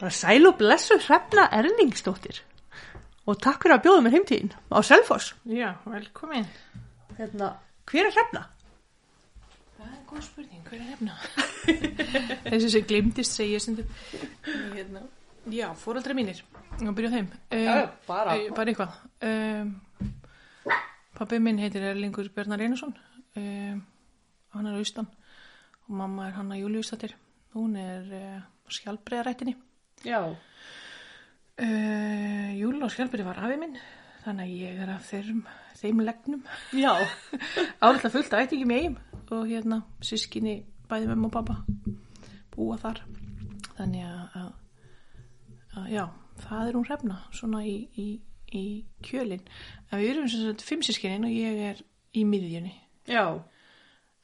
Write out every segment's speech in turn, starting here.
Bara sæl og blessu hrefna Erlingsdóttir og takk fyrir að bjóða mér heimtíðin á Selfoss. Já, velkomin. Hérna, hver er hrefna? Það er góð spurning, hver er nefna? Þessi sem glimtist segi ég stundum. Hérna. Já, fóraldri mínir. Ég byrja á þeim. Um, bara. eh, bara eitthvað. Um, pappi minn heitir Erlingur Bjarnar Einarsson. Um, hann er austan. Og mamma er Hanna Júliustættir. Hún er uh, skjálbreiðarættinni. Já. Uh, Júl á skjálbreiði var afi minn. Þannig að ég er af þeim, þeim legnum. Já. Áreitlega fullt að ætti ekki með eigum og hérna sískinni bæði mömmu og pappa búa þar þannig að, að, að já, það er hún hrefna svona í, í, í kjölin en við erum sem sagt fimm sískinin og ég er í miðjunni Já.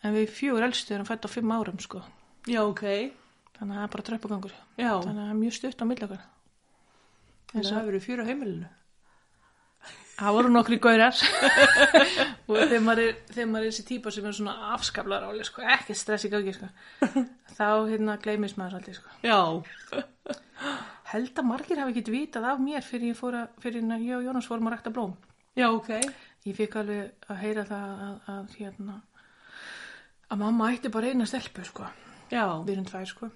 en við fjögur elstu erum fætt á fimm árum sko Já, ok. þannig að það er bara tröppagangur Já. þannig að það er mjög stutt á millakar Þannig að það verið fjör á heimilinu. það voru nokkri gaurar og þegar maður, er, þegar maður er þessi típa sem er svona afskaplar áli sko, ekki stress í gangi sko. þá hérna gleymis maður aldrei sko. Já. held að margir hafi ekkert vitað af mér fyrir, ég fór að, fyrir en ég og Jónas fórum að rækta blóm Já, ok. ég fikk alveg að heyra það að, að hérna að mamma ætti bara eina stelpu sko Já. við erum tvær sko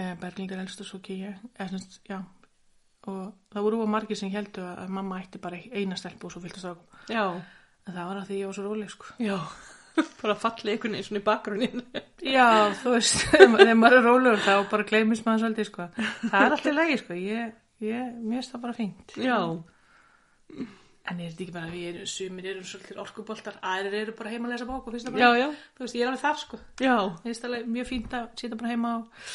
Eh, Berglind er elst og svo ekki ég eða, sem sagt, já. og það voru of margir sem heldu að að mamma ætti bara eina stelpu og svo fylgta strákum Já. en það var að því ég var svo róleg sko Já. bara fallið einhvern veginn svona í bakgrunin. já þú veist þegar maður er rólegur þá bara gleymis maður svolítið sko það er alltaf lægi sko ég, ég, mér finnst það bara fínt Já. En er þetta ekki bara að við erum, sumir eru svolítið orkuboltar, aðrir eru bara heima að lesa bók og finnst það Já, bara, já. þú veist, ég er alveg þar sko. Já. Mér finnst það alveg mjög fínt að sita bara heima og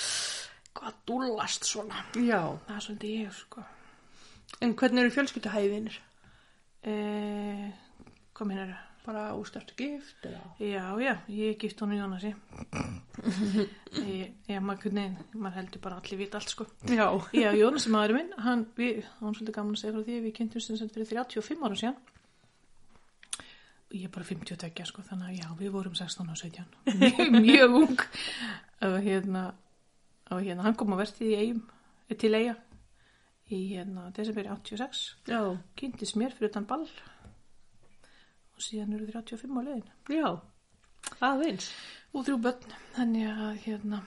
hvað dúllast svona. Já. Það er svolítið ég sko. En hvernig eru fjölskylduhæðinir? E, hvað minn eru? Bara ústartu gift eða? Já, já, ég er gift honum Jónasi. Ég- Já, maður kunni, maður heldur bara allir vita allt sko. Já. Já, Jónasi maðurinn minn, hann, við, hann er svolítið gaman að segja frá því, við kynntum sem sagt fyrir 35 ára síðan. Og Ég er bara 52, sko, þannig að já, við vorum 16 og 17. Mjög, mjög ung. Og hérna, og hérna, hann kom að verðið í eigum, til eiga, í hérna, desember 86. Já. Kynntist mér fyrir utan ball. Og síðan eru 35 á leiðin. Já. Aðeins. Og þrjú börn, þannig að, hérna,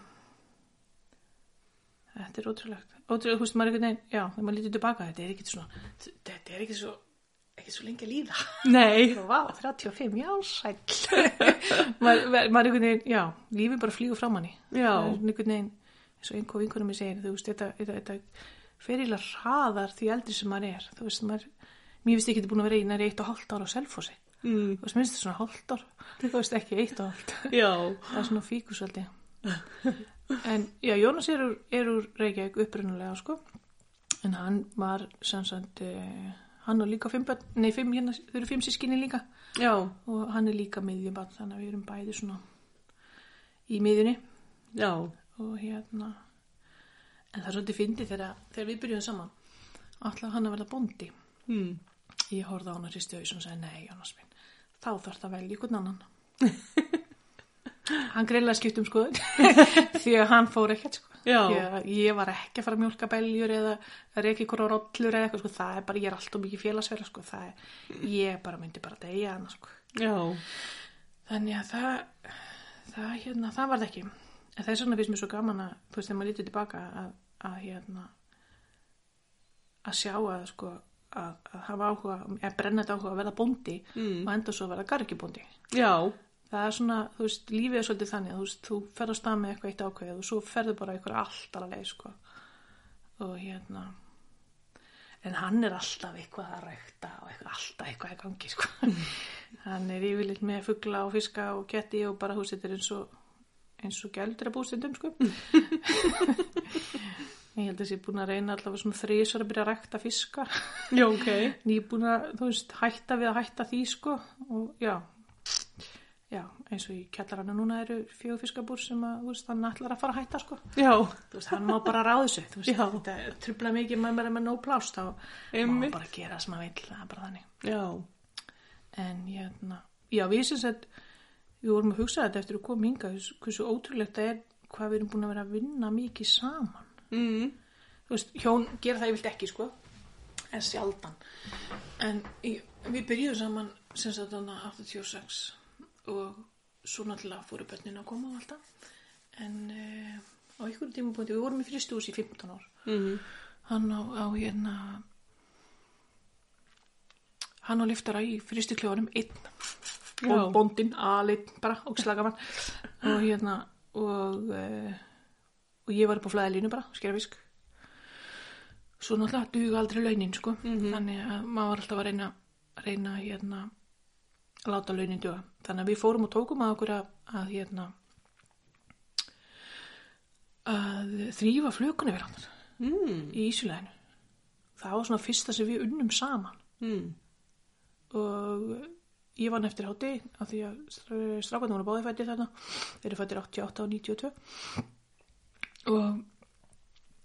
Þetta er ótrúlegt. Ótrúlegt, þú veist, maður einhvern veginn, já, þegar maður lítið tilbaka, þetta er ekkert svona, þetta er ekkert svo, ekkert svo lengi að líða. Nei. Vá, 35, já, sæll. maður, maður maður einhvern veginn, já, lífið bara flýgur frá manni. Já. Það er einhvern veginn, eins og einhver vinkunum ég segir, þú veist, þetta, þetta, þetta ferilega hraðar því eldri sem maður er. Þú veist, maður, mér finnst ekki þetta búin að vera í næri eitt og hálft ára á selfósi. Mm. Þú veist, minnst þetta svona hálft ár, þú veist, ekki eitt og hálft Já. það er svona fíkus aldrei en já, Jónas er úr, er úr Reykjavík upprunulega sko en hann var sem sagt eh, hann og líka fimm börn, nei fimm hérna, þau eru fimm sískinni líka Já. og hann er líka miðjubann þannig að við erum bæði svona í miðjunni Já. og hérna en það er svolítið fyndið þegar, þegar við byrjuðum saman alltaf hann að verða bóndi Mm. ég horfði á hann að hristi haus og sagði nei Jónas minn, þá þarf það velja ykkur annan hann greiðlega skipt um skoðun því að hann fór ekkert sko Já. Ég, ég var ekki að fara að mjólka beljur eða að reyka ykkur á rollur eða eitthvað sko, það er bara, ég er alltaf mikið félagsverða sko, það er, ég bara myndi bara degja hann sko. Já. þannig að það það, hérna, það var það ekki en það er svona fyrst mér svo gaman að, þú veist, þegar maður lítið tilbaka að, að hérna að sjá að sko að, að hafa áhuga, að brenna þetta áhuga að verða bóndi Mm. og enda svo að verða gargibóndi Já. það er svona, þú veist, lífið er svolítið þannig þú veist, þú ferð að stað með eitthvað eitt ákveðið og svo ferðu bara eitthvað alltaf að leið sko. og hérna en hann er alltaf eitthvað að rækta og eitthvað, alltaf eitthvað að gangi sko. hann er yfirleitt með fugla og fiska og ketti og bara, þú veist, þetta er eins og eins og gældur að bústundum sko. ég held að þessi búin að reyna allavega svona þrísar að byrja að rækta fiska Já, ok. nýbúin að, þú veist, hætta við að hætta því, sko, og já, já, eins og í kjallarana núna eru fjögfiskabúr sem að, þú veist, hann ætlar að fara að hætta, sko, Já. þú veist, hann má bara ráða þessu, þú veist, Já. þetta trubla mikið með mér með nóg plást, þá Einmitt. má bara gera sem að vill, það er bara þannig, Já. en hérna, já, við sem sagt, við vorum að hugsa þetta eftir að koma hinga, hversu ótrúlegt það er hvað við erum búin að vera að vinna mikið saman, Mm. þú veist, hjón gera það yfirlt ekki sko en sjaldan en ég, við byrjuðum saman sem sagt þannig 86 og svo náttúrulega fóru börnin að koma og alltaf en uh, á ykkur tímapunkti, við vorum í fristús í 15 ár Mhm. hann á, á hérna hann á liftara í fristukljóðanum einn Já. og bóndinn alinn bara og slagaman og hérna og, uh, og ég var upp á flæðilínu bara, skerfisk svo náttúrulega duga aldrei launin sko, þannig að maður var alltaf að reyna reyna hérna að láta launin duga, þannig að við fórum og tókum að okkur að, að hérna að þrýfa flökunni við hann Mm. í Ísuleginu það var svona fyrsta sem við unnum saman Mm. og ég vann eftir hátti af því að str- strákarnir voru báði fættir þarna þeir eru fættir 88 og 92 og,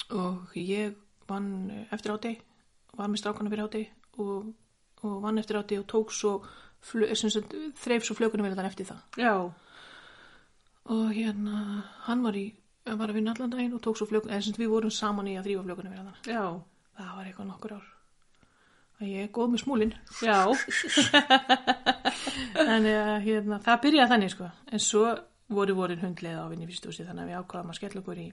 og ég vann eftir hátti var með strákarnir fyrir hátti og, og vann eftir hátti og tók svo flu- sem sagt, þreif svo flökunum verið eftir það Já. og hérna hann var, í, hann var að vinna allan daginn og tók svo flökunum en sem sagt, við vorum saman í að þrýfa flökunum verið Já. það var eitthvað nokkur ár að ég er góð með smúlin Já. en uh, hérna, það byrjaði þannig sko en svo voru vorin hundleið á vinni fyrstúsi þannig að við ákvaðum að skella okkur í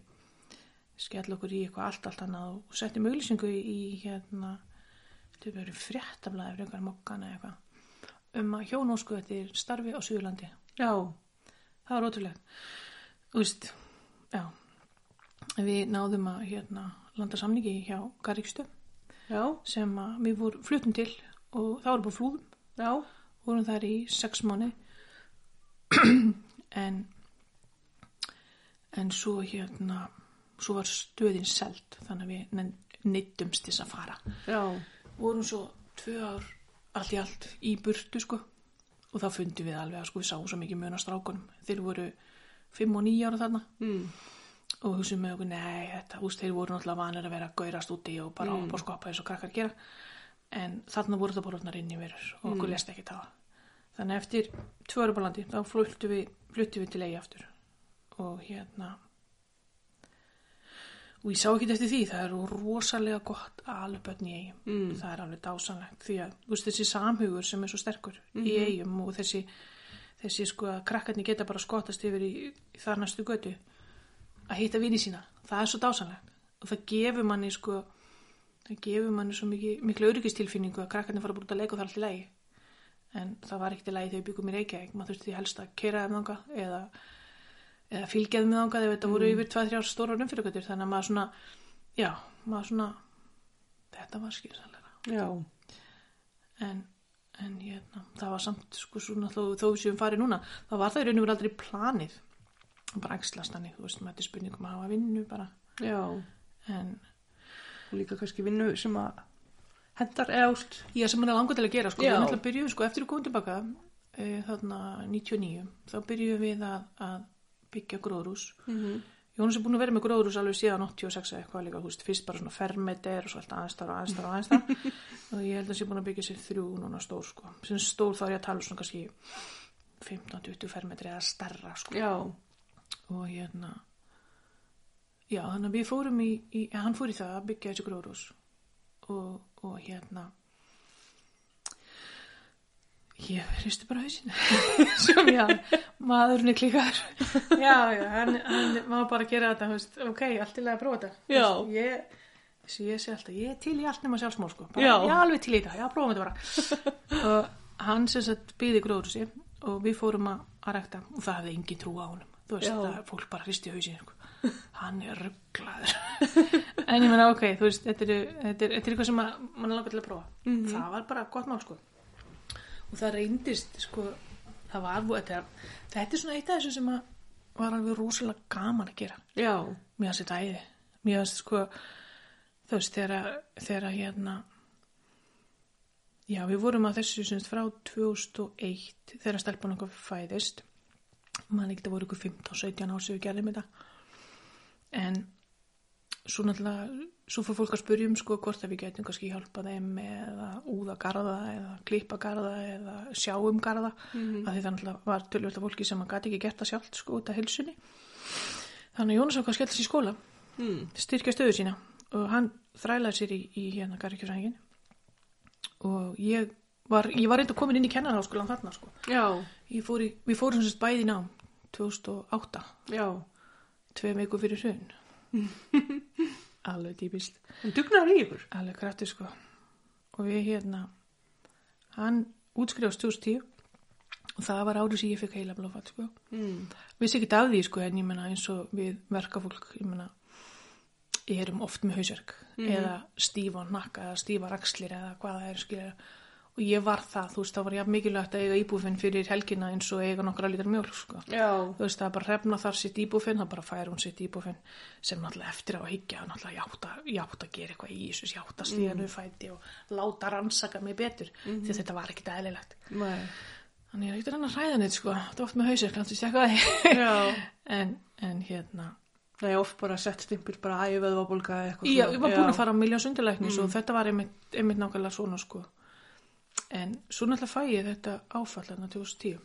skella okkur í eitthvað allt allt annað og settum auglýsingu í hérna þau verið fréttablaði fyrir einhverjum mokkana eða eitthvað um að hjón ósku eftir starfi á Suðurlandi Já. það var ótrúlegt þú veist, já við náðum að hérna landa samningi hjá Garíkstöð Já. sem að við vorum fluttum til og það voru búið flúðum Já. vorum þar í sex mánu en en svo hérna svo var stöðin seld þannig að við neittumst til þess að fara Já. vorum svo tvö ár allt í allt í burtu sko og þá fundum við alveg að sko við sáum svo mikið mjöna strákunum þeir voru fimm og níu ára þarna Mm. og hugsaðum með okkur, nei, þetta, úst, þeir voru náttúrulega vanir að vera að gaurast úti og bara mm. og skoppa eins og krakkar gera en þarna voru þetta borðnar inn í verur og okkur mm. lest ekki það þannig að eftir tvö ára bálandi þá fluttu við, fluttu við til eigi aftur og hérna og ég sá ekki eftir því það er rosalega gott að alveg börn í eigum Mm. það er alveg dásanlegt því að þú veist, þessi samhugur sem er svo sterkur í eigum og þessi, þessi sko að krakkarnir geta bara skottast yfir í, í þar næstu götu að hitta vini sína, það er svo dásanlegt og það gefur manni sko það gefur manni svo mikið, miklu öryggistilfinningu að krakkarnir fara að búið að leika og það er allt í lægi en það var ekkert í lægi þegar byggum í Reykjavík maður þurfti því helst að kera þeim þanga eða, eða fylgjaði með þanga þegar þetta voru yfir 2-3 stórar umfyrirgötur þannig að maður svona, já, maður svona þetta var skýrsalega Já. en, en hérna, það var samt sko svona þó, þó við séum farið núna það var það í raunum verið aldrei planið bara ægslast þannig, þú veist, maður þetta er spurningum að hafa vinnu bara, Já. en Og líka kannski vinnu sem að hendar eða úst. ég sem hann er langar til að gera sko, Já. við náttúrulega byrjuðum sko eftir að koma tilbaka e, þarna 99 þá byrjuðum við að, að byggja gróðrús mm Mhm. -hmm. Jónas er búin að vera með gróðrús alveg síðan 86 eða eitthvað líka, þú veist, fyrst bara svona fermeter og svo alltaf aðeinstar og aðeinstar og aðeinstar og ég held að sé búin að byggja sér þrjú núna stór sko, sem stór þá er ég að tala um svona kannski 15-20 fermetri eða starra sko Já. og hérna já, þannig að við fórum í, í ja, hann fór í það að byggja þessi gróðrús og, og hérna ég hristi bara hausinu sem já, maðurinn er klíkar já, já, hann, hann má bara gera þetta, þú veist, ok, allt í lega að prófa þetta Já. Þú veist, ég Þessi ég segi alltaf, ég er til í allt nema sjálfsmór sko. bara, Já. ég er alveg til í þetta, já, prófum þetta bara og hann sem sagt byði gróðrúsi og við fórum að, að rekta og það hefði engin trú á honum þú veist, Já. það er fólk bara hristi hausin sko. hann er rugglaður en ég meina, ok, þú veist, þetta er, þetta er, þetta er eitthvað sem að- mann langar til að prófa Mhm. það var bara gott mál, sko og það reyndist, sko það var, þetta er, þetta er svona eitt af þessu sem að var alveg rosalega gaman að gera Já. mér fannst þetta æði mér fannst sko þú veist þegar að- þegar að, hérna já við vorum að þessu semst frá 2001 þegar stelpan okkur fæðist maður ekkert að voru ykkur 15-17 ár sem við gerðum þetta en svo náttúrulega svo fór fólk að spyrja um sko hvort að við getum kannski hjálpa þeim eða úða garða eða klippa garða eða sjá um garða Hmm. af því það náttúrulega var tölvölda fólki sem að gæti ekki gert það sjálft sko út af hilsunni Þannig að Jónas ákvað að skella sér í skóla, Mm. styrkja stöðu sína og hann þrælaði sér í, í hérna garrikjusængin og ég var, ég var reynda komin inn í kennarháskólan þarna sko. Já, Ég fór í, við fórum sem sagt bæði í nám 2008, já. tvei viku fyrir hrun. Alveg típist. Hún dugnaður í ykkur. Alveg krafti sko og við hérna hann útskrifast 2010 og það var árið sem ég fikk heila blófat sko. Mm. Vissi ekki af því sko en ég menna eins og við verkafólk ég menna erum um oft með hausverk eða stífa nakka eða stífa rakslir eða hvað það er skilja og ég var það, þú veist, það var jafn mikilvægt að eiga íbúfinn fyrir helgina eins og eiga nokkra lítar mjólk sko Já. þú veist, það er bara hrefna þar sitt íbúfinn, það bara fær hún sitt íbúfinn sem náttúrulega eftir á að hyggja, það náttúrulega játa, játa að gera eitthvað í Ísus, játa stíðan mm. fæti og láta rannsaka mig betur, því að þetta var ekkit eðlilegt. Nei. Þannig ég er ekkert að reyna að hræða neitt, sko, þetta er oft með hausir, kannski stekka því. Já. en, en hérna, Nei, oft bara sett stimpil bara æföðvabólga eða eitthvað. Já, svona. ég var búin að fara á miljón sundilæknis og þetta var einmitt, einmitt nákvæmlega svona sko. En svo náttúrulega fæ ég þetta áfallarna 2010.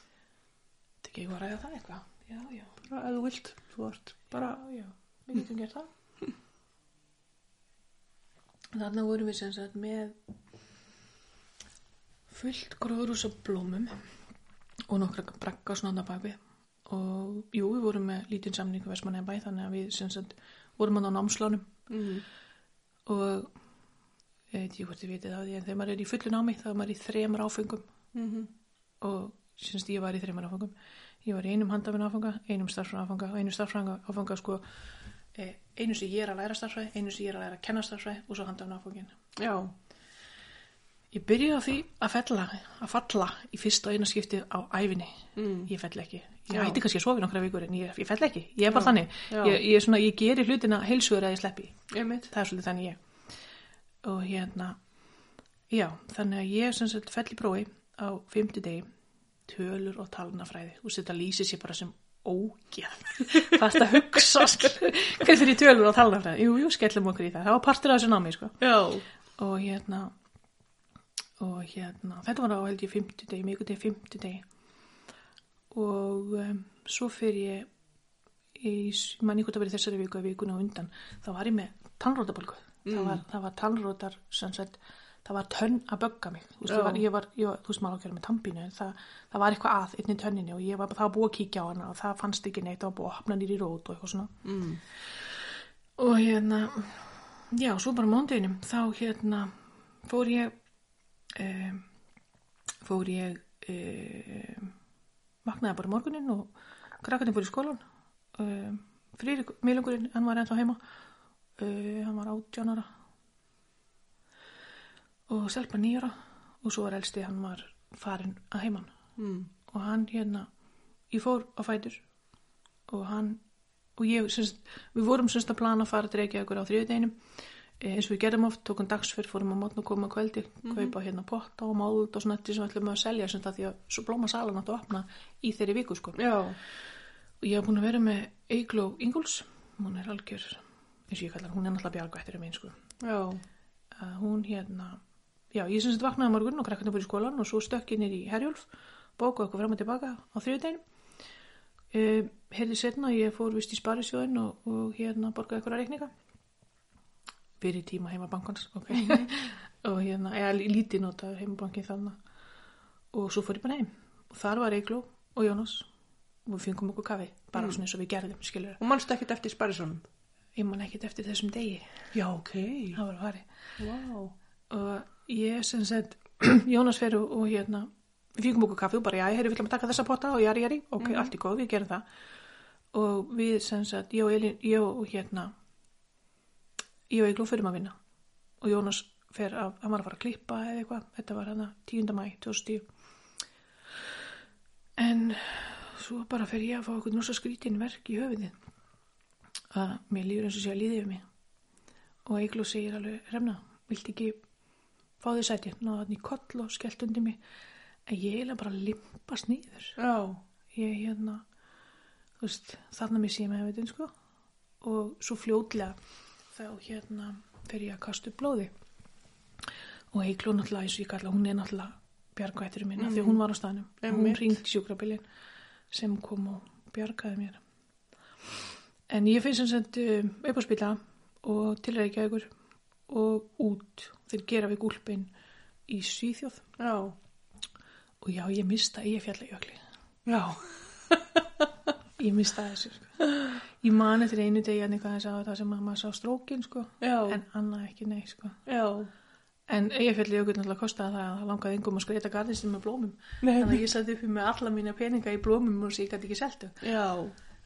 Þetta ekki ég var að ræða það eitthvað. Já, já, Bara ef þú vilt, þú ert bara, já, við getum gert það. Þarna vorum við sem sagt með fullt gróðrúsa blómum og nokkra brakka svona baki og jú, við vorum með lítinn samning versmann bæ, þannig að við sem sagt vorum að á námslánum mm. og ég veit ekki hvort ég veit það því en þegar maður er í fullu námi þá er maður í þremur áfengum Mm og syns ég var í þremur áfengum ég var í einum handafinn áfanga, einum starffræðan áfanga og einum starffræðan áfanga sko eh, einu sem ég er að læra starffræði, einu sem ég er að læra að kenna starffræði og svo handafinn áfangin Já. ég byrjaði á því að fella að falla í fyrsta og eina skiptið á æfinni Mm. ég fell ekki, ég Já. hætti kannski að sofa í nokkra vikur en ég, ég fell ekki, ég er bara Já. þannig Já. ég, ég, er svona, ég geri hlutina heilsugur að ég sleppi Einmitt. það er svolítið þannig ég og hérna já, þannig að ég sem sagt fell í prófi á fimmti degi tölur og talnafræði og þetta lýsir sér bara sem ógeð hvað er að hugsa skilur? hvað fyrir tölur og talnafræði jú, jú, skellum okkur í það, það var partur af þessu námi sko. Já. og hérna og hérna, þetta var á held ég fimmti degi, mjög degi fimmti degi og um, svo fyrir ég í, mann ykkur það verið þessari viku að vikuna á undan, þá var ég með tannrótabölgu, það var, það var tannrótar sem sagt, það var tönn að bögga mig, þú veist, Já. ég var, ég var, ég var þú veist maður á að gera með tannbínu, en það, það var eitthvað að einnig tönninni og ég var það var búið að kíkja á hana og það fannst ekki neitt, það var búið að hafna nýri rót og eitthvað svona Mm. og hérna, já, svo bara mándeginum, þá hérna fór ég um, fór ég um, vaknaði bara morgunin og krakkarnir fór í skólan um, frýrik miðlungurinn, hann var ennþá heima uh, hann var átjánara og selpa nýjara og svo var elsti hann var farinn að heiman Mm. og hann hérna ég fór á fætur og hann og ég, semst, við vorum semst að plana að fara að dreikja ykkur á þriðudeginum eins og við gerðum oft, tókum dagsfyrr fórum á mótn og komum að kvöldi, kaupa hérna potta og málut og svona þetta sem við ætlum að selja semst að því að svo blóma salan átt að opna í þeirri viku sko Já. og ég hef búin að vera með Eigló Inguls hún er algjör, eins og ég kallar hún er náttúrulega bjargvættur um einn sko Já. að hún hérna já, ég sem þetta vaknaði á morgun og krakkarnir búið í skólan og svo stökk ég nýr í Herjólf bókuð okkur fram og tilbaka á þriðudegin um, heyrði setna ég fór vist í sparisjóðin og, og hérna borgaði okkur að reikninga fyrir tíma heimabankans ok og hérna, eða lí- lítið nota heimabankin þannig og svo fór ég bara heim og þar var Eigló og Jónas og við fengum okkur kafi bara svona eins og við gerðum, skilur Og mannstu ekkert eftir Sparisonum? ég man ekkert eftir þessum degi Já, ok. það var að farið Vá. og ég sem sagt Jónas fer og, og hérna við fíkum okkur kaffi og bara, já, ég heyrðu, við ætlum að taka þessa potta og jari, jari, ok, allt í góð, við gerum það og við sem sagt, ég og Elín ég og hérna ég og Egló fyrir að vinna og Jónas fer að, hann var að fara að klippa eða eitthvað, þetta var hann 10. mæ 2010 en svo bara fer ég að fá okkur nosa skrítin verk í höfuðið að mér líður eins og sé að líði yfir mig og Egló segir alveg, Remna, vilt ekki fá því sæti, náðu hann í koll og skellt undir mig en ég eiginlega bara limpast nýður Já. ég hérna þú veist, þarna mér sé með veitum sko og svo fljótlega þá hérna fer ég að kasta upp blóði og Eigló náttúrulega eins og ég kalla, hún er náttúrulega bjargvætturinn minna, mm. því að hún var á staðnum hún Einmitt. ringdi sjúkrabilin sem kom og bjargaði mér en ég finnst sem sagt um, eh, upp á spila og til Reykjavíkur og út þeir gera við gúlpin í Svíþjóð Já. og já, ég mista ég fjallajökli Já. ég mista þessu sko. ég man eftir einu degi hérna að eitthvað þess að það sem að maður sá strókin sko. Já. en annað ekki nei sko. Já. en ég fjalli jökul náttúrulega kostaði það að það langaði engum að skreita garðinsin með blómum Nei. þannig að ég satt uppi með alla mína peninga í blómum og ég gæti ekki seltu Já.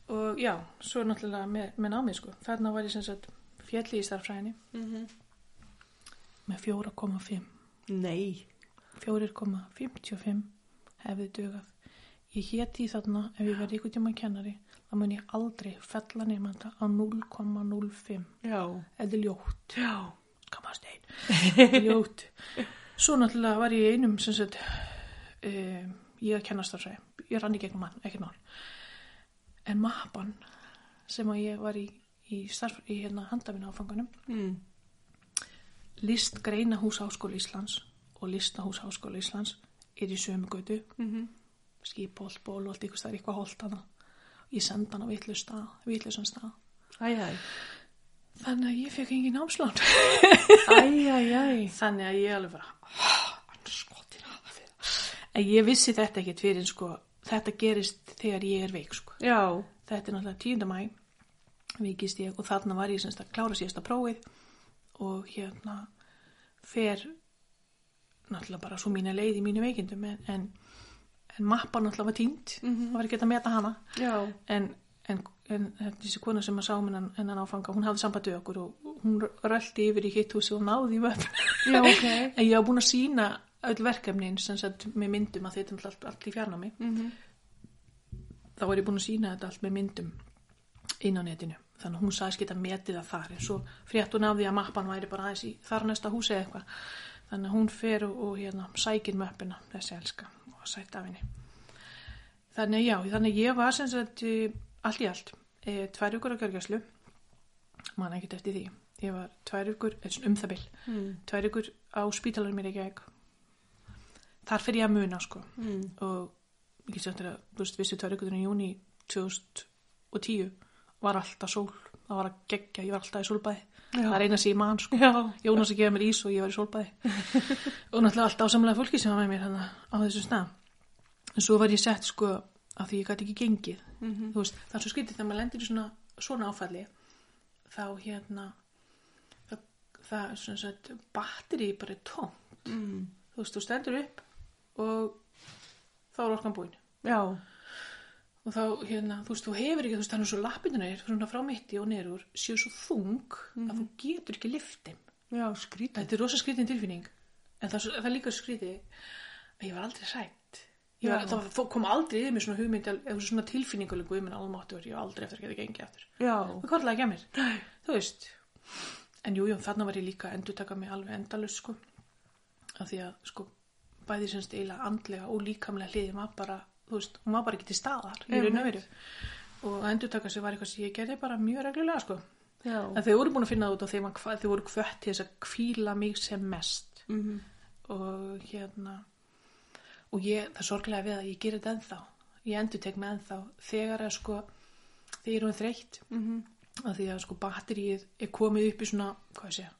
og já, svo náttúrulega með, með námið sko. þarna var ég sem sagt fjalli í starffræðinni Mhm. með 4,5 Nei. 4,55 hefði dugað. Ég héti í þarna ef ég verði ykkur tíma kennari þá mun ég aldrei fella nefnda á 0,05. Já. Þetta er ljótt. Já. Kamast einn. Þetta er ljótt. Svo náttúrulega var ég í einum sem sagt um, ég að kennast þar sæði. Ég rann í gegnum mann, ekkert mál. En mappan sem að ég var í, í, starf, í hérna, handafinu áfanganum Mm. Listgreinahús Háskóla Íslands og Listahús Háskóla Íslands er í sömu götu, Mhm. skipholt, bólholt, ykkur stær, eitthvað holt hana. Ég senda hana vitlaus stað, vitlausan stað. Æ, æ. Þannig að ég fekk engin námslán. Æ, æ, æ. Þannig að ég alveg bara, "Ah, anskotin hafa fyrir. En ég vissi þetta ekkert fyrir, en sko, þetta gerist þegar ég er veik, sko. Já. Þetta er náttúrulega 10. mæ, vikist ég, og þarna var ég semst að klára síðasta prófið og hérna fer náttúrulega bara svo mína leið í mínu veikindum en, en, en mappan náttúrulega var týnd það var ekki hægt að meta hana Mhm. Já. en, en, en hérna, þessi kona sem að sá minnan en hann áfanga, hún hafði sambandi við okkur og hún röldi yfir í hitt húsi og náði í vöfn Já, ok. en ég hafa búin að sína öll verkefnin sem sagt með myndum að þetta er náttúrulega allt, allt í fjarnámi Mhm. þá var ég búin að sína þetta allt með myndum inn á netinu þannig að hún sagðist geta metið það þar en svo frétt hún af því að mappan væri bara aðeins í þar næsta húsi eða eitthvað þannig að hún fer og, og hérna sækir möppina þessi elska og sætt af henni þannig að já, þannig að ég var sem sagt eh, allt í allt e, tvær ykkur á kjörgjörslu man ekkert eftir því ég var tvær ykkur, um það bil Mm. tvær ykkur á spítalarnum í Reykjavík þar fer ég að muna sko Mm. og ekki sjöndar að þú veist, vissi tvær ykkur í júni 2010 var alltaf sól, það var að gegja ég var alltaf í sólbæði, Já. það er eina sem ég man sko Já. Jónas að gefa mér ís og ég var í sólbæði og náttúrulega allt ásamlega fólki sem var með mér hana, á þessum stað en svo var ég sett sko að því ég gæti ekki gengið Mhm. þú veist, það er svo skytið þegar maður lendir í svona, svona áfalli þá hérna það, það er svona sett batteri bara er tóm Mm. þú veist, þú stendur upp og þá er orkan búin Já. og þá, hérna, þú veist, þú hefur ekki þú veist, þannig svo lappindina er, svona frá mitti og nerur séu svo þung að þú getur ekki liftin. Já, skrítið. Þetta er rosa skrítin tilfinning en það, er svo- það er líka skrítið að ég var aldrei sætt ég var, Já. það var- kom aldrei yfir mér svona hugmynd eða svona tilfinninguleg guðminn almáttur ég var aldrei eftir að geta gengið aftur Já. það korlaði ekki að mér, Nei. þú veist en jú, jú, þarna var ég líka að endurtaka mig alveg endalus, sko af því að, sko, bæði semst eiginlega andlega og líkamlega hliði maður bara, þú veist, hún var bara ekki til staðar í raun og veru og að endurtaka sig var eitthvað sem ég gerði bara mjög reglulega, sko Já. en þau voru búin að finna það út á þeim að hvað þau voru kvött til þess að kvíla mig sem mest Mhm. og hérna og ég, það er sorglega við að ég gerir þetta ennþá ég endurtek mig ennþá þegar að sko þegar ég er hún þreytt Mhm. að því að sko batterið er komið upp í svona, hvað ég segja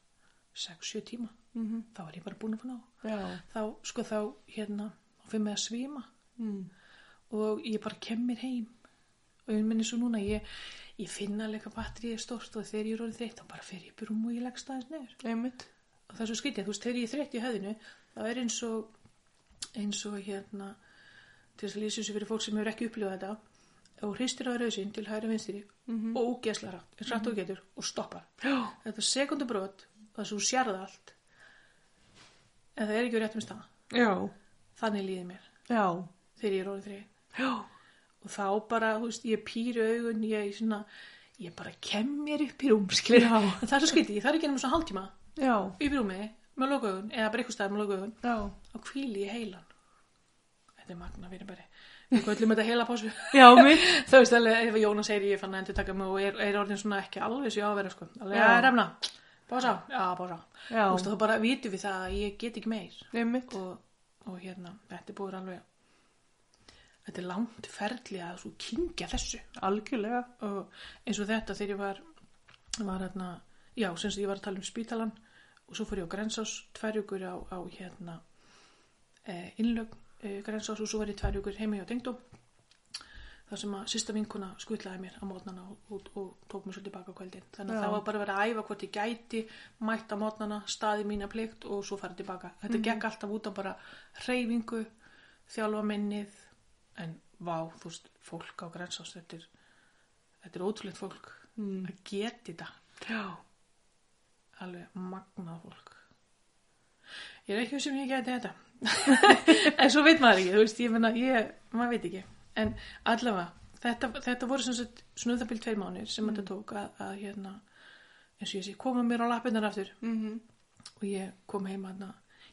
6-7 tíma, Mhm. þá er ég bara búin að fá ná Já. þá, sko þá, hérna þá fyrir mig að svima Mm. og ég bara kem mér heim og ég minni svo núna, ég, ég finna alveg að batterið er stórt og þegar ég er orðið þreytt þá bara fer ég upp í rúm og ég leggst aðeins neður Einmitt. og það er svo skrítið, þú veist, þegar ég er þreytt í höfðinu þá er eins og eins og hérna til þess að lýsa þessu fyrir fólk sem hefur ekki upplifað þetta og hristir á rausinn til hægri og vinstri og ógesla rátt, eins rætt og þú getur og stoppar Já. þetta er sekundubrót það sem þú sérð allt en það er ekki á réttum stað Já. þannig líði mér Já. þegar ég er orðin þreytt Já. og þá bara, þú veist, ég pýri augun ég, svona, ég bara kem mér upp í rúm skilur, Já. en það er svo skytið, ég þarf ekki nema svona hálftíma Já. upp í rúmi, með lokaaugun, eða bara eitthvað stað með lokaaugun Já. og hvíli ég heilan þetta er magna, við erum bara við kvöllum þetta heila pásu Já, mitt. þú veist alveg ef Jónas segir ég fann að endur taka mig og er, er orðin svona ekki alveg sér á að vera sko alveg, Já. já, remna, bása, já, bása Já. þú veist þá bara vitum við það að ég get ekki meir Einmitt. og, og hérna, þetta er búið alveg þetta er langt ferli að svo kynkja þessu Algjörlega. og eins og þetta þegar ég var var hérna já, sem sagt, ég var að tala um spítalan og svo fór ég á Grensás, tværjugur á, á hérna eh, innlögn eh, Grensás og svo var ég tværjugur heima hjá Dengdó þar sem að sista vinkuna skutlaði mér á mótnana og, og, og tók mér svolítið baka á kvöldin þannig Já. að það var bara verið að æfa hvort ég gæti mætt á mótnana, staði mína plikt og svo farið tilbaka. Þetta gekk alltaf út á bara hreyfingu, þjálfa minnið en vá, þú veist, fólk á Grensás þetta er, þetta er ótrúleitt fólk Mm. að geti þetta Já. alveg magnað fólk ég er ekki um sem ég geti þetta en svo veit maður ekki þú veist, ég menna, ég, maður veit ekki en allavega, þetta, þetta voru sem sagt, svona um það byrjum tveir mánir sem þetta tók að, að hérna eins og ég sé, koma mér á lappinnar aftur Mm -hmm. og ég kom heim aðna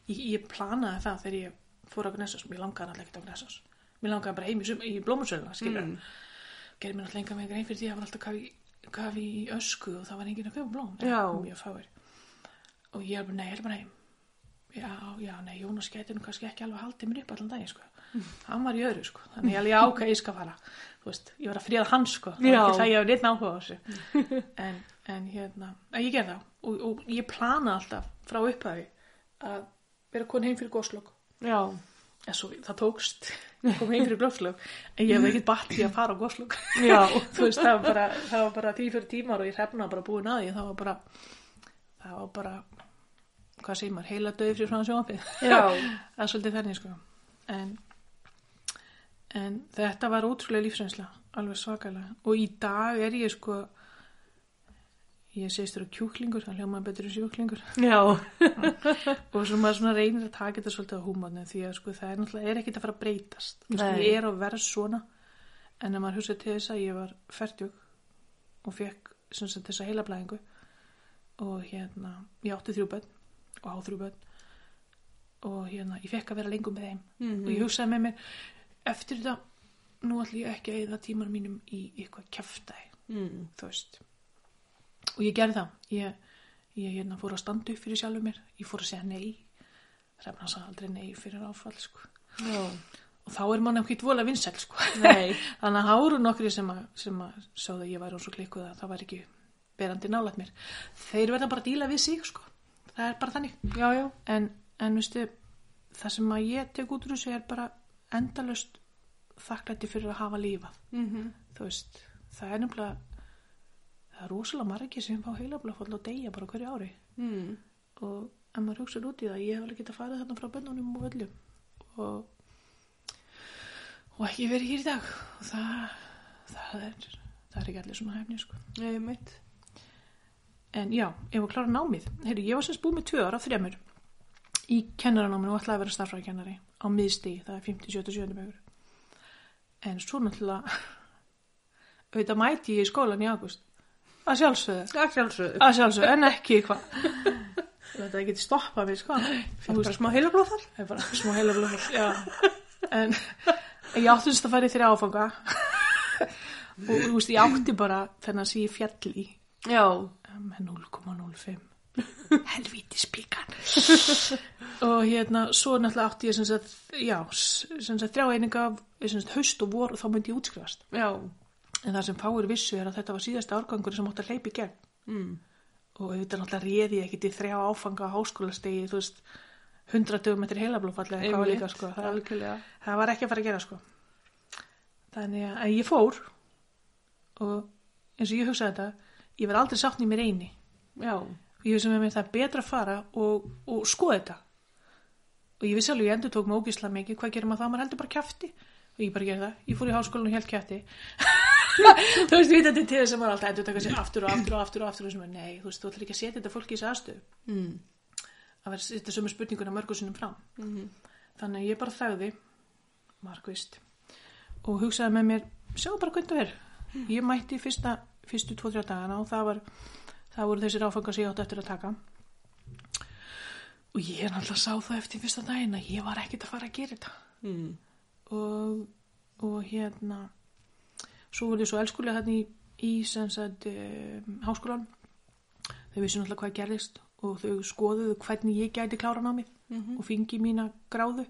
ég, ég planaði það þegar ég fór á Gnessas mér langaði alltaf ekkert á Gnessas mér langaði bara heim í, sum- í blómusöluna skilur mm. gerði mér alltaf enga með grein fyrir því að það var alltaf kafi, kafi í ösku og það var enginn að köpa blóm eða Já. mjög fáir og ég er bara, nei, ég er bara heim já, já, nei, Jónas gæti nú kannski ekki alveg haldið mér upp allan daginn, sko hann var í öðru, sko, þannig ég alveg já, ok, ég skal fara þú veist, ég var að fríða hann, sko það Já. var ekki það ég hef neitt náhuga á þessu en, en hérna, en ég gerði það og, og ég plana alltaf frá upphæði að vera komin heim fyrir góslokk Já. en svo það tókst ég kom heim fyrir glöflög en ég hef ekkert batt í að fara á glöflög Já. þú veist það var bara, það var bara tíð fyrir tímar og ég hrefna bara búin að því það var bara það var bara hvað segir maður, heila döði fyrir svona sjónfið Já. það er svolítið þannig sko en, en þetta var ótrúlega lífsreynsla alveg svakalega og í dag er ég sko ég segist þér á kjúklingur það hljóma betur en sjúklingur Já. og svo maður svona reynir að taka þetta svolítið á húmónu því að sko það er náttúrulega er ekkit að fara að breytast Þú veist, Nei. ég er að vera svona en ef maður hugsa til þess að ég var færtjúk og fekk sem sagt þessa heilablæðingu og hérna ég átti þrjú börn og á þrjú börn og hérna ég fekk að vera lengur með þeim Mhm. og ég hugsaði með mér eftir þetta nú ætlum ég ekki að eða tímar mínum í eitthvað kjaftaði Mm. þú veist og ég gerði það ég, ég hérna fór að standa upp fyrir sjálfur mér ég fór að segja nei hrefna sá aldrei nei fyrir áfall sko. Já. og þá er mann ekkert vola vinsæl sko. Nei. þannig að það voru nokkri sem að, sem að sögðu að ég væri eins og klikkuð að það var ekki berandi nálægt mér þeir verða bara að díla við sig sko. það er bara þannig Já, já. en, en veistu, það sem að ég tek út úr þessu er bara endalust þakklætti fyrir að hafa lífað Mm -hmm. þú veist, það er nefnilega það er rosalega margir sem fá heilablóðfall og deyja bara á hverju ári Mm. og ef maður hugsa út í það, ég hef alveg getað farið þarna frá bönnunum og öllum og, og ekki verið hér í dag og það, það er það er ekki allir svona hefni sko. Nei, mitt. en já, ef við klára námið Heyru, ég var semst búið með tvö ára, þremur í kennaranáminu og ætlaði að vera starfræðkennari á miðstigi, það er 50, 70, 70 bækur en svo náttúrulega auðvitað mæti ég í skólan í águst að sjálfsögðu Að sjálfsögðu. að sjálfsög, en ekki hvað þetta geti stoppað mig sko Það það er bara smá heilablóð þar. er bara smá heila blóð en en ég átti þess að fara í þeirra áfanga og þú veist, ég átti bara þennan sem ég fjall í eh, Já. með 0,05 helvíti spíkan og hérna, svo náttúrulega átti ég sem sagt, já, sem sagt þrjá eininga, sem sagt haust og vor og þá myndi ég útskrifast Já. en það sem fáir vissu er að þetta var síðasta árgangur sem átti að hleypa í gegn Mm. og auðvitað náttúrulega réði ég ekki til þrjá áfanga á háskólastegi, þú veist 100 dögum eftir heilablófalli eða hvað var líka sko, það, Algjörlega. það var ekki að fara að gera sko þannig að en ég fór og eins og ég hugsaði þetta ég verð aldrei sátt í mér eini Já. og ég hugsaði með mér það er betra að fara og, og skoða þetta og ég vissi alveg ég endur tók mig ógislega mikið hvað gerir maður það, maður heldur bara kjafti og ég bara gerði það, ég fór í háskólan og held kjafti þú veist, við þetta er til þess að maður alltaf endur taka sér aftur og aftur og aftur og aftur og sem er nei, þú veist, þú ætlar ekki að setja þetta fólki í þessu aðstöðu Mm. að vera að setja sömu spurninguna mörgum sinnum fram Mhm. þannig að ég bara þagði margvist og hugsaði með mér sjáðu bara hvernig þú er ég mætti fyrsta, fyrstu 2-3 dagana og það var það voru þessir áfangar sem ég átti eftir að taka og ég náttúrulega sá það eftir fyrsta daginn að ég var ekkert að fara að gera þetta Mm. og, og hérna svo voru ég svo elskulega þarna í, í sem sagt um, háskólan þau vissu náttúrulega hvað gerðist og þau skoðuðu hvernig ég gæti klára námið Mhm. og fengi mína gráðu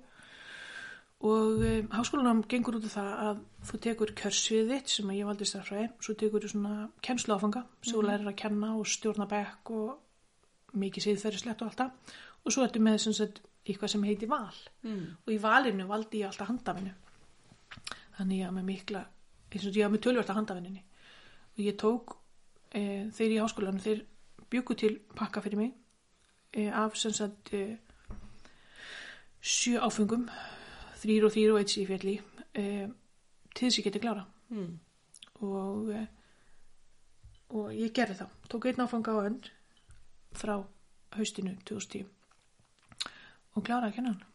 og um, háskólanum gengur út af það að þú tekur kjörsvið þitt sem að ég valdi stærfræði svo tekur þú svona kennsluáfanga sem þú lærir að kenna og stjórna bekk og mikið síðferðislegt og allt það og svo ertu með sem sagt eitthvað sem heiti val mm. mhm, og í valinu valdi ég alltaf handafinu þannig ég hafa með mikla eins og ég hafa með tölvörta handafinninni og ég tók e, þeir í háskólanum þeir bjúku til pakka fyrir mig e, af sem sagt e, sjö áfengum þrýr og þrýr og eitt sem ég fjall í e, til þess ég geti klára Mm. mhm. og e, og ég gerði það tók einn áfanga á önn frá haustinu 2010 og kláraði að kenna hann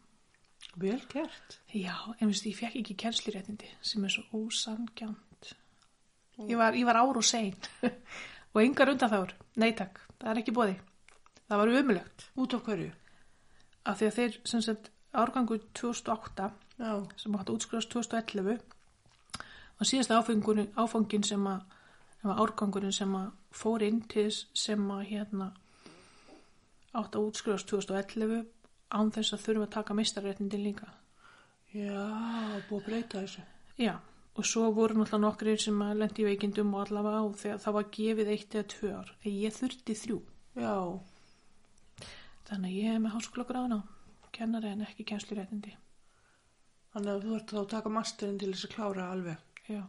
Vel gert. Já, en veistu, ég fekk ekki kennsliréttindi sem er svo ósangjönd. Ég var, ég var ár og sein og engar undan þáur. Nei takk, það er ekki bóði. Það var umulögt. Út af hverju? Af því að þeir, sem sagt, árgangu 2008 Já. sem átti að útskrifast 2011 og síðasta áfengun, áfangin sem að eða árgangurinn sem að fór inn til þess sem að hérna átti að útskrifast 2011 án þess að þurfa að taka mistarréttindin líka. Já, búið að breyta þessu. Já, og svo voru náttúrulega nokkrir sem að lendi í veikindum og allavega og þegar það var gefið eitt eða tvö ár. En ég þurfti þrjú. Já. Þannig að ég hef með háskólagráðan á kennari en ekki kennsluréttindi. Þannig að þú ert þá að taka masterinn til þess að klára alveg. Já.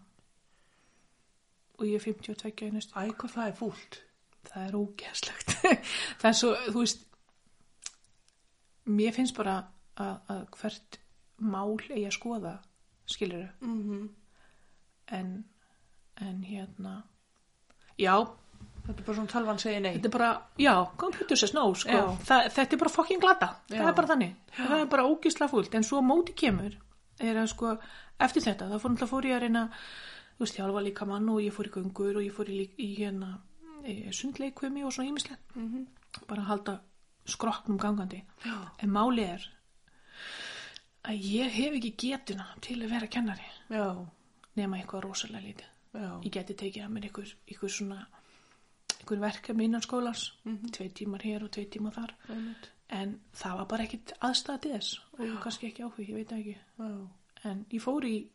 Og ég er 52 í næstu. Æ, hvað það er fúlt. Það er ógeðslegt. það er svo, þú veist, mér finnst bara að, að hvert mál eigi að skoða, skilur þau. Mm -hmm. En, en hérna, já, Þetta er bara svona talvan segir nei. Þetta er bara, já, computer says no, sko. Já. Þa, þetta er bara fucking glata. Já. Það er bara þannig. Það er bara ógisla fúlt. En svo á móti kemur, er að sko, eftir þetta, þá fór náttúrulega fór ég að reyna, þú veist, hjálfa líka mann og ég fór í göngur og ég fór í, lí- í hérna e, sundleikvimi og svona ímislega. Mm Mhm. -hmm. Bara að halda skroknum gangandi. Já. En máli er að ég hef ekki getuna til að vera kennari Já, nema eitthvað rosalega lítið já. ég geti tekið að mér ykkur, ykkur svona ykkur verkefni innan skólans Mhm. tvei tímar hér og tvei tímar þar Einmitt. en það var bara ekkit aðstæða til þess og kannski ekki áhug, ég veit það ekki Já. en ég fór í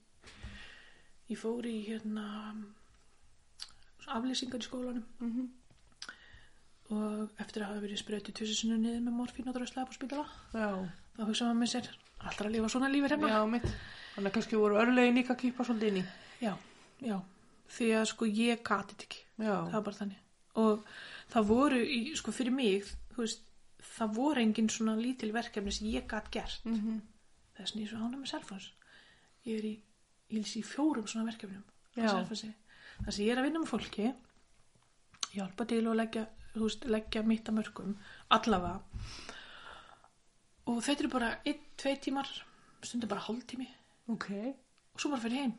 ég fór í hérna aflýsingar í skólanum Mhm. -hmm. og eftir að hafa verið sprötu tvisisinu niður með morfín og dröslega á spítala Já. þá hugsaði maður með sér allra að lifa svona lífið hérna Já, mitt. Þannig að kannski voru örlegin líka að kýpa svolítið inn í. já, já, því að sko ég gati þetta ekki Já. það var bara þannig og það voru, í- sko fyrir mig þú veist, það voru engin svona lítil verkefni sem ég gat gert mm -hmm. þess að ég er svo ánæg með selfans ég er í, ég lýs í fjórum svona verkefnum á Já. Selfossi. þar sem ég er að vinna með fólki hjálpa til og leggja, þú veist, leggja mitt að mörgum, allavega og þetta eru bara einn, tvei tímar, stundum bara hálftími Ok. og svo bara fyrir heim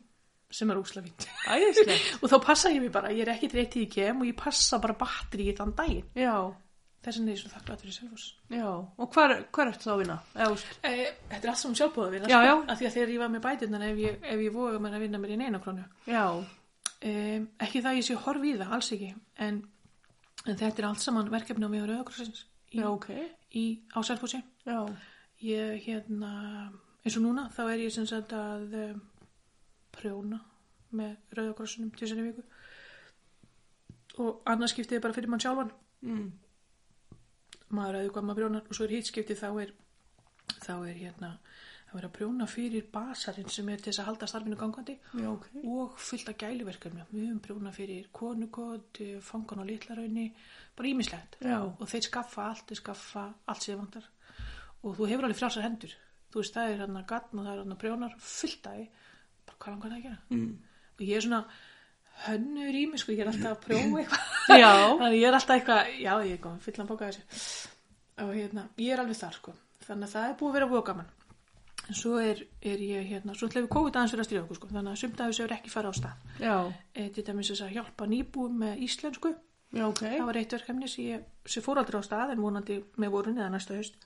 sem er ósla fínt Æðislega. og þá passa ég mig bara, ég er ekki dreitt í kem og ég passa bara batteri í þann daginn Já, þess vegna er ég svo þakklátt fyrir Selfoss já. Og hvar, hvar ertu þá að vinna? Eða, úst. e, þetta er allt sem sjálfbóða vinna Já, sko, já. af því að þegar ég var með bætirnar ef ég, ef ég voga mér að vinna mér í neina krónu Já. e, ekki það að ég sé horf í það, alls ekki en, en þetta er allt saman verkefni á mig á Rauðakrossins í, Já, ok. í, á Selfossi Já. ég hérna eins og núna þá er ég sem sagt að e, prjóna með Rauðakrossinum til sinni viku og annars skiptið er bara fyrir mann sjálfan Mm. maður aðeins hvað maður brjónar og svo er hitt skiptið þá er þá er hérna það verður að brjóna fyrir basarinn sem er til þess að halda starfinu gangandi Já, ok. og fullt af gæluverkefnum við höfum brjóna fyrir konukot eh, fangan og litlarraunni, bara ímislegt Já. og þeir skaffa allt, þeir skaffa allt sem þið vantar og þú hefur alveg frjálsar hendur þú veist, það er hann að gatn og það er hann að brjónar fullt af því, bara hvað langar það að gera mm. og ég er svona hönnur í mig, sko, ég er alltaf að prjóna eitthvað Já. þannig ég er alltaf eitthvað, já, ég er komin fullan bóka þessu og hérna, ég er alveg þar, sko þannig að það er búið að vera búið gaman en svo er, er ég, hérna, svo ætlaði við COVID aðeins fyrir að stríða okkur, sko, þannig að sumt af þessu hefur ekki farið á stað Já. e, til dæmis þess að hjálpa nýbúum með íslensku Já, ok. það var eitt verkefni sem, ég, sem fór aldrei á stað en vonandi með vorun eða næsta haust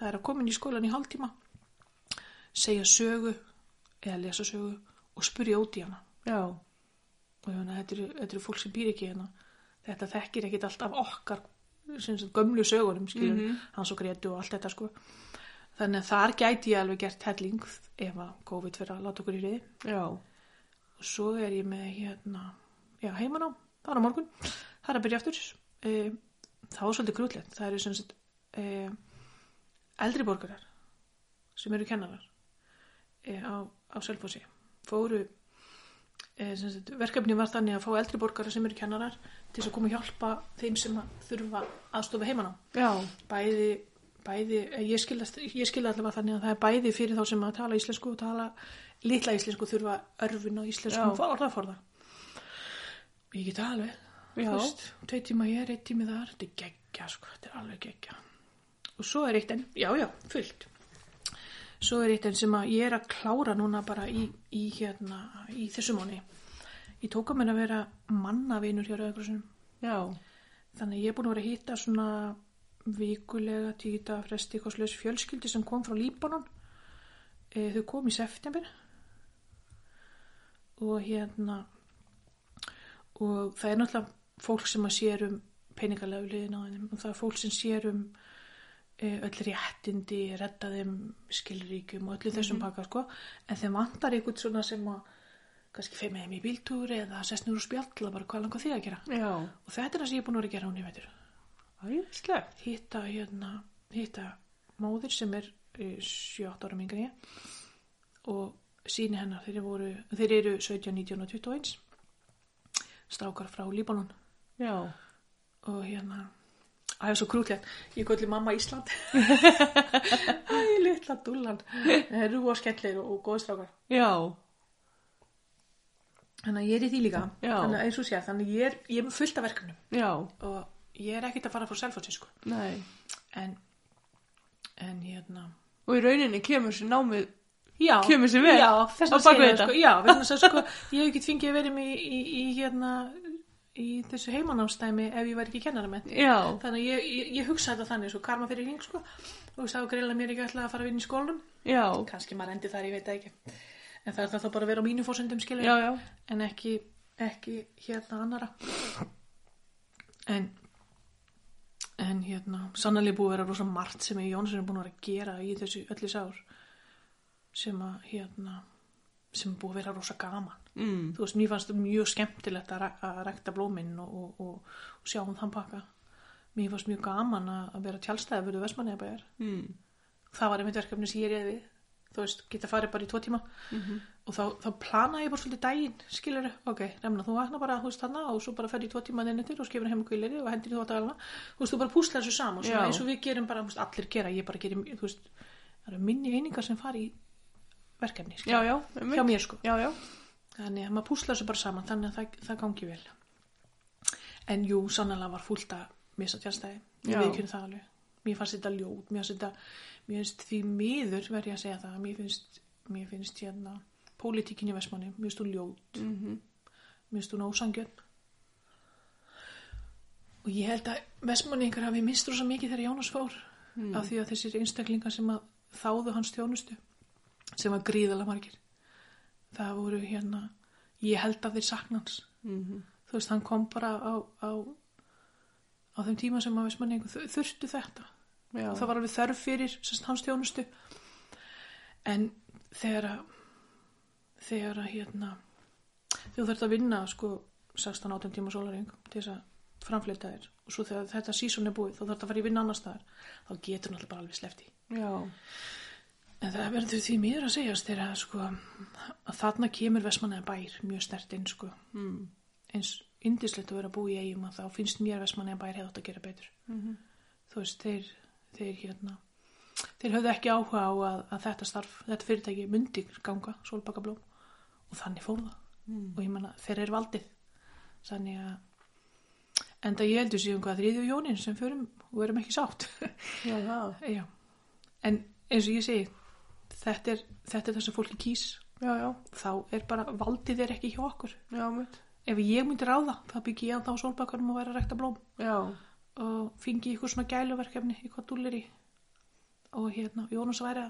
það er að koma inn í skólan í hálftíma segja sögu eða lesa sögu og spurja út í hana Já. og ég meina, þetta eru, þetta eru fólk sem býr ekki hérna þetta þekkir ekkit allt af okkar sem sagt, gömlu sögunum skilur, hans og gretu og allt þetta sko Þannig að þar gæti ég alveg gert helling ef að COVID fyrir að láta okkur í riði. Já. Og svo er ég með hérna, já heimanám, það er á morgun, það er að byrja aftur. E, það var svolítið grútlegt, það eru sem sagt e, eldri borgarar sem eru kennarar e, á, á Selfossi. Fóru, e, sem sagt, verkefni var þannig að fá eldri borgarar sem eru kennarar til þess að koma og hjálpa þeim sem að þurfa aðstofa heimanám Já. bæði, bæði eh, ég skilja ég skil allavega þannig að það er bæði fyrir þá sem að tala íslensku og tala litla íslensku þurfa örfun á Já. íslensku og orðaforða ég get það alveg Já. Þú veist, tvei tíma ég er, einn tími þar þetta er geggja sko, þetta er alveg geggja og svo er eitt enn, já já, fullt svo er eitt enn sem að ég er að klára núna bara í, í hérna, í þessu mánu ég tók að mér að vera mannavinur hjá Rauðakrossunum Já. Þannig að ég er búin að vera að hitta svona vikulega títa fresti koslaus fjölskyldi sem kom frá Líbanon. E, þau kom í september og hérna og það er náttúrulega fólk sem að sér um peningalega liðin á þeim og það er fólk sem sér um e, öll réttindi, redda þeim skilríkjum og öllu þessum pakka sko. en þeim vantar einhvern svona sem að kannski feim með þeim í bíltúri eða sestnur og spjalla bara hvað langar þig að gera Já. og þetta er það sem ég er búin að vera að gera hún í veitur Æðislegt. hitta hérna hitta móðir sem er eh, 7-8 ára mingar ég og síni hennar þeir, voru, þeir eru 17, 19 og 21 strákar frá Líbanon Já. og hérna Það er svo krútlegt, ég göllu mamma Ísland Æ, litla dullan Það eru og skellir og, og góðstrákar Já. Þannig að ég er í því líka Já. Þannig að eins og sé, þannig að ég er, ég er með fullt af verkefnum Já. og ég er ekkert að fara frá selfotsi sko Nei. en, en hérna Og í rauninni kemur sér námið. já, Kemur sér vel já, á þess að bak við segja þetta. sko, já, vegna þess að sko, ég hef ekki fengið að vera með í, í, í hérna í þessu heimanámsdæmi ef ég var ekki kennara með Já. þannig að ég, ég, ég hugsa þetta þannig svo karma fyrir hring sko og það var greila mér ekki ætla að fara að vinna í skólanum Já. kannski maður endi þar, ég veit það ekki en það er það bara að vera á mínu fórsendum skilur Já, já. en ekki, ekki hérna annara en en hérna sannlega búið að vera rosa margt sem ég Jónsson er búin að vera að gera í þessu öllis ár sem að hérna sem er búið að vera rosa gaman Mm. þú veist, mér fannst mjög skemmtilegt að, ræ- að rækta blóminn og, og, og, og sjá um þann pakka mér fannst mjög gaman að, að vera tjálstæði fyrir Vestmanniðabæjar Mm. það var einmitt verkefni sem ég reyði við þú veist, geta farið bara í tvo tíma og þá, þá plana ég bara svolítið daginn skilur, ok, nefna, þú vakna bara þú veist þarna og svo bara ferði í tvo tíma nefnir og skifur heim og gulleri og hendir í þvóttagalna þú veist, þú bara púslar þessu saman, svona Já. eins og við gerum bara, þú veist, allir gera, ég bara gerum þú veist, það eru minni einingar sem fari í verkefni, skilur, Já, já. hjá mér sko Já, já. þannig að maður púslar þessu bara saman þannig að það, það gangi vel en jú, sannlega var fúlt að missa tjálstæði, Já. ég veikjum það alveg mér fannst þetta ljót, mér fannst þetta mér finnst því miður verð ég að segja það mér finnst, mér finnst hérna pólitíkin í Vestmanni, mér finnst hún ljót Mm mér finnst hún ósangjöld og ég held að Vestmanni einhver hafi minnst rosa mikið þegar Jónas fór Mm-hmm. af því að þessir einstaklingar sem að þáðu hans þjónustu sem var gríðalega margir það voru hérna ég held að þeir saknans Mm-hmm. þú veist, hann kom bara á, á, á þeim tíma sem að Vestmanningu þurftu þetta Já. það var alveg þörf fyrir sérst, hans þjónustu en þegar að þegar að hérna þú þurft að vinna sko 16-18 tíma sólaring til þess að framfleyta þér og svo þegar þetta sísón er búið þá þurft að fara í vinna annars staðar þá getur náttúrulega bara alveg slefti Já. en það verður því miður að segjast þegar að sko að þarna kemur Vestmannaða bær mjög stert inn sko Mm. eins indislegt að vera að búa í eigum að þá finnst mér Vestmannaða bær hefði átt að gera betur Mhm. þú veist, þeir, þeir hérna þeir höfðu ekki áhuga á að, að þetta starf, þetta fyrirtæki myndi ganga, sólbakablóm og þannig fór það Mm. og ég manna, þeir eru valdið þannig að enda ég heldur síðan hvað þriðju hjónin sem förum og verum ekki sátt Já, það. já, en eins og ég segi þetta er, þetta er það sem fólki kýs Já, já. þá er bara, valdið er ekki hjá okkur Já, mitt. ef ég myndi ráða, þá byggi ég ennþá á sólbakanum og væri að rekta blóm Já. og fengi ykkur svona gæluverkefni eitthvað dúlir í og hérna, Jónas væri,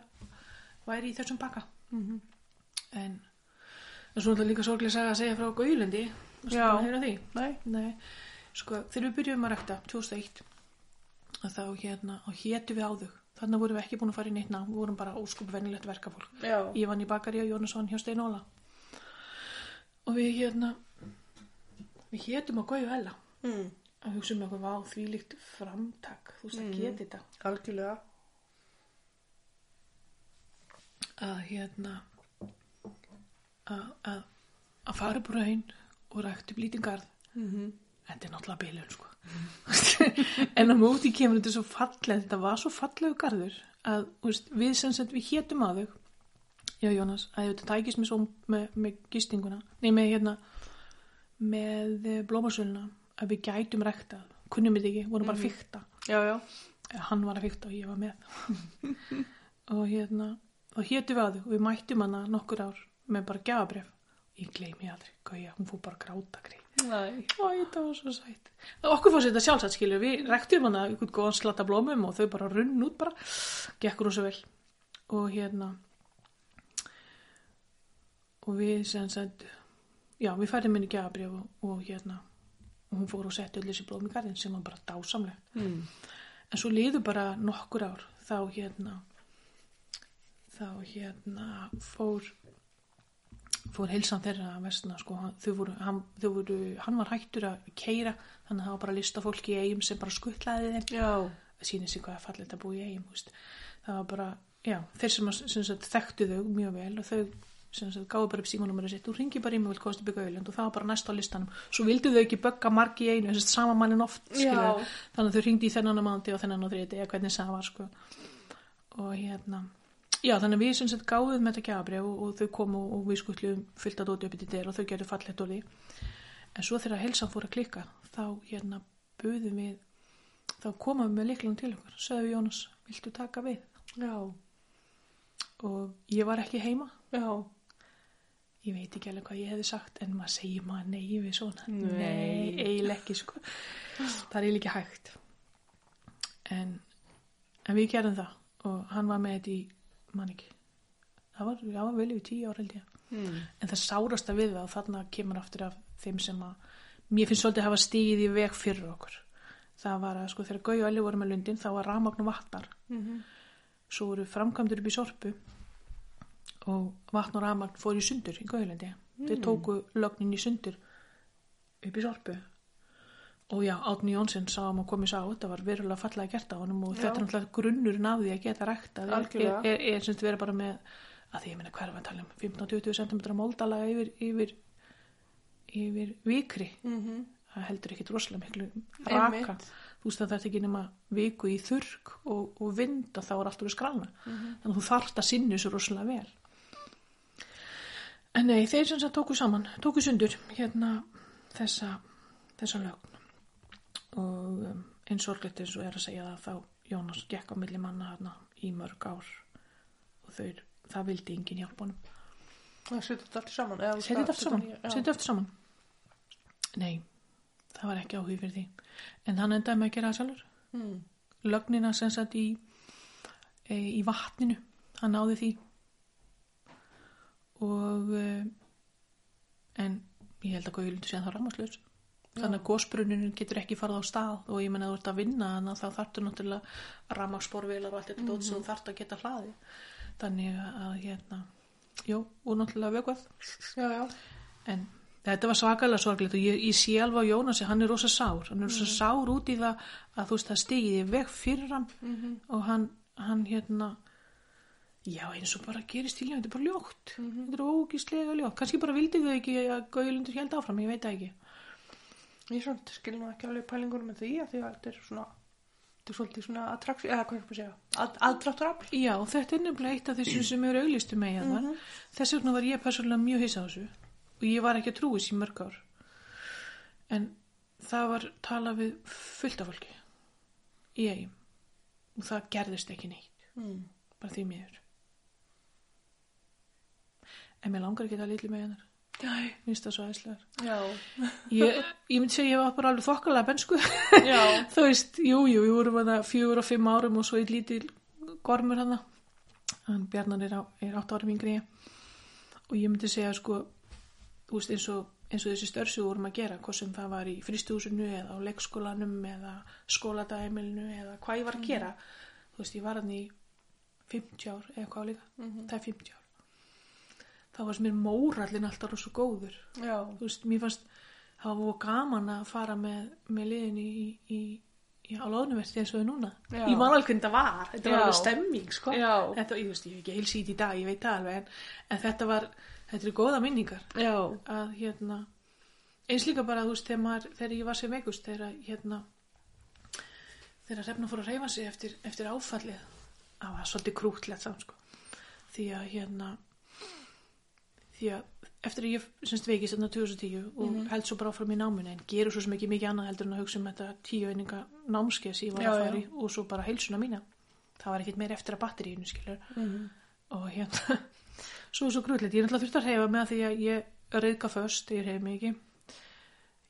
væri í þessum pakka Mhm. en en svo er það líka sorglega saga að segja frá Gauðlundi Já. hefur því Nei. Nei, sko, þegar við byrjum að rækta 2001 að þá hérna, og hétu við á þau þannig vorum við ekki búin að fara í neitt nám við vorum bara óskup venjulegt verkafólk Já. ég vann í bakari og Jónas vann hjá Steinóla og við hérna við hétum á Gauju Hella Mm. og hugsaum okkur um vá þvílíkt framtak þú veist að geta þetta Algjörlega. að hérna að, að, að fara upp raun og rækta upp lítinn garð Mm-hmm. þetta er náttúrulega bilun sko en á móti kemur þetta svo falleg þetta var svo fallegu garður að þú veist, við sem sagt við hétum að þau já Jónas, að þetta tækist mér svo með, með gistinguna, nei með hérna með eh, blómasöluna að við gætum rækta kunnum við ekki, vorum bara að fykta Já, já. Eða hann var að fykta og ég var með og hérna og hétu við að þau og við mættum hana nokkur ár með bara gjafabref ég gleymi aldrei, gauja, hún fór bara að gráta greið Næ. Æ, þetta var svo sætt. Okkur fannst þetta sjálfsagt, skilur, við rektum hana einhvern góðan slatta blómum og þau bara runn út bara, gekk rosa vel. Og hérna, og við sem sagt, já, við færðum henni gjafabrjöf og, og hérna, og hún fór og setti öll þessi blóm í garðin sem var bara dásamleg. Mm. En svo liðu bara nokkur ár, þá hérna, þá hérna fór, fór heilsan þeirra að versna, sko, hann, þau voru, hann, þau voru, hann var hættur að keira, þannig að það var bara lista fólki í eigum sem bara skuttlaði þeim, Já. það sýnir sig hvað að falla þetta búi í eigum, þú veist, það var bara, já, þeir sem, að- sem sagt, þekktu þau mjög vel og þau, sem sagt, gáðu bara upp símanúmerið sitt, þú ringir bara í mig vel kosti byggja auðlönd og það var bara næst á listanum, svo vildu þau ekki bögga margi í einu, þess að sama mannin oft, skilja, Já. þannig að þau ringdi í þennan á mándi og þennan á þriði eða hvernig sem það var sko. og hérna já þannig að við sem sett gáðum þetta gjafabref og, og þau komu og við skutlum fyllt að dóti upp í dyr og þau gerðu fallegt orði en svo þegar helsan fór að klikka þá hérna buðum við þá komum við með líklan til okkur sagði við Jónas, viltu taka við Já. og ég var ekki heima Já. ég veit ekki alveg hvað ég hefði sagt en maður segir maður nei við svona Nei. eiginlega ekki sko það er eiginlega ekki hægt en, en við gerum það og hann var með þetta í mann ekki það var, það var vel yfir tíu ára held ég Mm. en það sárasta við það og þarna kemur aftur af þeim sem að mér finnst svolítið hafa stígið í veg fyrir okkur það var að sko þegar Gau og Elli voru með lundin þá var rafmagn og vatnar Mm svo voru framkvæmdur upp í sorpu og vatn og rafmagn fór í sundur í Gauðlandi þau Hmm. tóku lögnin í sundur upp í sorpu og já, Átni Jónsson sá um að maður komið sá þetta var verulega fallega gert á honum og Já. þetta er náttúrulega grunnurinn af því að geta rækta er, er, Algjörlega. er, er semst vera bara með að því ég meina hverfa tala um 15-20 cm móldalaga yfir, yfir yfir vikri -hmm. það heldur ekkit rosalega miklu raka Einmitt. þú veist að þetta ekki nema viku í þurrk og, og vind að þá er allt úr skrana Mm-hmm. þannig að þú þarft að sinni svo rosalega vel en nei, þeir sem það tóku saman tóku sundur hérna þessa, þessa lögn og um, eins sorglegt eins og er að segja það þá Jónas gekk á milli manna hérna í mörg ár og þau, það vildi enginn hjálpa honum Það setja þetta allt saman. eða þú Setjum skal þetta aftur saman, nýja- setjum þetta aftur saman. Nei, það var ekki áhug fyrir því. En hann endaði með að gera það sjálfur. Já. Mm. Lögnina sem sagt í, e, í vatninu, hann náði því. Og, e, en ég held að Guðlund sé að það rámaslaus. Þannig að gósbrunninu getur ekki farið á stað og ég menna þú ert að vinna þannig að þá þarftu náttúrulega rammasporvilar og allt þetta mm. dót sem þú þarft að geta hlaði. Þannig að hérna, jú, og náttúrulega vökuð. Já, já. En þetta var svakalega sorglegt og ég, ég sé alveg á Jónasi, hann er rosa sár. Hann er rosa sár út í það að þú veist það stigiði veg fyrir hann Mhm. og hann, hann hérna, já eins og bara gerist til hjá, þetta er bara ljótt. Mhm. Mm-hmm. Þetta er ógíslega ljótt. Kannski bara vildi þau ekki að Gauðlundur held áfram, ég veit það ekki. Ég samt skil nú ekki alveg pælingunum með því að því að þetta er svona þetta er svolítið svona attrakt eða hvað ég maður segja, Að- aðdráttarafl Já, þetta er nefnilega eitt af þessum sem eru auglistu með hérna. Mhm. Þess vegna var ég persónulega mjög hissa á þessu og ég var ekki að trúi þessi í mörg ár. En það var talað við fullt af fólki í eigum og það gerðist ekki neitt, mm. bara því miður. En mér langar ekki að um litlu með hennar, Já, minnst það svo æslegar. já, Ég, ég myndi segja ég var bara alveg þokkalega bensku. já Þú veist, jú, jú, við vorum hana fjögur og fimm árum og svo eitt lítil gormur hana. Hann Bjarnar er, á, er átt árum yngri en ég. og ég myndi segja sko, þú veist, eins og eins og þessi störsug vorum að gera, hvort sem það var í fristúsinu eða á leikskólanum eða skóladæmilinu eða hvað ég var að gera þú veist, ég var hann í 50 ár eða hvað líka, Mhm. það er 50 ár þá varst mér mórallin alltaf rosa góður Já. þú veist, mér fannst það var voru gaman að fara með, með liðin í, í, í á loðnuverti eins og er núna Já. ég man alveg hvernig það var, þetta Já. var alveg stemming sko. Já. þetta, ég veist, ég hef ekki heilsýt í dag ég veit það alveg, en, en þetta var þetta eru góða minningar Já. að hérna eins líka bara, þú veist, þegar, maður, þegar ég var sem veikust þegar hérna þegar Hrefna fór að reyfa sig eftir, eftir áfallið það var svolítið krútlegt samt sko því að hérna því að eftir að ég semst veikist þarna 2010 og Mhm. held svo bara áfram í náminu en gerur svo sem ekki mikið annað heldur en að hugsa um þetta tíu eininga námskeið sem ég var Já, að já. fara í og svo bara heilsuna mína það var ekkert meira eftir að batteríinu skilur Mhm. og hérna svo svo grúðlegt, ég er náttúrulega þurft að reyfa með því að ég reyðka föst, ég reyf mig ekki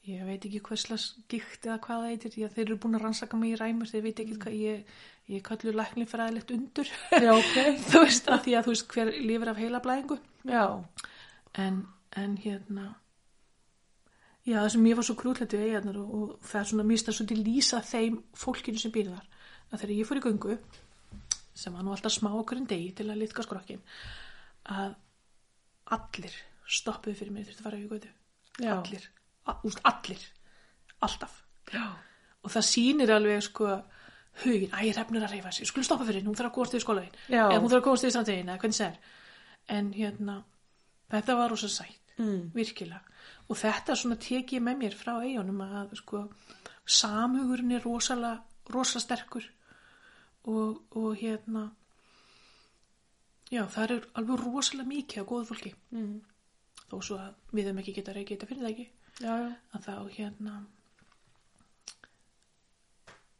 ég veit ekki hverslas gikt eða hvað það heitir, ég, þeir eru búin að rannsaka mig í ræmur, þeir veit ekki hvað ég, ég kallu læknifræðilegt undur Mm. Já, ok. þú veist, af því að þú veist hver lifir af heilablæðingu Já. en, en hérna já það sem ég var svo krúllett við eigarnar og, og það er svona mista svolítið lýsa þeim fólkinu sem býr þar að þegar ég fór í göngu sem var nú alltaf smá okkur en degi til að litka skrokkin að allir stoppuðu fyrir mér þurfti að fara í götu Já. allir, A, úst, allir alltaf Já. og það sýnir alveg sko hugin, æ, refnir að reyfa sig, skulum stoppa fyrir henni, hún þarf að komast yfir skólaðin Já. eða hún þarf að komast yfir strandegin eða hvernig sem er en hérna, þetta var rosa sætt Mm. virkilega og þetta svona tek ég með mér frá eigunum að sko, samhugurinn er rosalega, rosalega sterkur og, og hérna já, það er alveg rosalega mikið á góðu fólki Mm. þó svo að við höfum ekki geta reikið þetta fyrir það ekki Já, já. að þá hérna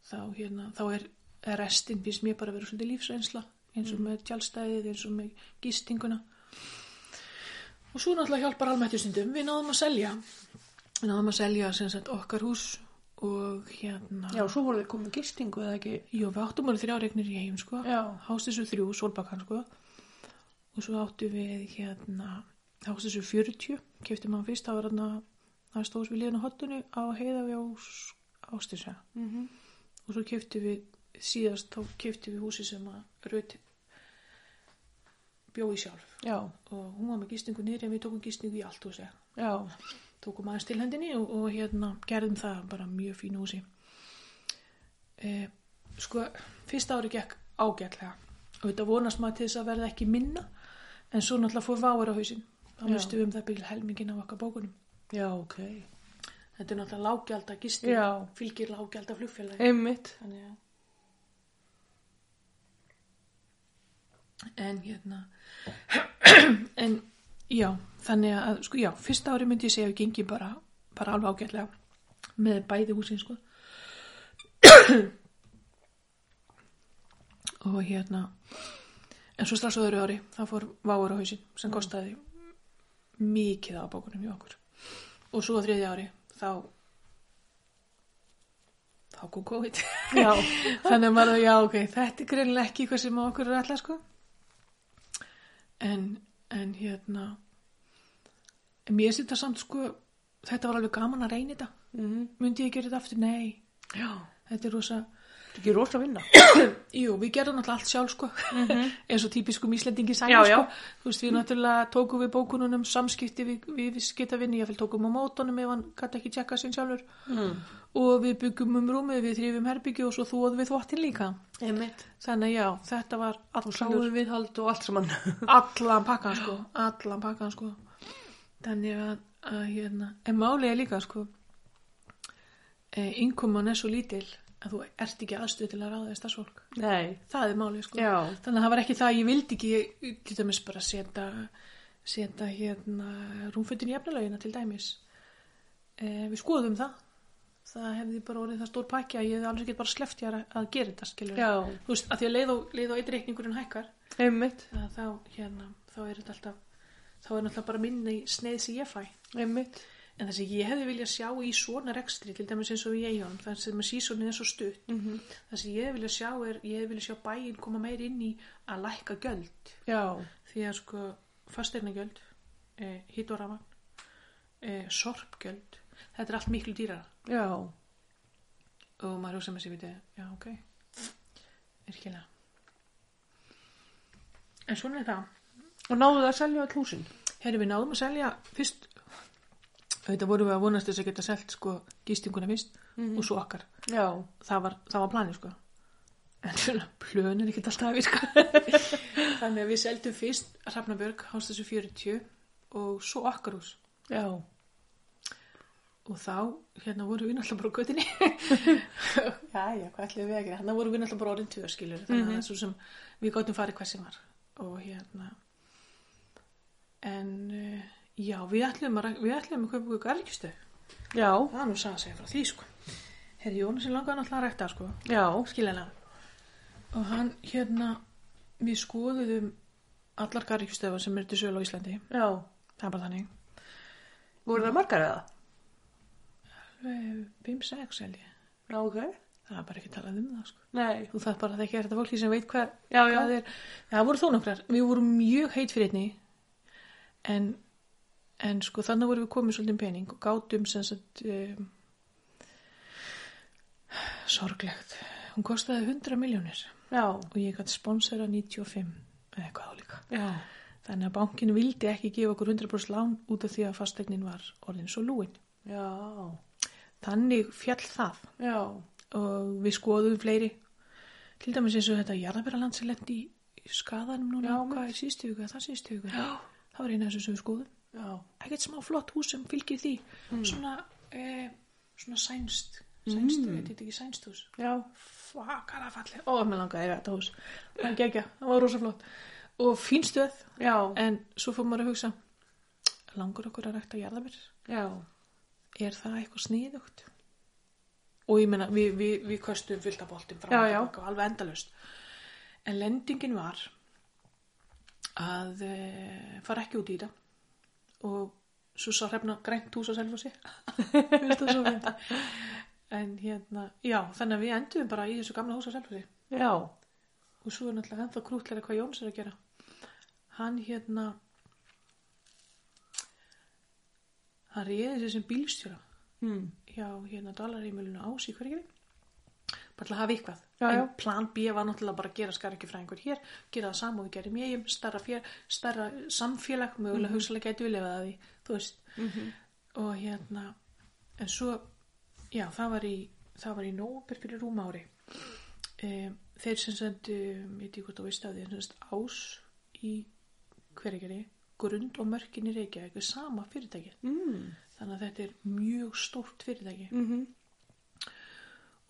þá hérna þá er er restin finnst mér bara að vera svolítið lífsreynsla eins og með tjálstæðið, eins og með gistinguna og svo náttúrulega hjálpar almættjusindum við náðum að selja við náðum að selja sem sagt okkar hús og hérna Já, svo voru þið komið gistingu eða ekki. Jú, við áttum alveg þrjá regnir í heim, sko. Já. Hástissu þrjú, Solbakkan, sko. Og svo áttum við, hérna, Hástissu 40, keftum hann fyrst, það var hann að, það stóðs við liðan á hottunni á heiða við á Hástissu. Mm -hmm. Og svo keftum við, síðast, þá keftum við húsi sem að Rödd bjói sjálf. Já. Og hún var með gistingu niður en við tókum gistingu í allt og segja Já. tókum aðeins til hendinni og, og hérna gerðum það bara mjög fín húsi e, sko fyrsta ári gekk ágætlega og þetta vonast maður til þess að verða ekki minna en svo náttúrulega fór váar á hausinn þá Já. mistum við um það byggjum helmingin af okkar bókunum Já, ok. þetta er náttúrulega lágjald að gistu Já. fylgir lágjald að flugfélagi Einmitt. þannig að en hérna en já þannig að sko já, fyrsta ári myndi ég segja að við gengi bara, bara alveg ágætlega með bæði húsin sko og hérna en svo strax á öðru ári það fór váur á hausinn sem kostaði mikið á bókunum hjá okkur og svo á þriðja ári þá þá kom COVID Já. Þannig að maður, já, ok, þetta er greinilega ekki hvað sem okkur er alltaf, sko. En, en hérna, en mér sýttar samt, sko, þetta var alveg gaman að reyna þetta. Mm -hmm. Myndi ég gera þetta aftur? Nei, Já. þetta er rosa, Þetta er ekki rosa vinna. jú, við gerðum náttúrulega allt sjálf, sko. Mhm. Eins og típiskum íslendingi sæmi, Já, já. sko. Þú veist, við náttúrulega tókum við bókununum, samskipti við, við skitavinni, ég fylg tókum á mótunum ef hann gæti ekki tjekka sinn sjálfur. Mm. Og við byggum um rúmið, við þrifum herbyggju og svo þóðum við þvottin líka. Einmitt. Þannig að já, þetta var Og allur, sáum viðhald og allt saman. allan pakkan sko, allan pakkan sko. Þannig að, að hérna, en málið er líka sko, e, innkoman er svo lítil að þú ert ekki aðstöð til að ráða í starfsfólk. Nei. Það er málið sko. Já. Þannig að það var ekki það, að ég vildi ekki, ég, til dæmis bara setja, setja hérna rúmfötin í efnilöginna til dæmis. E, við skoðum það. Það hefði bara orðið það stór pakki að ég hefði alveg ekki bara sleppt ég að, að gera þetta, skilur Já. þú veist, að því að leið og, leið og eitt reikningurinn hækkar Einmitt. að þá, hérna, þá er þetta alltaf þá er náttúrulega bara minni í sneið sem ég fæ Einmitt. en það sem ég hefði viljað sjá í svona rekstri til dæmis eins og í eigum, þannig sem að sísonin er svo stutt Mm -hmm. það sem ég hefði viljað sjá er ég hefði viljað sjá bæinn koma meir inn í að lækka gjöld Já. því að sko fasteignagjöld, eh, hitt og rafan e, sorpgjöld þetta er allt miklu dýrar já, og maður hugsa með sér viti já ok virkilega en svona er það og náðu það að selja all húsin Herri, við náðum að selja fyrst auðvitað vorum við að vonast þess að geta selt sko gístinguna fyrst Mhm. Mm. og svo okkar já, það var, það var planið sko en svona plön er ekkert alltaf að virka þannig að við seldum fyrst Hrafnabjörg hástassu 40 og svo okkar hús já, og þá hérna vorum við náttúrulega bara á göttinni já já, hvað ætlum við að gera þannig vorum við náttúrulega bara orðin tvö skilur þannig að það er svo sem við gáttum farið hvað sem var og hérna en uh, já, við ætlum að, við ætlum að kaupa okkur garðkjustu já, það er nú sagði að segja frá því sko herri Jónas er langaði náttúrulega að rækta sko já skiljanlega og hann hérna við skoðuðum allar garðkjustöfar sem eru til sölu á Íslandi já, það er bara þannig voru það margar eða? 5-6 held ég já, ok, það er bara ekki talað um það sko nei þú þarf bara að þekki þetta fólki sem veit hvað, Já, já. hvað er það voru þó nokkrar, við vorum mjög heit fyrir einni en, en sko þannig vorum við komið svolítið um pening og gátum sem sagt um, sorglegt hún kostaði 100 miljónir já, og ég gætt sponsora 95 eða eitthvað álíka já, þannig að bankin vildi ekki gefa okkur 100% lán út af því að fastegnin var orðin svo lúin já þannig fjall það já, og við skoðum fleiri til dæmis eins og þetta jarðaberaland sem lendi í skaðanum núna Já, hvað er síðstu huga, það síðstu huga Já. það var eina þessu sem við skoðum já, ekkert smá flott hús sem fylgir því Hmm. svona, eh, svona sænst sænst, Mm. mm. þetta er ekki sænst hús já, fakara falli, ó, mér langaði í þetta hús það gegja, það var rosa flott og fín stöð, já, en svo fór maður að hugsa langur okkur að rækta jarðaber já, er það eitthvað sniðugt og ég meina við, við, við köstum fullt af boltum fram Já, og já. tilbaka og alveg endalaust en lendingin var að e, fara ekki út í þetta og svo sá hrefna grænt hús á selfósi en hérna já, þannig að við endum bara í þessu gamla hús á selfósi já, og svo er náttúrulega ennþá krútlega hvað Jóns er að gera hann hérna hann reyði sér sem bílstjóra hmm. hjá hérna dalarímulinu ás í hverjir bara til að hafa eitthvað Já, já. en plan B var náttúrulega bara að gera skarkjufræðingur hér gera það sama og við gerum ég starra, fér, starra samfélag mögulega Mhm. hugsalega gæti við lefað að því þú veist -hmm. og hérna en svo, já það var í það var í nóber fyrir rúm ári um, þeir sem sendu ég veit ekki hvort þú veist af því en sem sagt ás í hverjir grund og mörkin í Reykjavík við sama fyrirtækið Mm. þannig að þetta er mjög stórt fyrirtæki Mm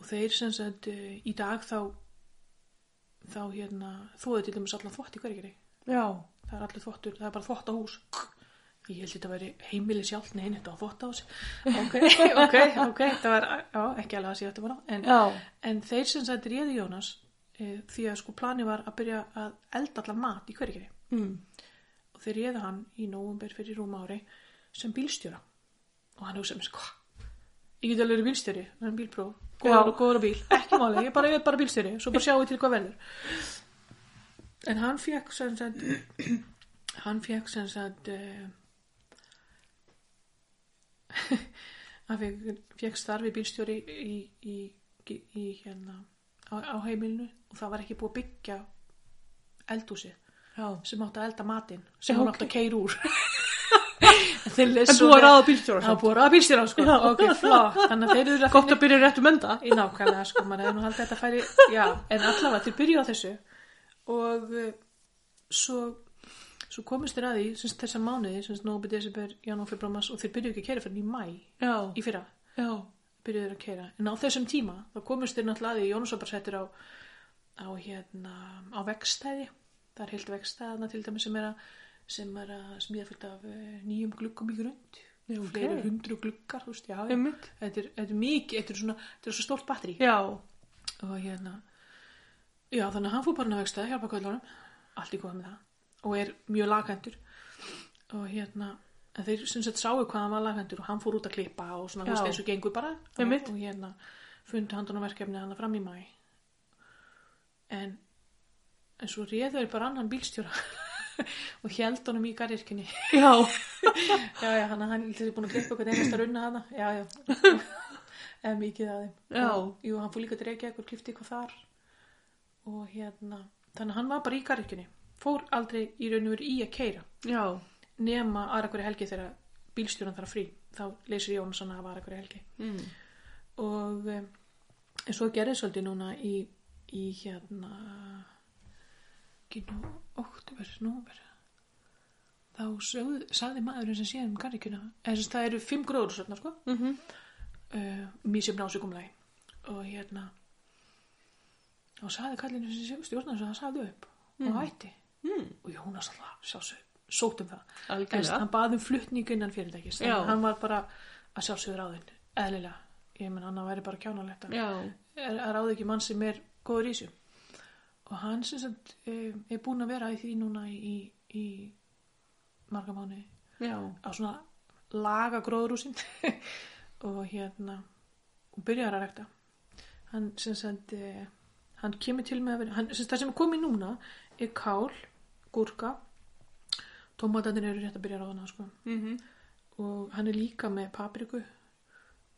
og þeir sem sagt eh, í dag þá þá hérna þóðu til dæmis allan þvott í hverjari já, það er allir þvottur, það er bara þvott á hús ég held þetta væri heimili sjálf neina þetta á þvott á hús ok, ok, ok, það var já, ekki alveg að sé þetta bara en, já, en þeir sem sagt réði Jónas e, því að sko plani var að byrja að elda allan mat í hverjari mm. og þeir réðu hann í nóvumber fyrir rúm ári sem bílstjóra og hann hugsaði með sko ég get alveg verið bílstjóri, það er bílpróf Já. góður, góður á bíl, ekki máli, ég, bara, ég er bara bílstjóri svo bara sjáum við til hvað verður en hann fekk sem sagt hann fekk sem sagt uh, hann fekk, fekk starfi bílstjóri í, í, í, í hérna á, á heimilinu og það var ekki búið að byggja eldhúsið já sem átti að elda matinn sem Já, hún ok. átti að keira úr en þeir lesu En búið að ráða bílstjóra það samt. búið að ráða bílstjóra sko Já. ok, flott, þannig að þeir eru að Gott að byrja rétt um enda. í nákvæmlega sko, maður hefði nú haldið að þetta færi já, en allavega þeir byrjuðu á þessu og eh, svo svo komist þeir að því sem sagt, þessar mánuði, sem nóbi, desember, janúar, februar, mars og þeir byrjuðu ekki að keira fyrir í mæ Já, í fyrra já, byrjuðu þeir að keira en á þessum tíma, þá komust þeir náttúrulega að því Jónas var bara settur á á hérna, á vegstæði það er heilt vegstæðna til dæmis sem er að sem er að smíða fullt af eh, nýjum gluggum í grund Já, ok. Um- fleiri hundru gluggar, þú veist, já, já. Einmitt. þetta er, þetta er mikið, þetta er svona þetta er svo stórt batteri já, og hérna já þannig að hann fór bara inn á vegstæði hjálpa kvöldunum allt í góða með það og er mjög lagendur og hérna en þeir sem sett sáu hvað hann var lagendur og hann fór út að klippa og svona þú Já. veist eins og gengur bara og, Einmitt. og hérna fundi handan á verkefni hann fram í mæ en en svo réðu er bara annan bílstjóra og held honum í garðirkinni Já. já, já, hann, hann er búin að klippa eitthvað einasta runna hana já, já eða mikið að þeim Já. og, jú, hann fór líka að dreikja eitthvað klipti eitthvað þar og hérna þannig að hann var bara í garðirkinni fór aldrei í raun og veru í að keira Já. nema aðra hverju helgi þegar bílstjóran þarf frí þá leysir Jónsson af aðra hverju helgi Mm. og um, en svo gerði svolítið núna í, í hérna ekki nú oktober, nóver þá sögð, sagði maðurinn sem séð um garrikjuna eða þess að það eru fimm gróður svona sko Mm -hmm. uh, mísum násukumlagi og hérna og sagði kallinu sem stjórnar þess að það sagði upp og hætti Mm. og Jónas alltaf sjálfsög sótt um það Algjörlega. en hann baði um flutning innan fyrirtækis Já. en hann var bara að sjálfsög ráðin eðlilega, ég menn hann væri bara kjánalegt að, Já. er, að ráði ekki mann sem er góður í þessu og hann sem sagt um, er búin að vera í því núna í, í, í marga mánuði Já. á svona laga gróðrúsin og hérna og byrjar að rækta hann sem sagt eh, hann kemur til með að vera, hann, sem sagt það sem er komið núna er kál, gúrka tómatarnir eru rétt að byrja að ráðna sko. Mm -hmm. og hann er líka með papriku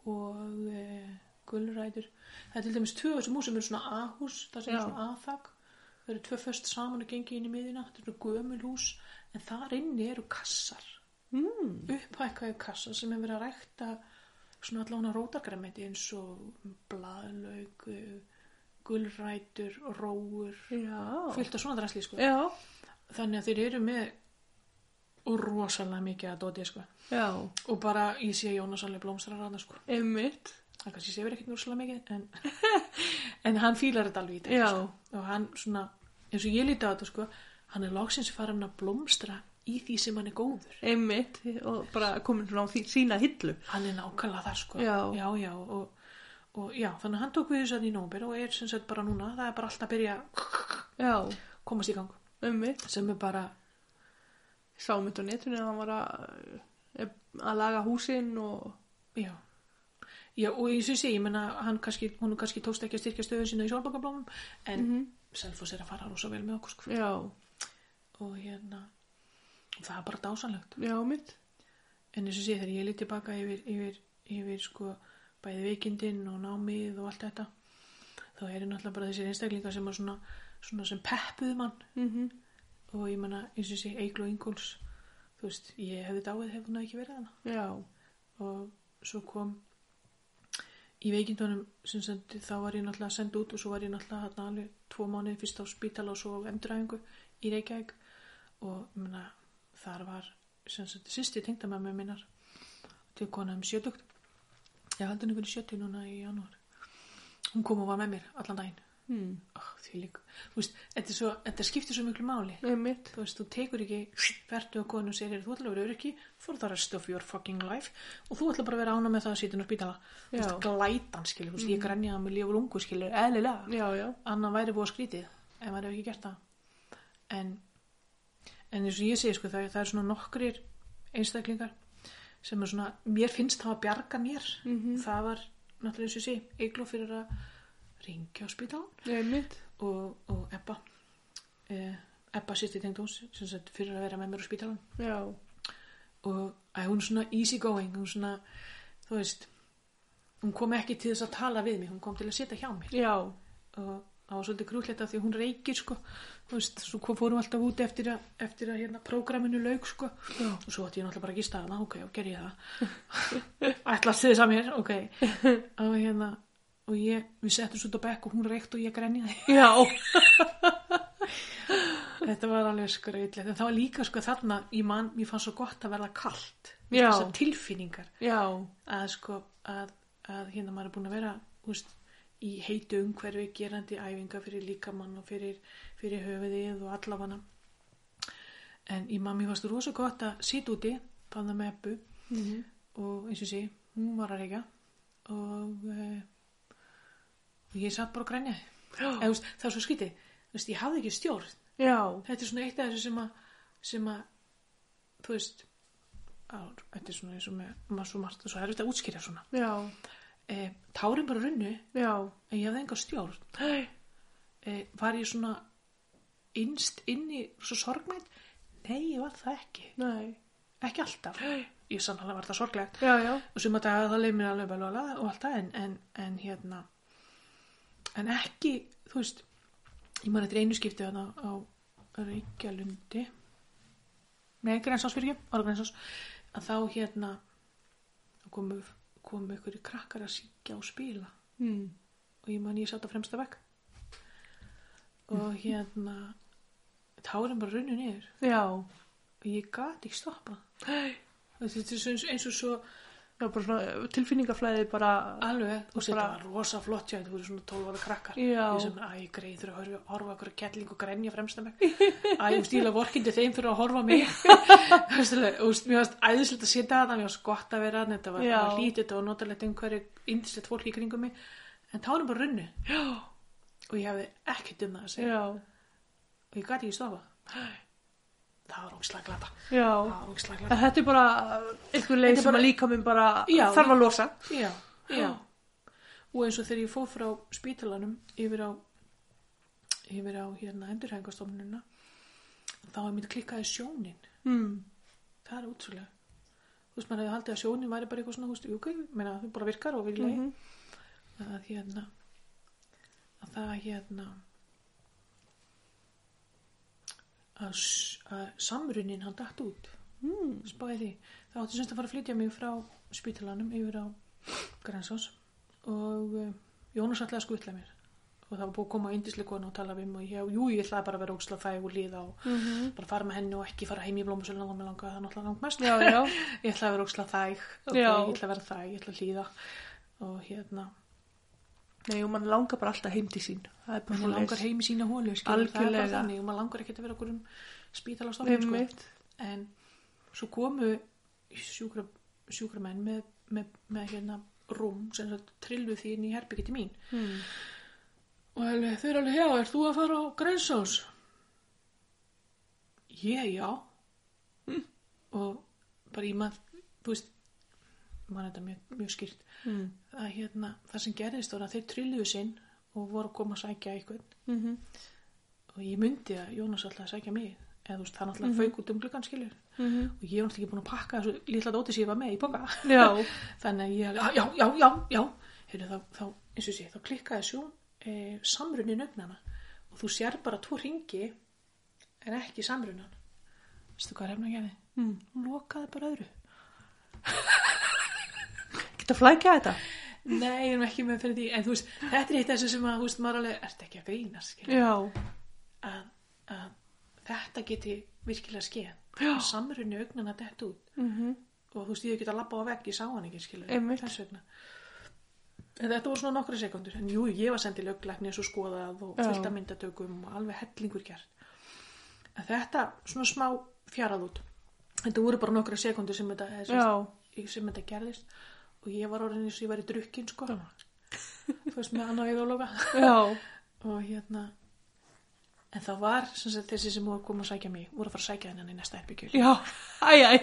og e, gulrætur það er til dæmis tvö af þessum húsum eru svona ahús það sem Já. er svona aðþak það eru tvö föst saman að gengi inn í miðina þetta eru gömul hús en þar inni eru kassar Mm. upphækkaði kassa sem hefur verið að rækta svona allan að rótargræmiti eins og blaðlaug, gulrætur, róur, Já. fullt af svona drasli sko. Já. Þannig að þeir eru með rosalega mikið að dóti sko. Já. Og bara ég sé Jónas alveg blómstrar hana sko. Einmitt. Það kannski sé verið ekkert rosalega mikið en, en hann fílar þetta alveg í Já. þetta sko. Og hann svona, eins og ég líti á þetta sko, hann er loksins farin að blómstra í því sem hann er góður. Einmitt. Og bara komin svona á því, sína hillu. hann er nákvæmlega þar sko Já. já, já, og, og já, þannig að hann tók við þess að í nómber og er sem sagt bara núna það er bara alltaf að byrja að Já. komast í gang Einmitt. sem er bara, Sá mitt á netinu að hann var að, eh, að laga húsin og... já já, og eins og ég sé, ég menna hann kannski, hún kannski tókst ekki að styrkja stöðun sína í sólbankablómum en mm Mhm. Selfoss er að fara rosa vel með okkur sko Já. og hérna, það er bara dásanlegt Já, mitt. en eins og ég sé, þegar ég liti baka yfir, yfir, yfir sko bæði veikindin og námið og allt þetta þá eru náttúrulega bara þessir einstaklingar sem að svona, svona sem peppuðu mann Mm -hmm. og ég menna, eins og sé, Eikl og Ingóls þú veist, ég hefði dáið hefði hún ekki verið hana Já. og svo kom í veikindunum sem sendi, þá var ég náttúrulega senda út og svo var ég náttúrulega hérna alveg tvo mánuði fyrst á spítala og svo á endræfingu í Reykjavík og ég menna, þar var sem sagt, sýsti tengda með mér minnar til kona um sjötugt ég haldi henni fyrir sjötug núna í janúar hún kom og var með mér allan daginn Mm. oh, því líka, þú veist, þetta, er svo, þetta skiptir svo miklu máli Einmitt. þú veist, þú tekur ekki vertu og konu og segir, þú ætla að vera öryggi for the rest of your fucking life og þú ætla bara að vera ána með það að sitja inn á spítala þú veist, Já. glætan, skilur, þú veist, ég grænjaði með líf og lungu, skilur, eðlilega Já, já. annan væri búið að skrítið, ef maður hefur ekki gert það en en eins og ég segi, sko, það, það er svona nokkrir einstaklingar sem er svona, mér finnst það að bjarga mér Mhm. það var, náttúrulega eins og ég segi, eiglu fyrir að ringja á spítalan Einmitt. og, og Ebba eh, Ebba sýtti tengdóns sem sagt fyrir að vera með mér á spítalan Já. og að hún er svona easy going hún svona, þú veist hún kom ekki til þess að tala við mig hún kom til að sitja hjá mér Já. og það var svolítið krúlletta því að hún reykir sko, þú veist, svo kom- fórum alltaf út eftir að, eftir að hérna prógraminu lauk sko, Já. og svo ætti ég náttúrulega bara að gista hana ok, og gerði ég það ætlast þið samir, ok og hérna, og ég, við settum svo út á bekk og hún reykt og ég grenjaði Já. Þetta var alveg skreitlegt en það var líka sko þarna í mann mér fannst svo gott að verða kalt Já. þessar tilfinningar Já. að sko að, að hérna maður er búin að vera úst, í heitu umhverfi gerandi æfinga fyrir líkamann og fyrir, fyrir höfuðið og allafana en í mann mér fannst rosa gott að sitja úti þannig með eppu Mm og eins og sé, hún var að reyka og uh, ég satt bara að grænja Eða, þú veist, það var svo skrítið Þú veist, ég hafði ekki stjórn Já. þetta er svona eitt af þessu sem að sem að, þú veist á, þetta er svona eins og með maður svo margt og svo er þetta að útskýra svona Já. e, tárin bara runnu Já. en ég hafði enga stjórn Eh, e, var ég svona innst inni svo sorgmætt nei, ég var það ekki Nei. ekki alltaf, ég sannlega var það sorglegt Já, já. og suma daga þá leið mér alveg vel og alveg og allt það en, en, en hérna en ekki, þú veist ég man eftir einu skipti þarna á Reykjalundi nei, Grensás fyrir ekki ára Grensás að þá hérna þá komu, komu ykkur krakkar að syngja og spila Mm. og ég man ég satt á fremsta vekk og hérna tárin bara runnu niður Já. og ég gat ekki stoppað þetta er svo eins, eins og svo Já, bara svona tilfinningaflæði bara. Alveg, og þetta bara- var rosa flott hjá þetta voru svona 12 ára krakkar Já. ég sem, æ, greið, þurfa að horfa, horfa okkur kettling og grenja fremst að mig æ, ég stíla vorkindi þeim þurfa að horfa á mig Þú veist, alveg, og þú veist, mér varst æðislegt að sita þetta mér varst gott að vera þarna, þetta var, Já. var lítið þetta var notalegt einhverju indislegt fólk í kringum mig en tárum bara runnu Já. og ég hefði ekkert um það að segja Já. og ég gæti ekki stofa það var ógislega glata Já. það var ógislega glata En þetta er bara einhver leið Þetta er sem bara- að líka minn bara Já. þarf að losa. Já, já. Og eins og þegar ég fór frá spítalanum yfir á, yfir á hérna endurhæðingastofnunina, þá er mitt klikkaði sjónin. Mm. Það er útrúlega. Þú veist, maður hefði haldið að sjónin væri bara eitthvað svona, þú veist, jú, ok, meina, þú bara virkar og vilja. Mm Mhm. Að hérna, að það hérna, að, s- að samrunin hann dætt út. Mm. Spáði því. Það átti semst að fara að flytja mig frá spítalanum yfir á Grensás og uh, Jónas ætlaði að skutla mér og það var búið að koma yndisleikon og tala við mig og ég, jú, ég ætlaði bara að vera óksla fæg og líða og Mm -hmm. bara fara með henni og ekki fara heim í blómusöluna þá með langa það er náttúrulega langmest Já, já. ég ætlaði að vera óksla þæg okay, Já. ég ætlaði að vera þæg, ég ætlaði að líða og hérna, Nei, og mann langar bara alltaf heim til sín. Það er bara mann langar svoleiðis. heim í sína hólu skilur, það er bara Algjörlega. þannig og mann langar ekki að vera okkur um spítala stofnum sko. Einmitt. en svo komu sjúkra, sjúkramenn með, með, með hérna rúm sem svo trilluð því inn í herbyggi til mín Mm. og alveg, þau eru alveg, já, er þú að fara á Grensás? Ég, já og bara ég maður, þú veist maður þetta mjög, mjög skýrt Mm. að hérna, það sem gerðist var að þeir trilluðu sinn og voru að koma að sækja einhvern Mm -hmm. og ég myndi að Jónas alltaf að sækja mig eða þú veist, það náttúrulega mm fauk út um gluggan skilur Mm -hmm. og ég var alltaf ekki búin að pakka þessu litla dóti sem ég var með í boka Já. þannig að ég alveg, já, já, já, já Heyrðu, þá, þá, eins og sé, þá klikkaði sjón e, samrunin ögnana og þú sér bara tvo ringi en ekki samrunan veistu hvað er hefna að geði? Mm. hún lokaði bara öðru Geta flækja þetta? nei, ég erum ekki með fyrir því en þú veist, þetta er eitt af þessu sem að, þú veist, maður alveg ert ekki að grína, skilja Já. að, að þetta geti virkilega skeð Já. Að samruni ögnana dett út Mm -hmm. og þú veist, ég hef ekki að labba á vegg, ég sá hann ekki, skilur Einmitt. þess vegna. En þetta voru svona nokkra sekundur, en jú, ég var sendið löglegnis og skoðað og Já. fullt af myndatökum og alveg hellingur gert. En þetta, svona smá fjarað út. Þetta voru bara nokkra sekundur sem þetta, eða sem, Já. sem þetta gerðist og ég var orðin eins og ég var í drukkin, sko. Þú veist, með annað auðvitað loka Já. og hérna en það var sem sagt, þessi sem voru að koma að sækja mig voru að fara að sækja þennan í næsta herbyggjur Já. Æj, æj.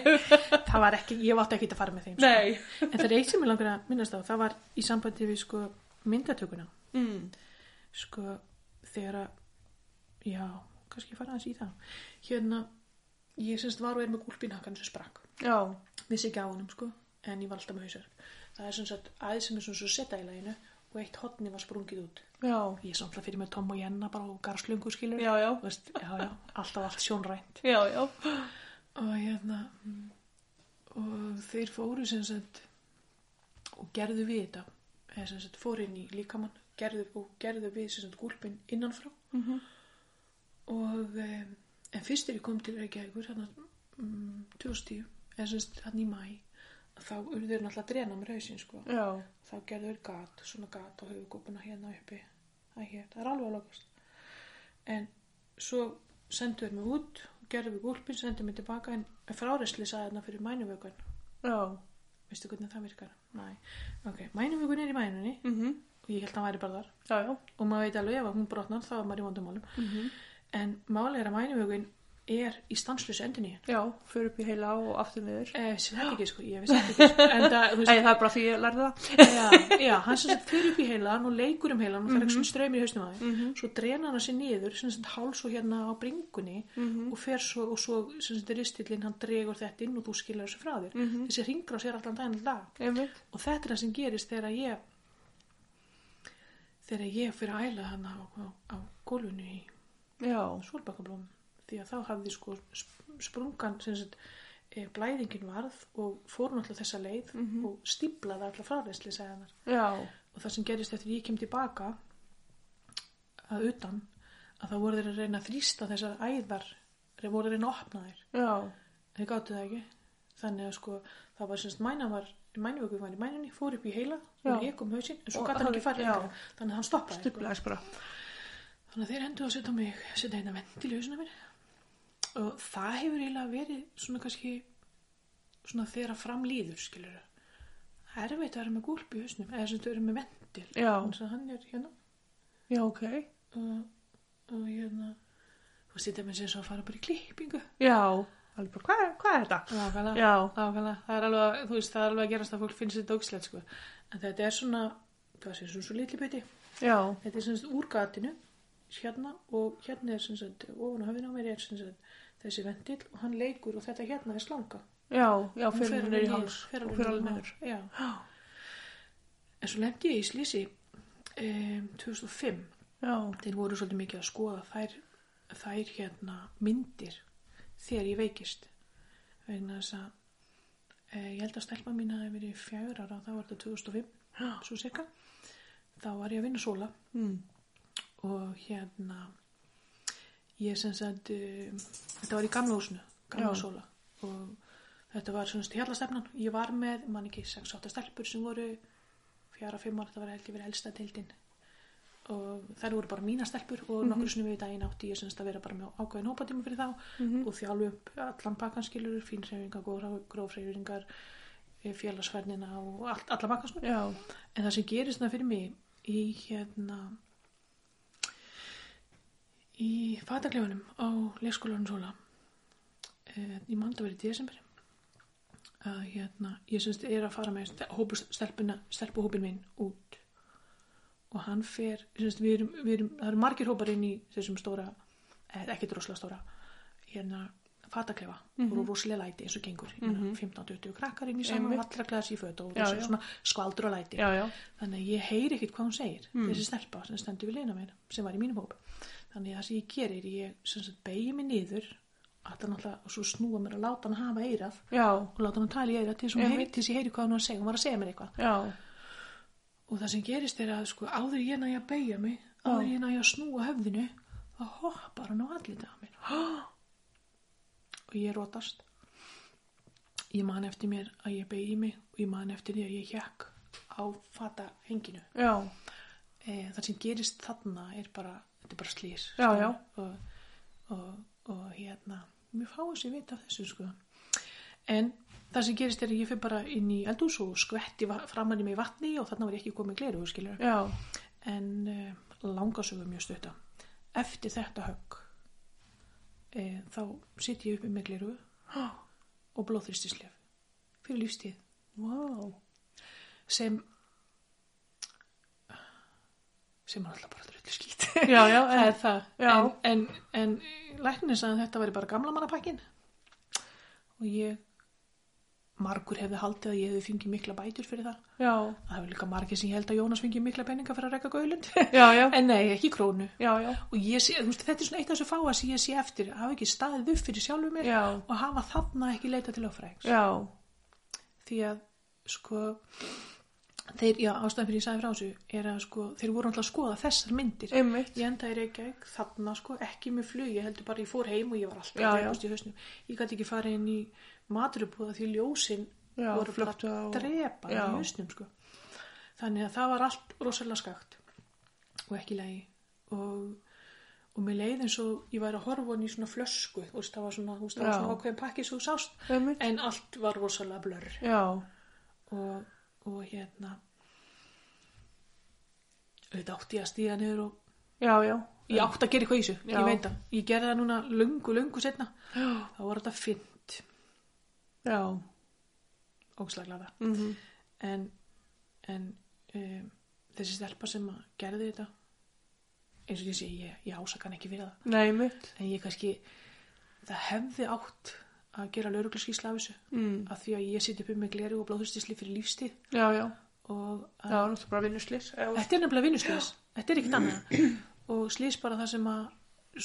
það var ekki, ég átti ekki að fara með þeim sko. Nei. en það er eitt sem ég langar að minnast á það var í sambandi við sko myndatökuna Mm. sko þegar að já, kannski fara aðeins í það hérna, ég semst var og er með gúlpínhakkan sem sprakk, Já. vissi ekki á honum sko en ég var alltaf með hausar það er sem sagt aðeins sem er svona svo setta í laginu og eitt hotni var sprungið út Já. ég samtla fyrir með Tom og Jenna bara og garslöngu skilur Já, já. Þú veist, já, já, alltaf allt sjónrænt Já, já. og hérna mm, og þeir fóru sem sagt og gerðu við þetta eða sem sagt fóru inn í líkamann gerðu, og gerðu við sem sagt gúlpin innanfrá Mm -hmm. og um, en fyrst þegar ég kom til Reykjavíkur hérna um, 2010 eða sem sagt hann í mæ þá urðu þeir náttúrulega að drena með hausinn sko Já. þá gerðu þeir gat, svona gat á höfugópuna hérna uppi það, hér, það er alveg að lokast en svo sendu þeir mig út og gerðu við gúlpin, sendu mig tilbaka en fráresli sagði þarna fyrir mænuvökun Já. veistu hvernig það virkar? Nei. ok, mænuvökun er í mænunni Mm -hmm. og ég held að hann væri bara þar Já, já. og maður veit alveg ef að hún brotnar þá er maður í vondumálum Mm -hmm. en málega er að mænuvökun er í stanslösu endurnýjun Já, fyrir upp í heila og aftur niður. Eh, sem þetta ekki sko, ég vissi þetta ekki sko. en það, þú Æ, veist, það er bara því ég lærði það. já, já, hann sem sagt fyrir upp í heilan og leikur um heilan og það er ekki svona ströymir í hausnum á þeim Mhm. svo drena hann sér niður, sem sagt háls og hérna á bringunni Mhm. og fer svo og svo, sem sagt, ristillinn, hann dregur þetta inn og þú skilur þessu frá þér Mhm. þessi ringra sér allan daginn og dag Einmitt. og þetta er það sem gerist þegar ég þegar ég fyrir að æla hann á, á, á gólfinu í Já. svolbakkablóm því að þá hafði sko sp- sprungan sem sagt, eh, blæðingin varð og fór náttúrulega þessa leið og stíplaði alla fráreisli sagði hennar Já. og það sem gerist eftir ég kem tilbaka að utan að þá voru þeir að reyna að þrýsta þessar æðar þeir voru að reyna að opna þær Já. þeir gáttu það ekki þannig að sko það var semst mæna var mænuvöku var í mænunni, fór upp í heila Já. og ég kom hausinn, en svo Og gæti hann ekki hafði- farið já. lengra. þannig að hann stoppaði sko. Stuplegaðis bara. Þannig að þeir endur að setja á mig, setja eina vend í hausuna mér og það hefur eiginlega verið svona kannski svona þegar að fram líður, skilur erfitt að vera með gúlp í hausnum eða sem þetta vera með vendil Já. þannig að hann er hérna Já, ok. og, og hérna og setja mér sem svo að fara bara í klippingu Já. Alveg bara, hvað, hvað er þetta? Nákvæmlega, Já. nákvæmlega. Það er alveg, að- þú veist, það er alveg að gerast að fólk finnst þetta ógislegt, sko. En þetta er svona, hvað sé, svona svo litli biti. Já. Þetta er sem sagt úr gatinu hérna og hérna er sem sagt ofan á höfðinu á mér er sem sagt þessi ventil og hann leikur og þetta hérna er slanga. Já. Já, Hún fyrir fer niður í alveg háls. fer Og fyrir alveg í niður. hál. Já. Já. En svo lendi ég í Slísi um, 2005. Já. Þeir voru svolítið mikið að skoða þær, þær hérna myndir þegar ég veikist. Vegna þess að e, ég held að stelpa mín að verið fjör ára, það var þetta 2005, svo cirka. Þá var ég að vinna sóla Mm. og hérna ég sem sagt um, þetta var í gamla húsinu gamla Já. sóla og þetta var svona stjálastefnan ég var með, mann ekki, 6-8 stelpur sem voru 4-5 ára, þetta var held ég verið elsta deildin og þær voru bara mína stelpur og nokkur sinni við í daginn átti ég sem sagt að vera bara með ákveðin hópatíma fyrir þá Mhm. og þjálfu upp allan pakkanskilur fínreifingar, grófreifingar félagsverðnina eh, og all, alla pakkanskilur Já. En það sem gerist það fyrir mig í hérna í fataklefunum á leikskólanum Sóla eh, ég man það verið í desember að hérna ég syns er að fara með hópu stelpuna stelpuhópin minn út og hann fer syns, við erum, við erum, það eru margir hópar inn í þessum stóra, eh, ekki drosla stóra hérna fataklefa mm Mhm. og rosalega læti eins og gengur mm -hmm. 15-20 krakkar inn í saman og Einmitt. allra glæðs í föt og Já, þessi já. svona skvaldur og læti Já, já. þannig að ég heyri ekkert hvað hún segir þessi stelpa sem stendur við leina mér sem var í mínum hóp þannig að það sem ég gerir ég sem sagt beigi mig niður að það náttúrulega og svo snúa mér að láta hann hafa eirað Já. og láta hann tala í eirað til þess að hún Einmitt. heyri, til þess að ég heyri hvað hún var að segja hún var að segja mér eitthvað Já. og það sem gerist er að sko áður ég næja að beigja mig áður ég næja að snúa höfðinu þá hoppar hann á allir dagar mér og ég rótast ég man eftir mér að ég beigi mig og ég man eftir því að ég hjekk á fata henginu Já. e, það sem gerist þarna er bara, þetta er bara slýr Já, já. og, og, og hérna mér fáið sér vita af þessu sko en það sem gerist er að ég fyrir bara inn í eldús og skvetti va- framan í mig vatni og þarna var ég ekki komið gleru skilur. Já. en e, langasögu mjög stutta eftir þetta högg e, þá sitt ég uppi með gleru og blóðþristislef fyrir lífstíð Vá. sem sem er alltaf bara drullu skýt Já, já, það er það Já. en, en, en læknir sagði að þetta væri bara gamla mannapakkin og ég margur hefði haldið að ég hefði fengið mikla bætur fyrir það Já. það hefur líka margir sem ég held að Jónas fengið mikla peninga fyrir að rekka gaulund Já, já. en nei, ekki krónu Já, já. og ég sé, þú veist, þetta er svona eitt af þessu fáa sem ég sé eftir, að hafa ekki staðið upp fyrir sjálfu mér Já. og hafa þarna ekki leita til lögfræðings Já. því að sko þeir, já, ástæðan fyrir ég sagði frá þessu er að sko, þeir voru alltaf að skoða þessar myndir Einmitt. ég endaði í Reykjavík, þarna sko ekki með flug, ég heldur bara ég fór heim og ég var alltaf Já, að já. dreipast í hausnum ég gæti ekki farið inn í maturubúða því ljósin Já, voru bara flöktu á- að drepa Já. í hausnum sko þannig að það var allt rosalega skakt og ekki lægi og, og mér leið eins og ég væri að horfa hann í svona flösku þú veist, það var svona, þú veist, það var Já. svona ákveðin pakki svo sást Einmitt. en allt var rosalega blörr Já. og, og hérna auðvitað átti ég að stíða niður og Já, já. ég átt að gera eitthvað í þessu, Já. ég veit það. Ég gerði það núna lungu, lungu setna. Já. Þá var þetta fint, Já. ógslaglega. Mm En, en um, þessi stelpa sem að gerði þetta, eins og ég sé, ég, ég ásaka hann ekki fyrir það. Nei, mitt. En ég kannski, það hefði átt að gera lögregluskísla af þessu. Mm. Af því að ég seti upp með gleru og blóðhustisli fyrir lífstíð Já, já. og Það að var náttúrulega bara vinnuslis. Já. Þetta er nefnilega vinnuslýs, þetta er ekkert annað og slýs bara það sem að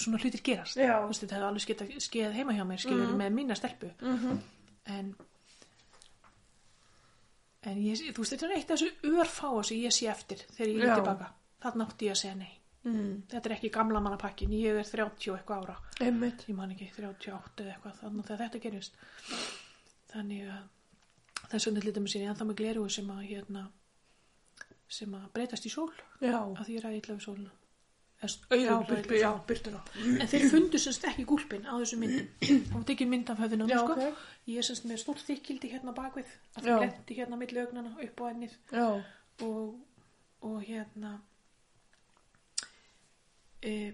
svona hlutir gerast, Já. Mm. Þú veist, þetta hefði alveg sketa, skeið heima hjá mér, skeiður með mína stelpu Mhm. en en ég, þú veist, þetta er eitt af þessu örfáa sem ég sé eftir þegar ég Já. er tilbaka, þannig átti ég að segja nei Mm. þetta er ekki gamla manna pakkin, ég er 30 og eitthvað ára, Einmitt. ég man ekki 38 eða eitthvað, þannig að þetta gerist þannig að þess vegna hlutum sér ég ennþá með gleru sem að hérna sem að breytast í sól Já. að því ég ræði illa við sólina Já, Eða byr, byr, já, byrtuna. en þeir fundu semst ekki gúlpin á þessu myndum það var tekið mynd af höfðinu á mér, Já, sko. ok. ég er semst með stórt þykildi hérna á bakvið Já. að það lendi hérna á milli augnana upp á ennið Já. og, og hérna e,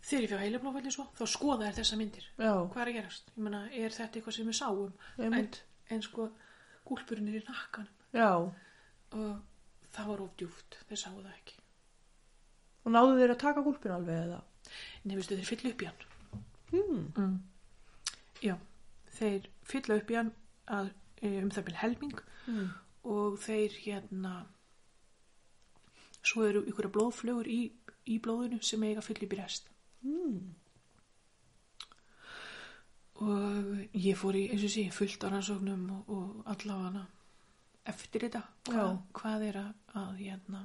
þegar ég fyrir heilablófæli svo þá skoða þær þessa myndir Já. hvað er að gerast, ég meina er þetta eitthvað sem við sáum en, Einmitt. en sko gúlpurinn er í nakkanum Já. og það var of djúft, þeir sáu það ekki Og náðu þeir að taka gúlpin alveg eða? nefnistu þeir fylla upp í hann Hmm. mm. já, þeir fylla upp í hann að, e, um það byrja helming Mm. og þeir hérna svo eru ykkur blóðflögur í, í blóðinu sem eiga að fylla upp í rest Mm. og ég fór í, eins og sé, fullt á rannsóknum og, og allafana eftir þetta, hvað, Já. hvað er að, að hérna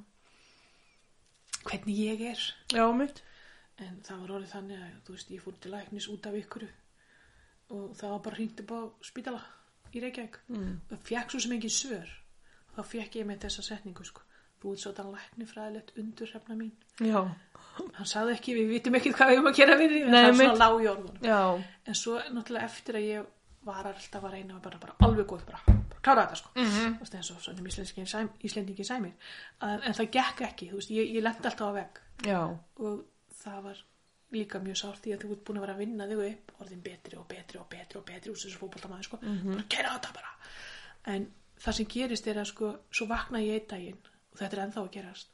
hvernig ég er Já, mitt. en það var orðið þannig að þú veist, ég fór til læknis út af ykkur og það var bara hringt upp á spítala í Reykjavík Mm. það fekk svo sem engin svör þá fekk ég með þessa setningu sko. þú ert svo þann lækni fræðilegt undur hefna mín Já. hann sagði ekki, við vitum ekki hvað við erum að gera við því en Nei, það er mitt. svona lág í orðunum Já. en svo náttúrulega eftir að ég var alltaf að reyna að bara, bara alveg góð bara, bara klára þetta sko Mhm. Þú veist, eins og svona íslendingin sæm, íslendingin sæmir en, en það gekk ekki, þú veist, ég, ég lendi alltaf á vegg Já. og það var líka mjög sárt því að þú ert búin að vera að vinna þig upp orðin betri og betri og betri og betri úr þessu fótboltamaður sko, Mm-hmm. bara gera þetta bara en það sem gerist er að sko svo vakna ég einn daginn og þetta er ennþá að gerast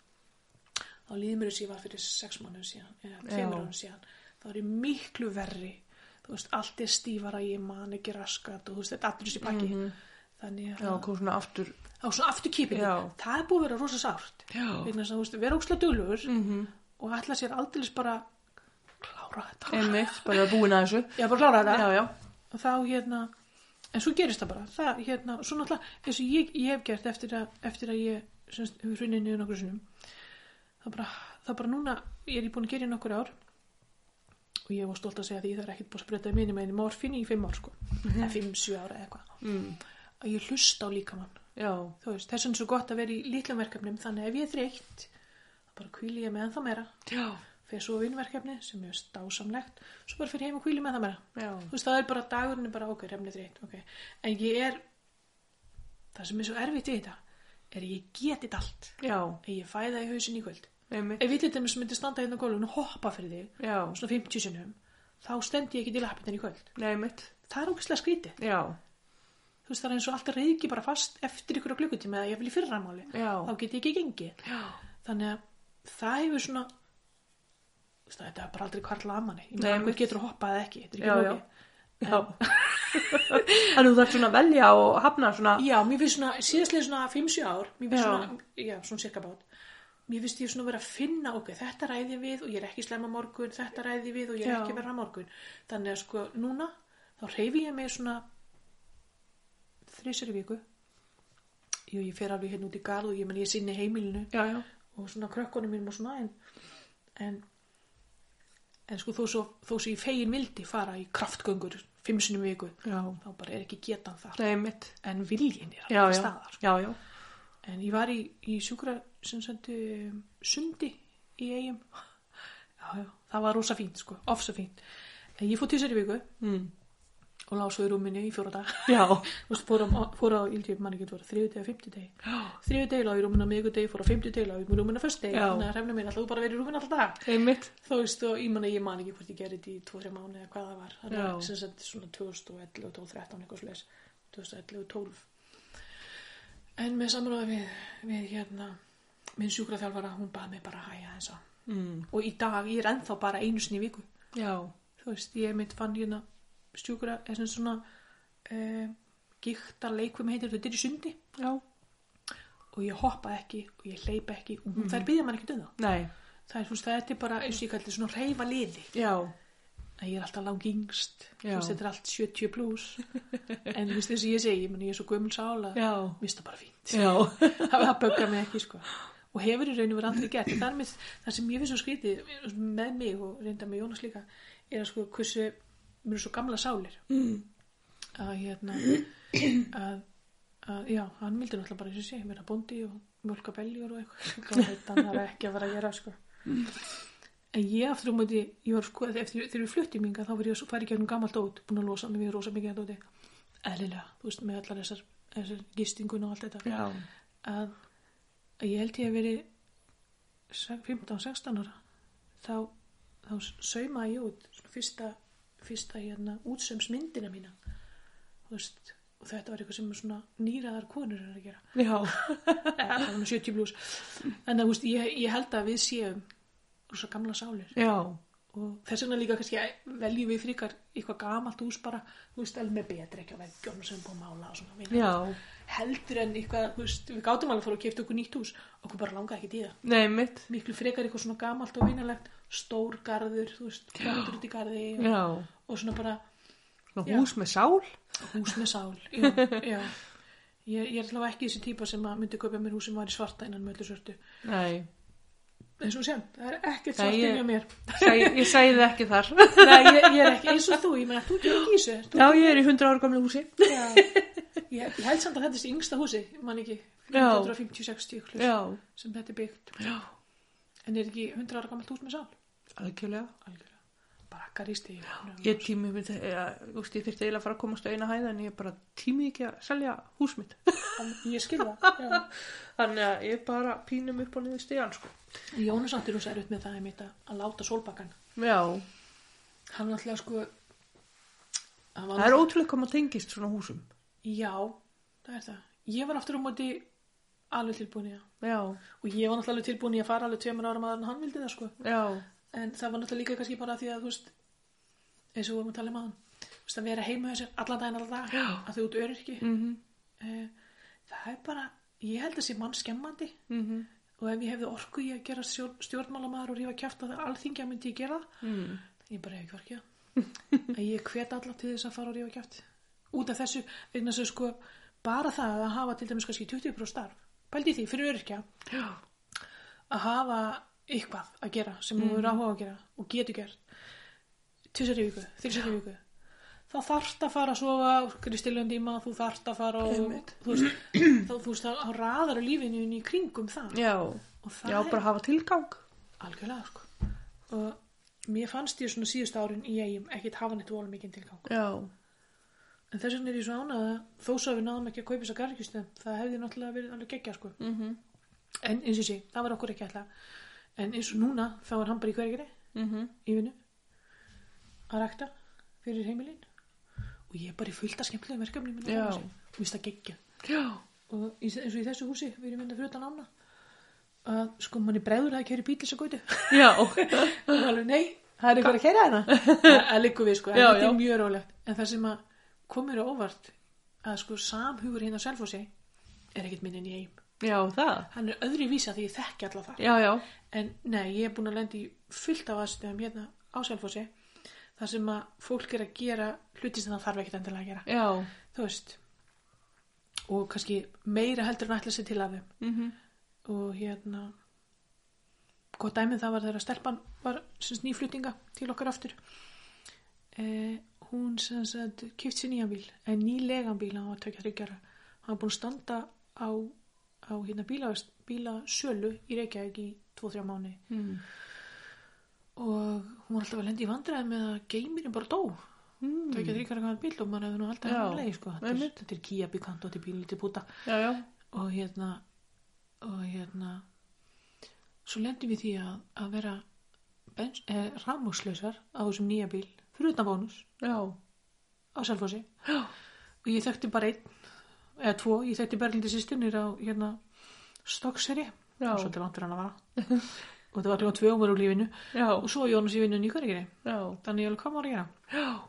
þá líður mér þess að ég var fyrir sex mánuðum síðan eða tveimur Já. árum síðan þá er ég miklu verri þú veist, allt er stífara, ég man ekki raskat og þú veist, þetta er allir þessi pakki Mhm. þannig að Mm-hmm. Já, kom svona aftur. á svona afturkýpingu, Já. það er búið að vera rosa sárt Já. vegna þess að þú veist, vera ókslega duglugur Mm. Mm-hmm. -hmm. og ætla sér aldeilis bara klára þetta Einmitt, bara búin að þessu. já, bara klára þetta Já, já. og þá hérna, en svo gerist það bara það hérna, svo náttúrulega, eins og ég, ég hef gert eftir að, eftir að ég semst, hefur hrunnið niður nokkur sinnum það bara, það bara núna, ég er búin að gera í nokkur ár og ég var stolt að segja því það er ekkert búin að spreyta minni með einu morfín í fimm ár sko, eða fimm, sjö ára eða eitthvað Mm. að ég hlusta á líkamann Já. þú veist, þess vegna er svo gott að vera í litlum verkefnum þannig ef ég er þreytt þá bara kvíli ég með ennþá meira Já. fyrir svo vinnverkefni sem er stásamlegt svo bara fyrir heim og kvíli með það meira Já. þú veist, það er bara dagurinn er bara ok, remni þreytt ok, en ég er það sem er svo erfitt við þetta er að ég get þetta allt Já. en ég fæ það í hausin í kvöld Einmitt. ef við þetta sem myndi standa hérna á gólfinu og hoppa fyrir þig Já. svona 50 sinnum þá stendi ég ekki til að happa í kvöld Nei, mitt. það er ógæslega skrítið Já. þú veist, það er eins og alltaf reyðki bara fast eftir ykkur á klukkutíma eða ég vil í fyrramáli Já. þá get ég ekki gengið Já. þannig að það hefur svona þú veist, þetta er bara aldrei kvarla að manni ég Nei, meina, einmitt. hvernig getur að hoppa eða ekki, þetta Já, er ekki lógi Já. Þannig þú þarf svona að velja og hafna svona. já, mér finnst svona, síðastlega svona 5-7 ár mér Já. finnst svona, já, svona cirka bát mér finnst ég svona vera að finna ok, þetta ræði við og ég er ekki slemma morgun þetta ræði við og ég er Já. ekki verra morgun þannig að sko, núna þá reyfi ég mig svona þrísari viku jú, ég fer alveg hérna út í garð og ég menn ég sinni heimilinu Já, já. og svona krökkunum mínum og svona en, en, en sko þó svo, þó svo ég fegin vildi fara í kraftgöngur fimm sinni viku Já. þá bara er ekki getan þar Nei, mitt. en viljinn er Já, alveg til já. staðar sko. Já, já. en ég var í, í sjúkra sem sagt um, sundi í eigum já, já, það var rosa fínt sko, ofsa fínt en ég fór tísari viku Mm. og lásu í rúminu í fjóra dag Já. þú veist, fór á, fór á yldi, mann ekki, voru þriðu degi og fymti degi Já. þriðu degi lág í rúminu á miðgudegi, fór á fymti degi lág í rúminu á föstu degi, Já. þannig að hrefnum minn alltaf bara verið í rúminu alltaf dag Einmitt. þú veist, og ég manna, ég man ekki hvort ég gerði þetta í 2-3 mánu eða hvað það var þannig Já. að sem sagt svona 2011 og 2013 eitthvað slags, 2011 og 12 en með samráði við, við hérna minn sjúkraþjálfara, hún bað mig bara að hæja eins og Mm. og í dag, ég er ennþá bara einu sinni í viku Já. þú veist, ég mitt fann hérna sjúkra, er sem svona e, gíktar leikvim heitir þetta er í sundi Já. og ég hoppa ekki og ég hleypa ekki og mm. þær býða maður ekkert um það Nei. það er, þú veist, það er bara, eins og ég kalli svona reyfa liði Já. að ég er alltaf lang yngst þú Já. veist, þetta er allt 70 plus en þú veist, þess að ég segi, ég, meni, ég er svo gömul sála Já. mér finnst það bara fínt Já. það það böggar mig ekki sko og hefur í rauninu verið aldrei gert það, með, það sem ég finnst svo skrítið með mig og reynda með Jónas líka er að sko hversu mér eru svo gamla sálir Mm. að hérna að, að já, hann vildi náttúrulega bara eins og sé vera bóndi og mjölka beljur og eitthvað Hvað veit hann það er ekki að vera að gera sko en ég aftur um því ég var sko, eftir, þegar við fluttum minga þá var ég að fara í gegnum gamalt ót búin að losa mig við rosa mikið að dóti eðlilega, þú veist, með allar þessar, þessar gistingun og allt þetta Já. að, að ég held ég að veri 15-16 ára þá, þá saumaði ég út svona fyrsta, fyrsta hérna, útsömsmyndina mína Þú veist, og þetta var eitthvað sem svona nýraðar konur er að gera Já. það var nú 70 blús en það, veist, ég, ég held að við séum rosa gamla sálir Já. og þess vegna líka kannski veljum við fríkar eitthvað gamalt hús bara þú veist, alveg með betri ekki á veggjónum sem er búið að mála og svona vinna Já. heldur en eitthvað, þú veist, við gátum alveg að fara og kefta okkur nýtt hús, okkur bara langaði ekki í það Nei, einmitt. miklu frekar eitthvað svona gamalt og vinalegt stór garður, þú veist, kvartur út í garði og, Já. og svona bara Nú, Já. hús með sál. hús með sál já, já. Ég, ég er allavega ekki þessi típa sem að myndi köpa mér hús sem var í svarta innan með öllu svörtu Nei. eins og sem, það er ekkert Nei, svart ég- inni á mér Sæ, ég sæði það ekki þar. Nei, ég, ég er ekki, eins og þú, ég meina, þú er ekki í þessu þú, Já, ég er í 100 ára gamla húsi. já. Ég, ég held samt að þetta er þessi yngsta húsi man ekki, Já. 150-60 klukk Já. sem þetta er byggt já. en er ekki 100 ára gamalt hús með sál Algjörlega. algjörlega bara garisti ég, Ég tími mitt, eh, ég, ég þurfti eiginlega að fara að komast á eina hæð en ég bara tími ekki að selja hús mitt. ég skilja já. Þannig að ég bara pínum upp og niður stíðan, sko. Jónas áttir hún særut með það einmitt að, að láta sólbakkan Já. hann alltaf sko hann var Það er ótrúlega koma tengist svona húsum. já, það er það ég var aftur um móti alveg tilbúin í það Já. og ég var náttúrulega alveg tilbúin í að fara alveg tveimur árum aðan hann vildi það sko Já. en það var náttúrulega líka kannski bara því að þú veist eins og við vorum að tala um aðan þú veist að vera heima þessir allan daginn allan dag Já. að þau út öryrki Mm -hmm. eh, það er bara, ég held að sé mann skemmandi Mm -hmm. og ef ég hefði orku í að gera stjórn, stjórnmálamaður og rífa kjátt að alþingja myndi ég gera það Mm. ég bara hef ekki orkja að ég hvet alla til þess að fara og rífa kjátt út af þessu, vegna þess að sko bara það að hafa til dæmis kannski 20% starf pældi í því fyrir örkja Já. að hafa eitthvað að gera sem þú Mm. eru áhuga á að gera og getur gert tvisar í viku, þrisar í viku þá þarft að fara að sofa kristilum tíma, þú þarft að fara og, Einmitt. þú veist, þá, þú veist, þá raðar lífinu í kringum það Já. og það Já, er- bara hafa tilgang. algjörlega sko og mér fannst ég svona síðust árin í eigum ekkit hafa neitt volum mikinn tilgang Já. en þess vegna er ég svo ánaða þó svo að við náðum ekki að kaupa þess að garðkjustu það hefði náttúrulega verið alveg geggja sko Mm -hmm. en eins og sé, það var okkur ekki alltaf en eins og núna þá er hann bara í hverjegri Mm -hmm. í vinnu að rækta fyrir heimilin og ég er bara í fullt að skemmtilega verkefni minna Já. og mér finnst það geggja Já. og í- eins og í þessu húsi við erum mynda fyrir utan ána að sko manni bregður að kæri bíl þess að gautu Já. og alveg nei, það er eitthvað að hérna? kæra hana það það liggur við sko, Já, það já. er mjög rólegt en það sem að komur á óvart að sko samhugur hérna á Selfossi er ekkit minn en ég heim Já, það. hann er öðru vísa því ég þekki alla það Já, já. en nei, ég er búin að lenda í fullt af aðstöðum hérna á Selfossi þar sem að fólk er að gera hluti sem það þarf ekkit endilega að gera Já. þú veist og kannski meira heldur en ætla sér til af þeim Mm -hmm. og hérna gott dæmið það var þegar stelpan var sem sagt, nýflutninga til okkar aftur eh, hún sem sagt kipt sér nýjan bíl en nýlegan bíl hann var tökja þryggjara hann var búin að standa á, á hérna bíla, bílasölu í Reykjavík í 2-3 mánu Mm. og hún var alltaf að lendi í vandræði með að geimirinn bara dó Mm. Tökja þrýkara kannar bíl og maður hefur nú aldrei Já, hann leið, sko. Þetta er, einmitt. þetta er kýja bíkant og þetta er bíl lítið púta. Já, já. Og hérna, og hérna, svo lendum við því að, að vera bens, eh, rafmókslausar á þessum nýja bíl, fyrir utan bónus, Já. á Selfossi. Já. Og ég þekkti bara einn, eða tvo, ég þekkti Berlindi sýstunir á, hérna, Stokkseri. Já. Og svo þetta langt er hann að vara. og þetta var kljóðan tvö og maður úr lífinu. Já. Og svo Jónas í vinnunni í Hvergeri. Já. Daniel, hvað má ég gera?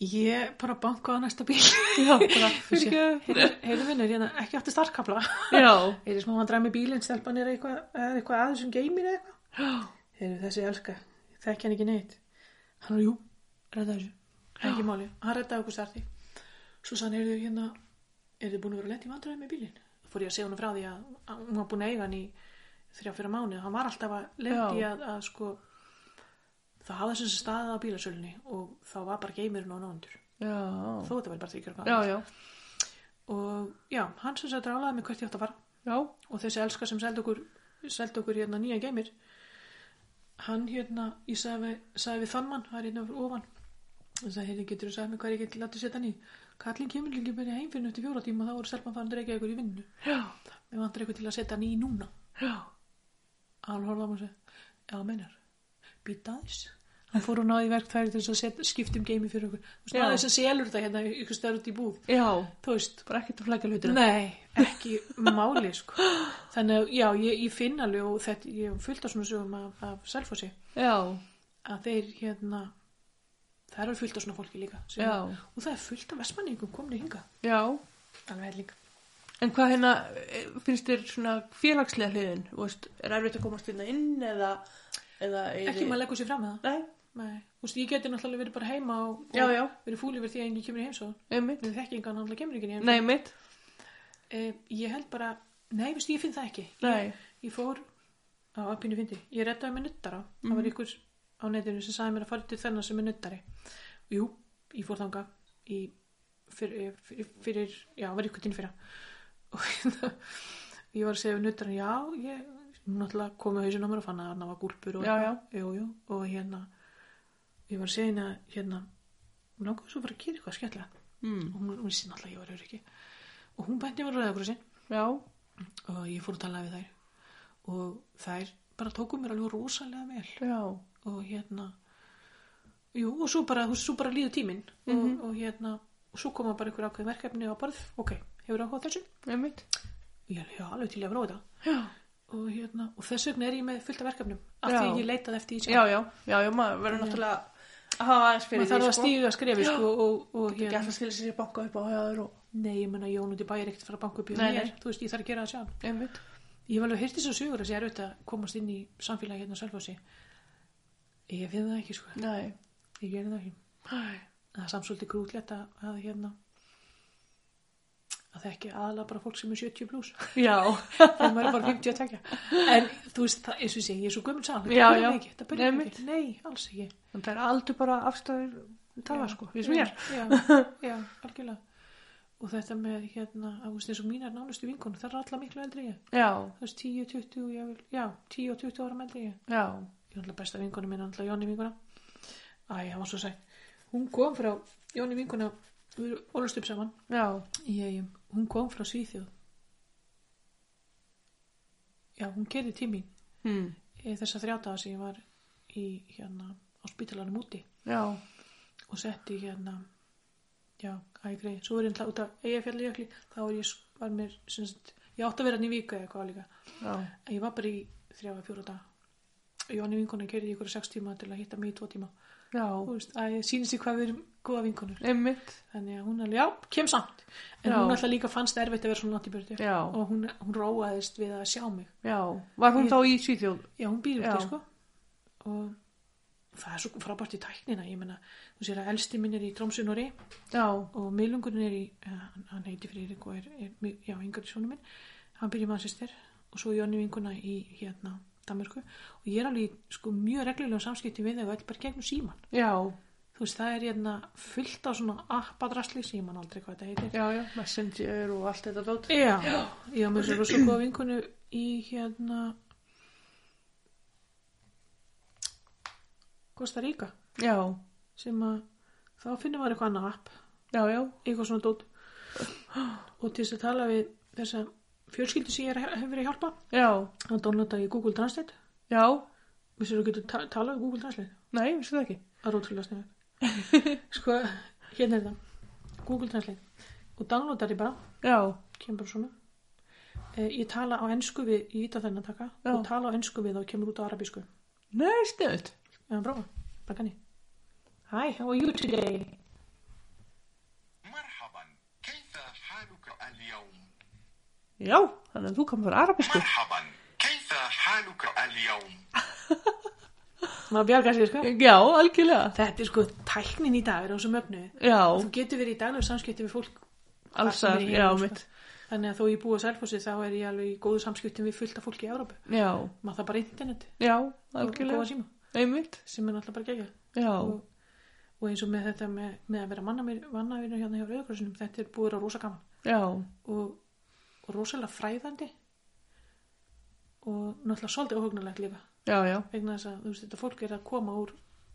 Ég bara bankaði á næsta bíl. Já, bara Ég sé, fyrirgefðu. Heyrðu heyrðu vinur, hérna, ekki átti starfkabla. Já. Ég er smá að dræmi bílinn, stelpan er eitthvað, er eitthvað aðeins um geimir eða eitthvað. Heyrðu, þessi elska, þekki hann ekki neitt. Hann var, jú, redda þessu. Ekki máli, hann reddaði okkur starti. Svo sann, heyrðu, hérna, er þið búin að vera lent í vandræði með bílinn? Fór ég að segja hann frá því að að hún var búin að eiga hann í þrjá fyrir mánuð. Hann var alltaf að lent í Já. að, að sko, það hafði þessi staðið á bílasölunni og þá var bara geimurinn og nándur. Já. Þó þetta var bara þryggjur Já, já. og já, hann sem sagt rálaði mig hvert ég átt að fara Já. og þessi elska sem seldi okkur seldi okkur hérna nýja geimir hann hérna, ég sagði, við- sagði við þann mann, það er hérna fyrir ofan og sagði, hérna getur þú sagði mig hvað ég geti látið setja hann í kallinn kemur líka bara heim fyrir nötti fjóra tíma og þá voru selman farin að reykja ykkur í vinnu Já. við vantar eitthvað til að setja hann í núna Já. hann horfði á mig og sagði, já meinar býta aðeins hann fór og náði í verktæri til þess að set, skiptum geimi fyrir okkur þú veist, Já. náði þess að selur þetta hérna ykkur stöður út í búð Já. þú veist, Bara ekkert að flækja hlutina. Nei, ekki máli sko. Þannig að já, ég, ég finn alveg og þetta, ég hef fullt af svona sögum af, af Selfossi Já. að þeir hérna það eru fullt af svona fólki líka sem, Já. og það er fullt af vestmanningum komin hinga Já. alveg helling En hvað hérna, eh, finnst þér svona félagslega hliðin? Þú veist, er erfitt að komast hérna inn eða, eða er... Ekki maður leggur sér fram með það Nei, Nei. Þú veist, ég geti náttúrulega verið bara heima og, og Já, já. verið fúli verið því að enginn kemur í heimsóð einmitt. við þekki engan, náttúrulega kemur ekki í Nei, mitt. Eh, ég held bara, nei, veistu, ég finn það ekki. Nei. Ég, ég fór á appinu fyndi. Ég reddaði með nuttara. Það Mhm. var ykkur á netinu sem sagði mér að fara til þennan sem er nuttari. Jú, ég fór þanga í fyrir, fyrir, fyrir já, var ykkur tinn fyrra. Og hérna, ég var að segja við nuttaran, já, ég hún náttúrulega komið hausinn á mér og fann að hann var gúlpur og Já, já. Jú, jú, og hérna, ég var að segja henni að hérna, hún langaði svo bara að gera eitthvað skemmtilega. Mm. Og hún, hún vissi náttúrulega að ég var öryggi. Og hún bændi mér rauða krossin Já. og ég fór að tala við þær og þær bara tóku mér alveg rosalega vel Já. og hérna jú, og svo bara, þú veist, svo bara líður tíminn Mhm. og, og hérna, og svo koma bara einhver ákveðin verkefni á barð, ok, hefur áhuga á þessu Einmitt. og ég er alveg til í að vera á þetta Já. og hérna, og þess vegna er ég með fullt af verkefnum af því Já. að ég leitaði eftir því Já, já. Já, já, maður verður náttúrulega að hafa aðeins fyrir maður þarf að sko. stíga að skrifi sko, og, og Ekki hérna, alltaf skilja sér banka upp á höður og... nei, ég menna Jón út í bæri ekkert fara að banka upp í Nei, mér, nei. þú veist, ég þarf að gera það sjálf Einmitt. Ég hef alveg heyrti svo sögur að sé erfitt að komast inn í samfélagi hérna á Selfossi. Ég finn það ekki, sko. Nei. Ég gerði það ekki. Nei. Það er samsvöldi grútlegt að, að hérna að það ekki aðalega bara fólk sem er 70 pluss. Já. Þegar maður er bara 50 að tekja. En þú veist, það, eins og ég segi, ég er svo gömul sá. Já, já. Ekki, það byrjar Nei, ekki. Nei, alls ekki. En það er aldrei bara afstæður tala, Já, sko, því sem ég er. Já, já, algjörlega. Og þetta með hérna, að þú veist, eins og mínar nánustu vinkonu, það er allar miklu eldri en ég. Já, Það er 10, 20, ég vil, já, 10 og 20 ára meldri en ég. já, ég er alltaf besta vinkona mín, alltaf Jóni vinkona Æ, hann var svo sætt Hún kom frá, Jóni vinkona við erum ólust upp saman já, ég, Hún kom frá Svíþjóð Já, hún kerði tímin hm. þess að þrjáta sem ég var í hérna á spítalanum úti já, og setti hérna já, æ, grei, svo er ég alltaf út af eigafjalli jökli, þá var ég var mér, sem sagt, ég átti að vera hann í viku eða hvað líka, já, En ég var bara í þrjá að fjóra dag Jóni vinkona kerði ykkur sex tíma til að hitta mig í tvo tíma já, Þú veist, að ég sýnist því hvað við erum góða vinkonur. einmitt, Þannig að hún alveg, já, kem samt. En Já. hún alltaf líka fannst erfitt að vera svona nátt í burtu. Já. Og hún, hún róaðist við að sjá mig. já. Var hún Ég- þá í Svíþjóð? Já, hún býr Já. ekki, sko. Og það er svo frábært í tæknina. Ég meina, þú sér að elsti minn er í Trómsunori Já, og miðlungurinn er í, eh, hann- hann heiti Friðrik og er, er mi- já, yngar sjónu minn. Hann býr í mannsistir og svo Jóni vinkona í hérna Danmarku. Og ég er alveg í, sko, mjög reglulega samskipti við þau og öll bara í gegnum síman. já, þú veist, það er hérna fullt á svona appadrasli sem ég man aldrei hvað þetta heitir. já, já, messenger og allt þetta dót. Já, ég var með svo rosa góða vinkonu í hérna Costa Rica. já, sem að þá finnum maður eitthvað annað app já, já, eitthvað svona dót og til þess að tala við þessa fjölskyldu sem ég er- hef verið að hjálpa já, þá downloada ég Google Translate já, vissir þú getur ta talað við Google Translate nei, vissi það ekki. það er ótrúlega snið sko, hérna er það Google Translate og downloadar ég bara Já, kemur bara svona eh, ég tala á ensku við, ég íta þennan taka Já. og tala á ensku við og kemur út á arabísku nei, stöðut. eða prófa, bara kanni Hi, how are you today? مرحبا كيف حالك اليوم Já, þannig að þú komið frá arabísku. مرحبا كيف حالك اليوم maður bjarga sér sko Já, algjörlega. þetta er sko tæknin í dag er á þessu mögnu Já, þú getur verið í daglega samskipti við fólk Alls sem er staðar, í heiminum, já, sko. mitt. þannig að þó ég búi að selfósi þá er ég alveg í góðu samskipti við fullta fólki í Európu já, maður það bara internet já, og góða algjörlega. síma Einmitt, sem er alltaf bara gegja já, og, og eins og með þetta með, með að vera mannavinur hérna hjá Rauðakrossinum þetta er búið að rosa gaman já, og, og rosalega fræðandi og náttúrulega svolítið óhugnulegt líka já, já, vegna þess að þú veist, þetta fólk er að koma úr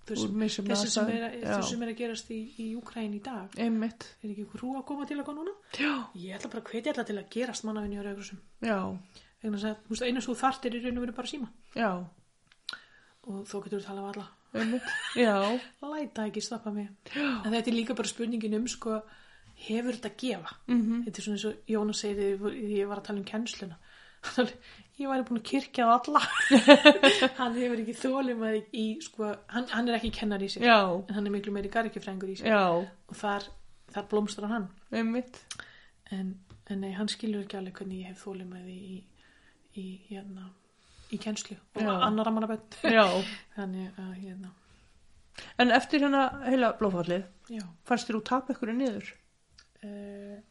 Úr misjöfnum þessu sem, er, aðstæðum, að- já. þessu sem er að gerast í, í Ukraín í dag einmitt, er ekki hrú að koma til eitthvað núna já, ég ætla bara að hvetja alltaf til að gerast mannavinni hjá Rauðakrossinum já, vegna þess að þú veist, einu svo þart er í raun og veru bara síma já, og þó getur þú talað við alla einmitt, já, læta ekki stoppa mig en þetta er líka bara spurningin um sko, hefur þetta að gefa -hmm. þetta er svona eins og Jónas segir þegar ég var að tala um kennsluna ég væri búin að kyrkja á alla hann hefur ekki þólum að í, sko, hann, hann er ekki kennar í sér já, en hann er miklu meiri gargifrængur í sér já, og þar, þar blómstrar hann einmitt, en, en nei, hann skilur ekki alveg hvernig ég hef þólum að í, í, hérna, í kennslu og Já. annar manna bett já. þannig að hérna, En eftir hérna heila blófallið, já fannst þér úr tap ykkur niður? uh,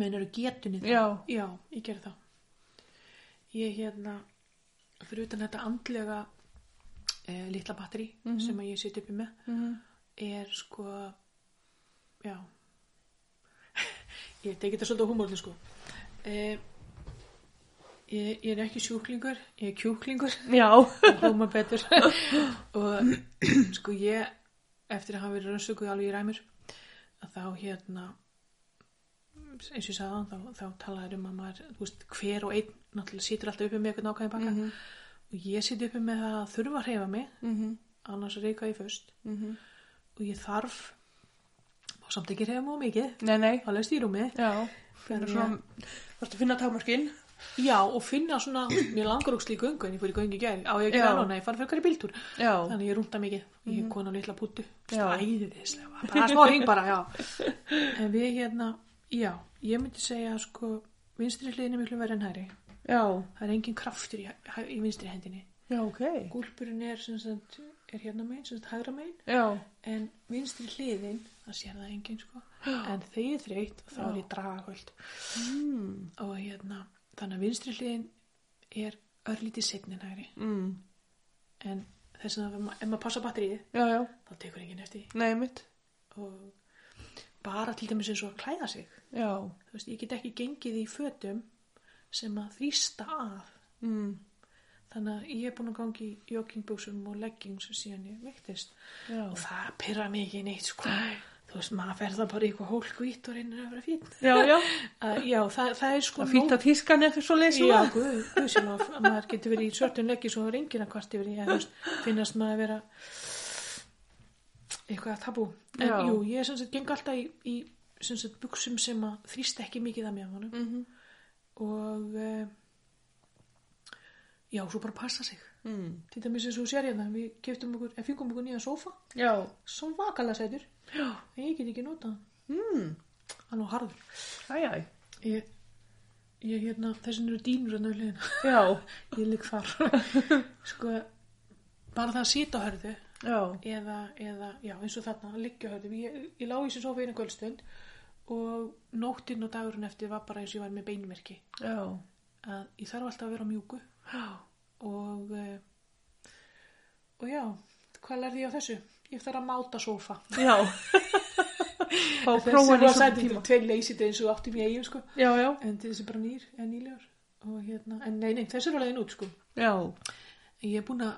meinar þú getunni það? Já. Já, ég gerði það ég hérna fyrir utan þetta andlega uh, litla batteri sem að ég sitt uppi með Mhm. er sko já ég teki þetta svolítið á humorli sko uh, ég, ég er ekki sjúklingur ég er kjúklingur Já, hljóma betur og sko ég eftir að hafa verið rannsökuð alveg í ræmur að þá hérna eins og ég sagði þá, þá talaði um að maður, þú veist, hver og einn náttúrulega situr alltaf uppi með eitthvað nákvæðin baka og ég sit uppi með það að þurfa að hreyfa mig Mhm. annars reyka ég föst Mhm. og ég þarf og samt ekki hreyfa mjög mikið nei, nei, þá leist í rúmið já, finnur Þannig svona, varstu að finna támarkinn? já og finna svona, mér langar ógst í göngu en ég fór í göngu í gær, á ég ekki Já. það núna ég fann fyrir í bíltúr Já, Mhm. þannig ég rúnta mikið ég er kona á litla pútu Já. æðislega, bara smá hring bara já. en við hérna já, ég myndi segja sko vinstri hliðin er miklu verið en hæri já, það er engin kraftur í, hæ- í vinstri hendinni já, ok, gúlpurinn er sem sagt er hérna megin, sem sagt hægra megin já, en vinstri hliðin, það sér það engin sko en þegar ég er þreytt þá er ég dragahöld Hmm. mm. og hérna, þannig að vinstri hliðin er örlítið setni en hægri mm. en þess að ef ma- ef maður passa batterið já, já, þá tekur enginn eftir því. nei, mitt, og bara til dæmis eins og að klæða sig já, þú veist, ég get ekki gengið í fötum sem að þrýsta að mm. þannig að ég er búin að gangi í joggingbuxum og leggings síðan ég veiktist já, og það pyrra mig ekki neitt sko. þú veist, maður fer það bara í eitthvað hólk og ítt og reynir að vera fín já, já, að, já, það, það er sko það fýtt að tískan eða svo leysa Já, guð, guð sem að að maður getur verið í svörtum leggi svo er enginn að kvart yfir því að þú veist, finnast maður að vera eitthvað tabú en Já. jú, ég sem sagt geng alltaf í, í sem sagt buksum sem að þrýst ekki mikið að mér honum Mhm. og e, já, svo bara passa sig Mm. til dæmis eins og þú sér hérna við keftum okkur, en fengum okkur nýjan sófa Já, svo vakalega sætur já, en ég get ekki notað hann. mm. hann og harður æj, æj, ég, ég hérna, þessin eru dýnur að nöðliðina já, ég ligg þar sko, bara það að sita á hörðu já, eða, eða, já, eins og þarna að liggja á hörðu, ég, ég lá í þessu sofa einu kvöldstund og nóttinn og dagurinn eftir var bara eins og ég var með beinmerki já, að ég þarf alltaf að vera á mjúku og eh, og já, hvað lærði ég á þessu? ég þarf að máta sofa já, fá prófan í svona tíma. tveir leysið eins og áttum ég eigin sko Já, já, en þessi er bara nýr, en nýlegur og hérna, en nei, nei, þessi er alveg út sko já, Ég er búin að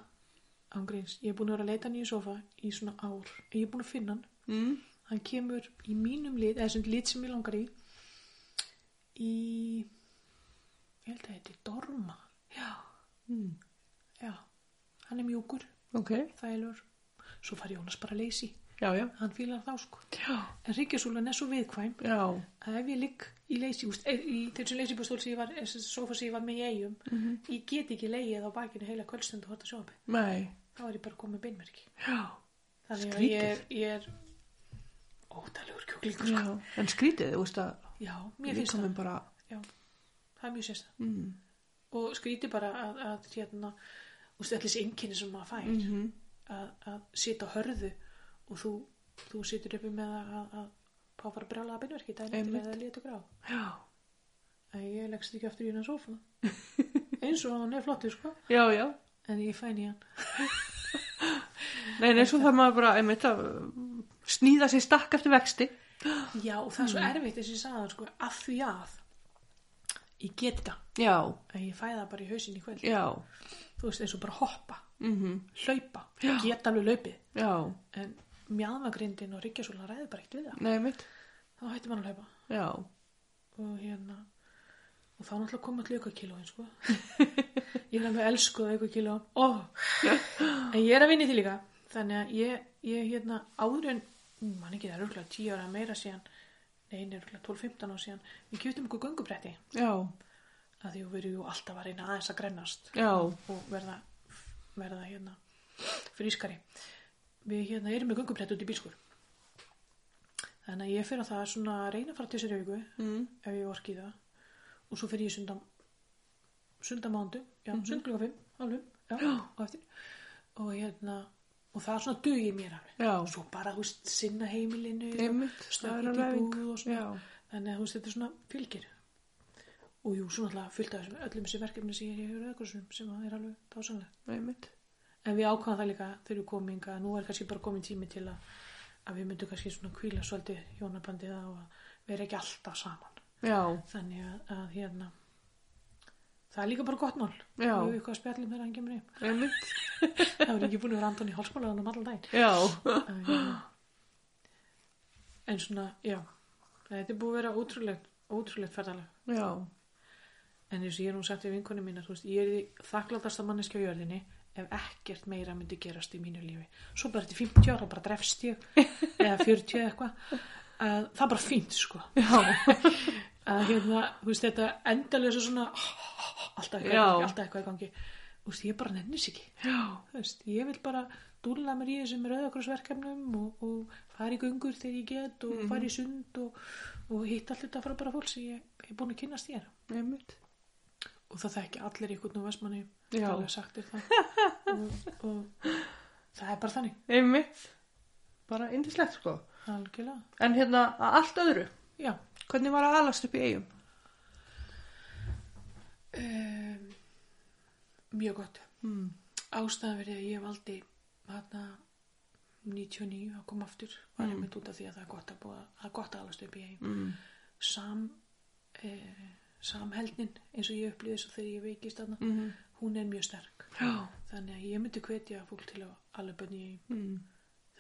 ángríns, ég er búin að vera að leita hann í sofa í svona ár, ég er búin að finna hann Mm. hann kemur í mínum lit eða sem lit sem ég langar í í ég held að þetta er Dorma já, Mm. já hann er mjúkur, Ok. þælur svo fær Jónas bara að leysi Já, já. hann fílar þá sko Já. en ríkjasúlan er svo viðkvæm Já. að ef ég ligg í leysi úst, er, í þessum leysibústól sem ég var þessi sofa sem ég var með í eigum Mhm. ég get ekki leigið á bakinu heila kvöldstund og horta sjófi Nei. þá er ég bara komið beinmerki Já. þannig að Skrítið. ég er, ég er ódælugur kjúklingur Já. sko. En skrítið, þú veist að já, mér finnst það líkaminn bara, já, það er mjög sérstæð mm, og skríti bara að, að hérna, úst, allir þessi einkenni sem maður fær Mm. Mhm. að, að sitja á hörðu og þú, þú situr uppi með að, að, að pá fara brjálega beinverki það er Einmitt. eitthvað að leta grá já. að ég leggst ekki aftur í hennan sófa eins og hann er flottur sko Já, já. en ég fæn í hann Nei, nei, svo þarf maður bara, einmitt, að uh, sníða sér stakk eftir vexti. já og það er Mm. svo erfitt þess að ég sagði sko, af því að ég get þetta Já. að ég fæ það bara í hausinn í kvöld Já. þú veist eins og bara hoppa, Mm hlaupa geta alveg hlaupið Já. en mjadmagrindin og ríkjasúlan ræði bara eitt við það Nei, einmitt. þá hætti maður að hlaupa Já. og hérna og þá náttúrulega kom allir aukakilóin sko ég er alveg elskuð aukakiló ó, en ég er að vinna í því líka þannig að ég, ég hérna áður en, mm, man ekki það er örgulega 10 ára meira síðan nei, örgulega 12-15 ára síðan við kjöftum okkur göngubretti Já. að því við erum jú alltaf að reyna aðeins að grennast Já. og verða, verða hérna frískari við hérna erum með göngubrett út í bílskur þannig að ég fyrir að það svona að reyna að fara til sér viku Mm. ef ég orki það og svo fyrir ég sundam sundamándu, já, Mhm. mm -hmm. sundkluga 5 alveg, já, og eftir og hérna, og það svona dugi mér alveg, Já. og svo bara, þú veist, sinna heimilinu, Einmitt. Það er snöggið í alveg æfing. búð og svona Já. þannig að eh, þú veist, þetta er svona fylgir og jú, svona alltaf fylgta þessum öllum þessi verkefni sem ég hef verið ekkur sem að er alveg dásanlega Nei, einmitt. En við ákvaðum það líka þegar við komum inga, nú er kannski bara komin tími til að, að við myndum kannski svona kvíla svolítið hjónabandið á að vera ekki alltaf saman. Já. Þannig að, að hérna, það er líka bara gott mál. Við Já. hefum eitthvað að spjallum þegar hann kemur heim. Einmitt. Það verður ekki búin að vera Anton í hálsmálaðanum allan daginn. Já. Að, hérna, en svona, já, þetta er búið að vera ótrúlegt, ótrúlegt ferðalega. Já. En eins og ég er nú sagt við vinkunum mína, þú veist, ég er því þakkláttasta manneskja á jörðinni ef ekkert meira myndi gerast í mínu lífi. Svo bara þetta er 50 ára, bara drefst ég, eða 40 eða eitthvað. að Það er bara fínt, sko. Já. Að hérna, þú veist, þetta endalösa svona, alltaf eitthvað, í Já. gangi, alltaf eitthvað í gangi. Þú veist, ég bara nennis ekki. Já. Þú veist, ég vil bara dúlla mér í þessum rauðakrossverkefnum og, og fara í göngur þegar ég get og fara í sund og, og hitta allt þetta fara bara fólk sem ég er búin að kynnast þér Einmitt. og það þekki allir einhvern úr Vestmanni Já. alveg sagt þér það og, og það er bara þannig Einmitt. Bara indislegt, sko. algjörlega En hérna, að allt öðru. já Hvernig var að alast upp í eigum? um, mjög gott Mm. ástæðan verið að ég valdi hérna 99 að koma aftur var ég mynd út af því að það er gott að búa það er gott að alast upp í heim Mm. sam uh, samheldnin eins og ég upplýði þessu þegar ég veikist þarna Mm. hún er mjög sterk Já. þannig að ég myndi hvetja fólk til að alveg bönni í heim Mm.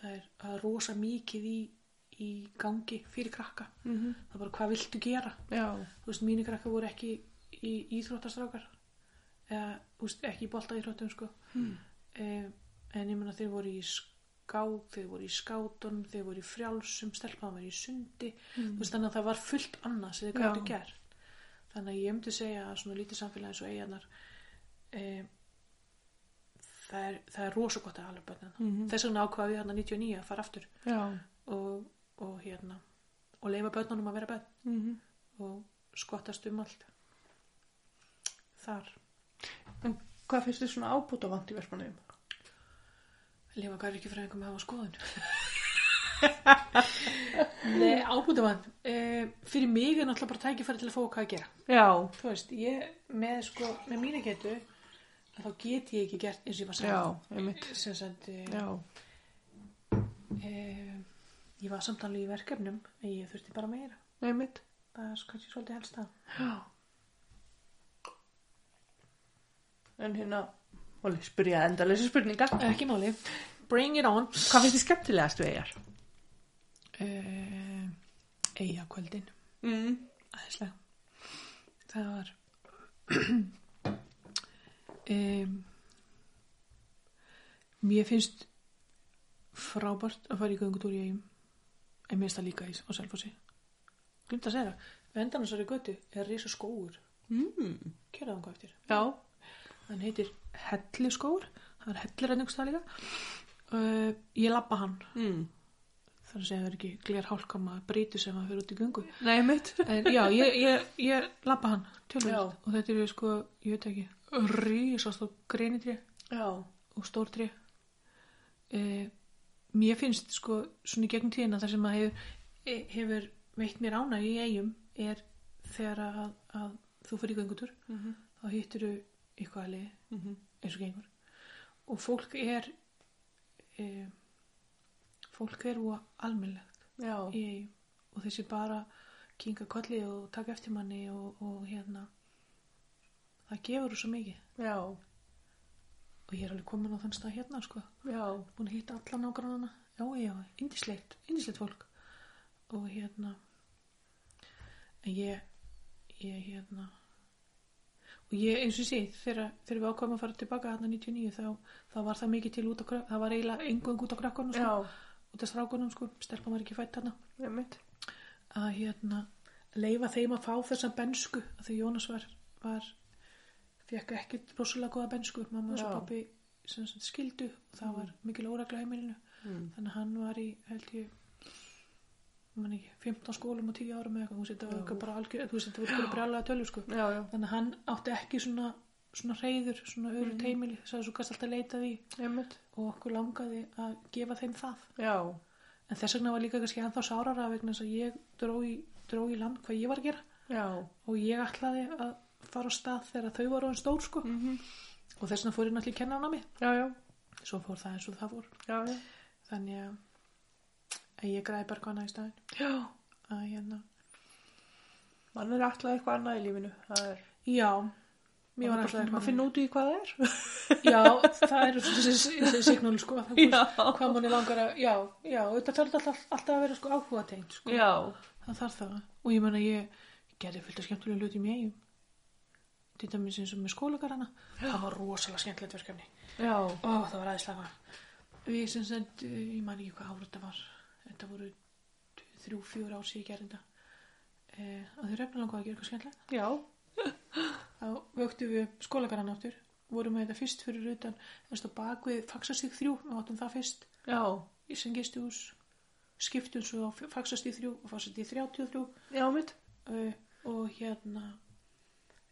það er að rosa mikið í, í gangi fyrir krakka Mhm. það er bara hvað viltu gera Já. þú veist, mínu krakka voru ekki í íþróttastrákar eða, þú veist, ekki í bolta íþróttum sko. mm. en ég meina þeir voru í skák þeir voru í skátunum, þeir voru í frjálsum stelpaðan var í sundi Mhm. þú veist, þannig að það var fullt annað sem þeir gætu Já. gert þannig að ég myndi segja að svona lítið samfélagi eins og eigarnar um, það er, það er rosa gott að alveg bönna Mhm. þess vegna ákvaða við hann 99 að fara aftur Já. og, og hérna og leifa börnunum að vera börn Mm. og skottast um allt þar En hvað finnst þið svona ábúta vant í versmanum? lifa gæri ekki fræðingum að hafa skoðun Nei, ábútavann e, fyrir mig er náttúrulega bara tækifæri til að fá hvað að gera Já. þú veist, ég með sko með mína getu, að þá get ég ekki gert eins og ég var Já, samt einmitt. sem sagt e, Já. e, ég var samt alveg í verkefnum en ég þurfti bara meira Einmitt. það er kannski svolítið helst það Já. En hérna, og spyrja endalösa spurninga Ekki máli. Bring it on. hvað finnst þið skemmtilegast við eigar? Uh, Eia kvöldin. Mm. Æðislega. Það var um, Mér finnst frábært að fara í göngutúr í eigum en mér finnst það líka í á Selfossi Glimt að segja það Við endan þessari götu er risa skóur Mm. Kjöra það eftir já, Hann heitir Helliskóur Það er hellirenningstað líka uh, Ég labba hann mm. þar að segja það er ekki gler hálka maður breytur sem maður fyrir út í göngu nei mitt en Eh, já, ég, ég, ég labba hann Já. tölvöld og þetta eru sko, ég veit ekki risast og greinitri já, og stórtri eh, mér finnst sko svona í gegnum tíðina þar sem að hefur, eh, hefur veitt mér ána í eigum er þegar að, að þú fyrir göngutur mm -hmm. þá hittir þú eitthvað alveg Mhm. eins og gengur og fólk er eh, fólk er og almennlegt já, í eigum og þessi bara kinga kolli og taka eftir manni og, og hérna það gefur þú svo mikið já, og ég er alveg komin á þann stað hérna sko já búin að hitta alla nágrannana já, já, indislegt, indislegt fólk og hérna en ég ég hérna og ég eins og sé, þegar, þegar við ákvæmum að fara tilbaka hérna 99 þá, þá var það mikið til út á krakk, það var eiginlega engung út á krakkunum sko, já, út á strákunum sko, stelpa var ekki fætt hérna nei mitt að hérna leifa þeim að fá þessa bensku að því Jónas var, var fekk ekki rosalega góða bensku mamma hans og Já. pappi sem, sem skildu og það var mikil óregla í heimilinu Mm. þannig að hann var í held ég man ekki, 15 skólum og 10 árum eða eitthvað, þú veist, þetta var eitthvað bara algjör þú veist, þetta voru bara brjálega tölur sko já, já, þannig að hann átti ekki svona svona reyður, svona öru mm. teimili þess að þú gæst alltaf leitað í nei mitt og okkur langaði að gefa þeim það já, en þess vegna var líka kannski ennþá sárara vegna þess að ég dró í, dró í land hvað ég var að gera já, og ég ætlaði að fara á stað þegar þau voru orðin stór sko mm og þess vegna fór ég náttúrulega kenna hana mig já, já, svo fór það eins og það fór já, já þannig að að ég græði bara hana í staðin já, að hérna mann er alltaf eitthvað annað í lífinu það er já, mér var bara alltaf að finna út í hvað það er já, það eru svona þessi- þessi signal sko það, Já. hvað manni langar að já, já, þetta þarf alltaf, alltaf að vera sko áhuga tengt sko já, það þarf það og ég meina ég gerði fullt að skemmtulega hluti í eigum til dæmis eins og með skólagarana það var rosalega skemmtilegt verkefni já, og það var aðeinslega við sem sagt, eh, ég man ekki hvað ára þetta var þetta voru t- þrjú, fjör ár síðan ég gerði þetta eh, að þau refna langaði að gera eitthvað skemmtilegt já þá vöktum við upp skólagarana áttur vorum með þetta fyrst fyrir utan þú veist á bakvið faksastík þrjú, við áttum það fyrst já, í sem gistihús skiptum svo á faksastík þrjú og faksastík 33 já mitt uh, og hérna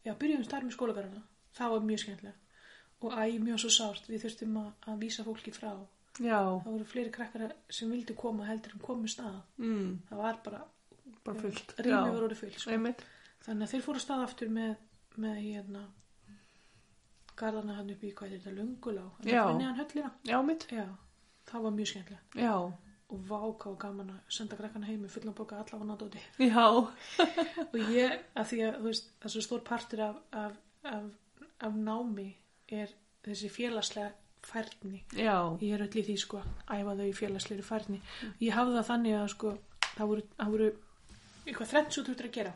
já, byrjuðum þar með skólagarana það var mjög skemmtilegt og æ, mjög svo sárt, við þurftum að, að vísa fólki frá já, það voru fleiri krakkar sem vildu koma heldur en komu stað mm. það var bara, bara fullt rými voru orðið fullt nei sko. mitt þannig að þeir fóru af stað aftur með, með hérna garðana hann upp í hvað er þetta löngulá hann Já. er neðan höllina já mitt, já, það var mjög skemmtilegt já, og váka og gaman að senda krakkana heim með fullan boka allafan að dóti já og ég, að því að þú veist, það svo stór partur af, af, af, af námi er þessi félagslega færni já, ég er öll í því sko, æfa þau í félagslega færni ég hafði það þannig að sko það voru, það voru eitthvað þrennt svo þú ert að gera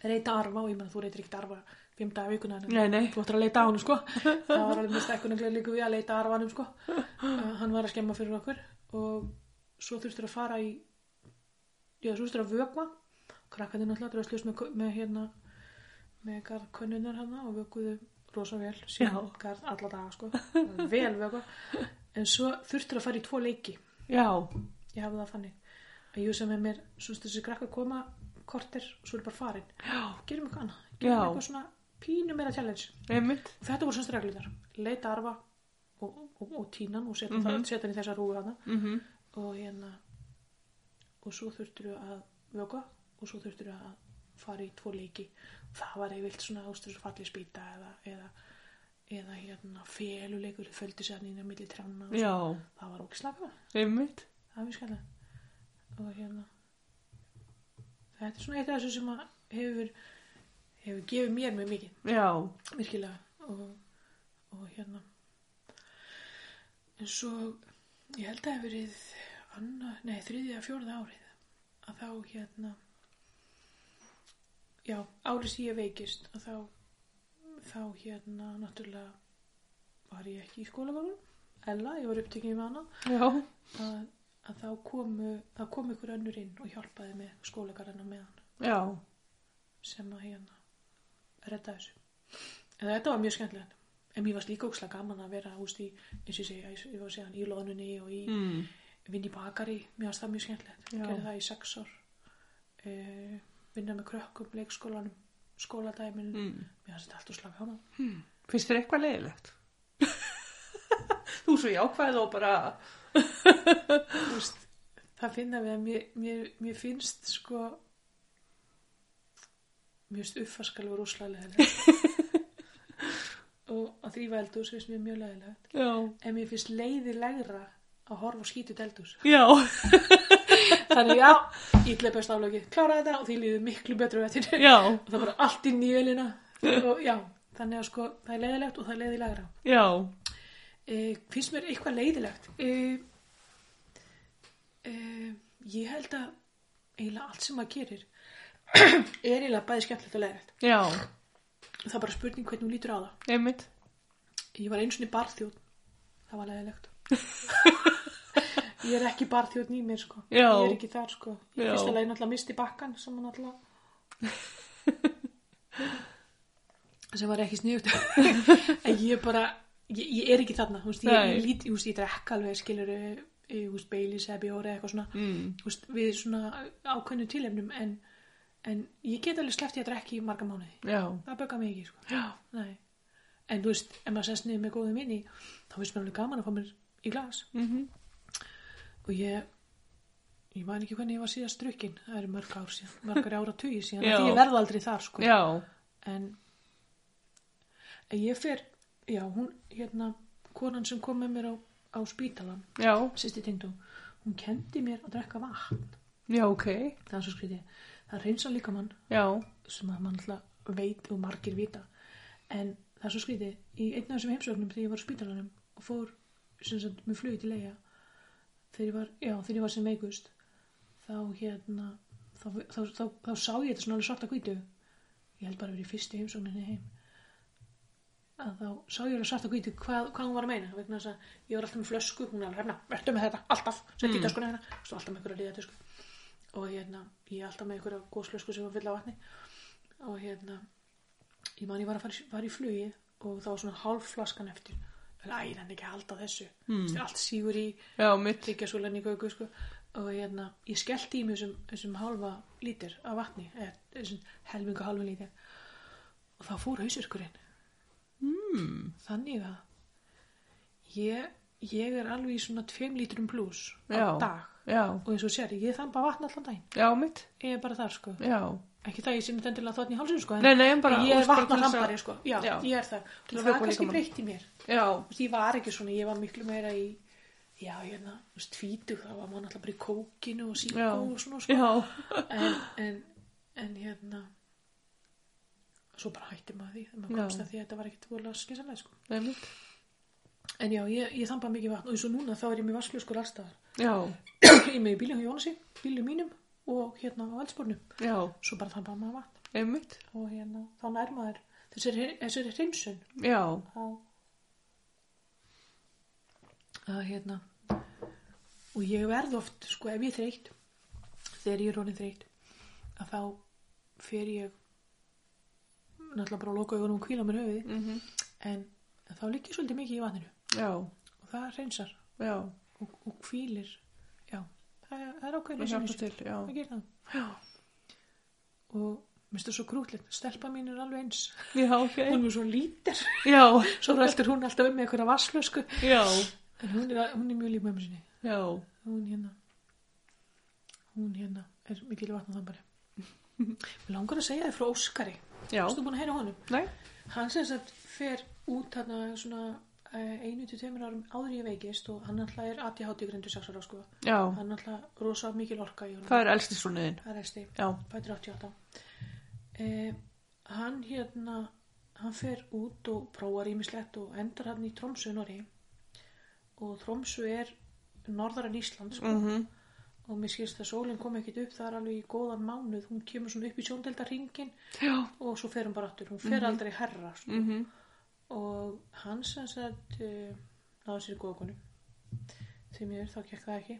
reyta arfa og ég menn þú reytir ekkert arfa fimm daga vikuna en nei, nei þú ættir að leita á hann sko það var alveg mest ekkur nefnilega líka við að leita að arfanum sko uh, hann var að skemma fyrir okkur og svo þurftur að fara í já, svo þurftur að vökva krakkandi náttúrulega dröðsljus með, með hérna með garð könnunar hérna og vökuðu rosa vel síðan garð alla daga sko vel vökva en svo þurftur að fara í tvo leiki já, ég hafði það fannig að ég sem er mér, svo veist, þessi krakkar koma kortir og svo er bara farin já, gerum eitthvað annað, gerum Já. eitthvað svona pínu meira challenge nei mitt Þetta voru semst reglunar. Leita arfa og, og, og tínan og setja mm -hmm. hann í þessa rúi hana. mm -hmm. Og hérna, og svo þurftur að vöka og svo þurftur að fara í tvo leiki. Það var eiginlega svona ástur fallið spýta eða, eða, eða hérna féluleikur földi sér hann inn á milli trjána. og svo. já, Það var ógislega gaman. nei mitt Það var mjög skæðlega. Og hérna, þetta er svona eitt af þessu sem að hefur, hefur gefið mér mjög mikið já, virkilega og, og hérna en svo ég held að það hef verið annað, nei, þriðja, fjórða árið að þá hérna já, árið sem ég veikist að þá þá hérna, náttúrulega var ég ekki í skólavarun Ella, ég var upptekin með hana Já. að, að þá komu þá kom ykkur önnur inn og hjálpaði með skólagarana með hann Já. sem að hérna redda þessu en þetta var mjög skemmtilegt en mér varst líka ókslega gaman að vera úst í, eins og ég segja, ég var að segja hann í lónunni og í Mm. vinn í bakari mér varst það mjög skemmtilegt, Já. gerði það í sex ár uh, vinna með krökkum leikskólanum, skóladæmin Mm. mér varst þetta allt og slaga hana Finnst þér eitthvað leiðilegt? Þú svo jákvæð og bara... Þú veist, það finna við að mér, mér, mér finnst sko mér finnst uppfaskalur rosalega leðilegt og að þrýfa eldús finnst mér mjög leðilegt Já. en mér finnst leiðilegra að horfa og skýtu eldús Já. þannig já, ítla best aflöki klára þetta og því líður miklu betru eftir Já. og það er bara allt inn í ölina og já, þannig að sko það er leiðilegt og það er leiðilegra Já. Eh, finnst mér eitthvað leiðilegt? Eh, eh, ég held að eiginlega allt sem maður gerir er eiginlega bæði skemmtilegt og leiðilegt. Já. Það er bara spurning hvernig hún lítur á það. Einmitt. Ég var einu sinni barþjóð. Það var leiðilegt. ég er ekki barþjóð í mér, sko. Já. Ég er ekki þar, sko. Ég Já. fyrst að leiði náttúrulega misti bakkan sem hann náttúrulega sem var ekki sniðugt en ég er bara ég, ég er ekki þarna, þú veist, ég, Nei. ég lít þú veist, ég drekka alveg, skilur þú veist, beilis eða bjóri eða eitthvað svona Mm. þú veist, við svona ákveðnu tilefnum en, en ég get alveg sleppt ég að drekka í marga mánuði Já. það böggar mig ekki, sko Já. Nei. En þú veist, ef maður sest niður með góðum inni, þá finnst mér alveg gaman að fá mér í glas. Mm Og ég, ég man ekki hvernig ég var síðast drukkin. Það eru mörg ár síðan, mörgar ára tugi síðan. Já. Því ég verð aldrei þar, sko. Já. En, en ég fer, já, hún, hérna, konan sem kom með mér á, á spítalan, Já. sýsti tengdum, hún kendi mér að drekka vatn. Já, ok. Það er svo skrítið. Það reynsa líka mann Já. sem að mann alltaf veit og margir vita en það er svo skrítið í einn af þessum heimsóknum þegar ég var á spítalanum og fór sem sagt með flugið til eiga þegar ég var, já, þegar ég var sem veikust þá hérna þá, þá, þá, þá, sá ég þetta svona alveg svarta hvítu ég held bara að vera í fyrstu heimsókninni heim að þá sá ég alveg svarta hvítu hvað, hvað hún var að meina vegna þess að ég var alltaf með flösku hún er alveg hérna, verður með þetta, alltaf sett í töskuna hérna, svo alltaf með einhverja liða og hérna, ég er alltaf með einhverja góðslösku sem var fylla vatni og hérna ég man ég var að fara, í- var í flugi og það var svona hálf flaskan eftir en æ, ég nenni ekki að halda þessu mm. allt sígur í Já, mitt. þykja svo lenni gauku sko. og hérna, ég skellti í mig þessum, þessum hálfa lítir af vatni eða þessum helmingu hálfa lítir og þá fór hausverkurinn mm. þannig að ég, ég er alveg í svona tveim lítrum pluss Já. á dag Já. og eins og sér, ég þamba vatn allan daginn Já, mitt. ég er bara þar sko Já. ekki það ég sinni þendilega þotn í hálsum sko en Nei, nei, en bara- ég þú er veist, bara vatna til þess að- hrampari sko já, Já. ég er Til það að það var vökva kannski líkamann. breytt í mér Þú Já. veist, ég var ekki svona, ég var miklu meira í já, hérna, þú veist, tvítug þá var maður alltaf bara í kókinu og síkó Já. og svona sko Já. en, en, en hérna svo bara hætti maður því þegar maður Já. komst að því að þetta var ekkit voðlega skynsalega sko Einmitt. en já, ég, ég þamba mikið vatn og eins og núna þá er ég með vassljóskur allstaðar Já. ég er með í bílum hjá Jónasi, bílum mínum og hérna á eldspórnum Já. svo bara þamba maður vatn Einmitt. og hérna, þá nærmaður þessari, þessari hreinsun Já. að, að hérna og ég verð oft, sko, ef ég er þreytt þegar ég er orðin þreytt að þá fer ég náttúrulega bara að loka augunum og kvíla mér höfuði Mhm. en þá ligg ég svolítið mikið í vatninu Já. og það hreinsar Já. og, og kvílir já, það er, það er ákveðin Það hjálpa hreinsun. til. Já. það gerir það Já. og minnst það svo krútlegt, stelpa mín er alveg eins Já, ok. hún er svo lítir Já. Svo röldur hún alltaf um með einhverja vasslösku Já. En hún er, hún er mjög líf mömmu sinni Já. Hún hérna Hún hérna er mikil vatna þann bara Mér langar að segja þér frá Óskari Já. Þú búin að heyra honum Nei. Hann sem sagt fer út þarna svona eh, einu til tveimur árum áður en ég veikist og hann alltaf er 80-80 grindu 6 ára sko Já. Hann alltaf rosa mikil orka í honum Það er elsti svonuðin. Það er eftir Já. fættur 88 eh, hann hérna hann fer út og prófar ímislegt og endar hann í Tromsö í Norri og Þrómsu er norðaran Ísland sko. Mhm. og mér skilst að sólinn kom ekkit upp það er alveg í góðan mánuð hún kemur svona upp í sjóndeldarhingin Já. og svo fer hún bara aftur, hún fer aldrei herra sko. Mhm. og hann sem sagt uh, náði sér góðkunum því mér þá gekk það ekki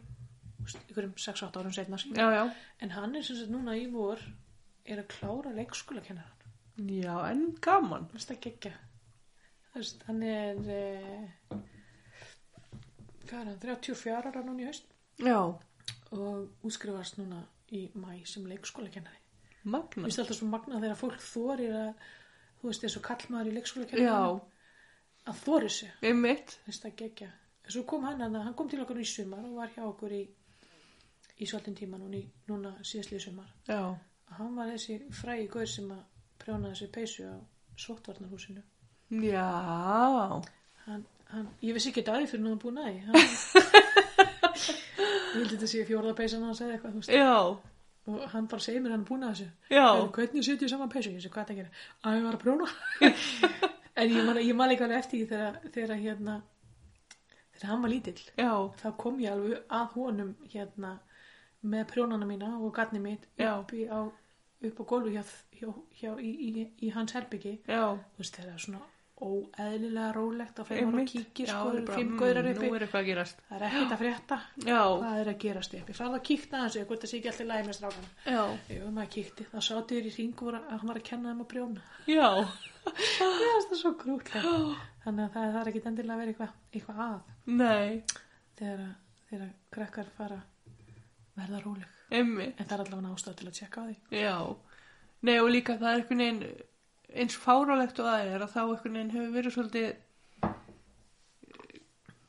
ykkurum 6-8 árum setna sko. Já, já. en hann er sem sagt núna í vor er að klára leikskóla kennaran Já, en gaman. Mér finnst það geggja. Þú veist, hann er, eh, hvað er hann, 34 ára núna í haust Já. og útskrifast núna í mæ sem leikskólakennari. Mér Magna. finnst alltaf svo magnað þegar fólk þorir að, þú veist, eins og kallmaður í Já. leikskólakennari, að þorir sig. Einmitt. Mér finnst það geggja. En svo kom hann, hann, hann kom til okkur í sumar og var hjá okkur í, í svolítinn tíma núna, í- núna síðastlið sumar. Já. Hann var þessi frægi gaur sem að prjónaði sér peysu á sóttvarnarhúsinu. Já. hann, hann, ég vissi ekki dagi fyrir náðan búnaði hann, ég held þetta sé fjórða peysan hans eða eitthvað þú veist. Já. og hann bara segir mér hann búnaði þessu Já. Heyrðu, hvernig setjum ég saman peysu ég sé hvað það gera, að ég var að prjóna en ég man, ég man líka alveg eftir því þegar, þegar hérna þegar hann var lítill Já. þá kom ég alveg að honum hérna með prjónana mína og garni mitt Já. uppi á upp á gólfi hjá, hjá, hjá í, í, í hans herbyggi Já. þú veist, þegar það er svona óeðlilega rólegt á fimm ára Einmitt. kíkir, Já, sko, það eru er bara, fimm mm, gaurar uppi Nú er eitthvað að gerast. það er ekkert að frétta Já. hvað er að gerast uppi, farðu að kíkta þessu hvort það sé ekki alltaf lægi með strákana Já. ef maður kíkti, þá sátu þér í ring og voru- að hann var að kenna þeim að brjóna Já. það er það svo grútlega þannig að það, það er ekki endilega að vera eitthvað, eitthvað að Nei. þegar, að- þegar að krakkar fara að verða róleg Einmitt. en það er allavega ástæð til að tjekka á því Já, nei og líka það er einhvern veginn eins fárálegt og það er að þá einhvern veginn hefur verið svolítið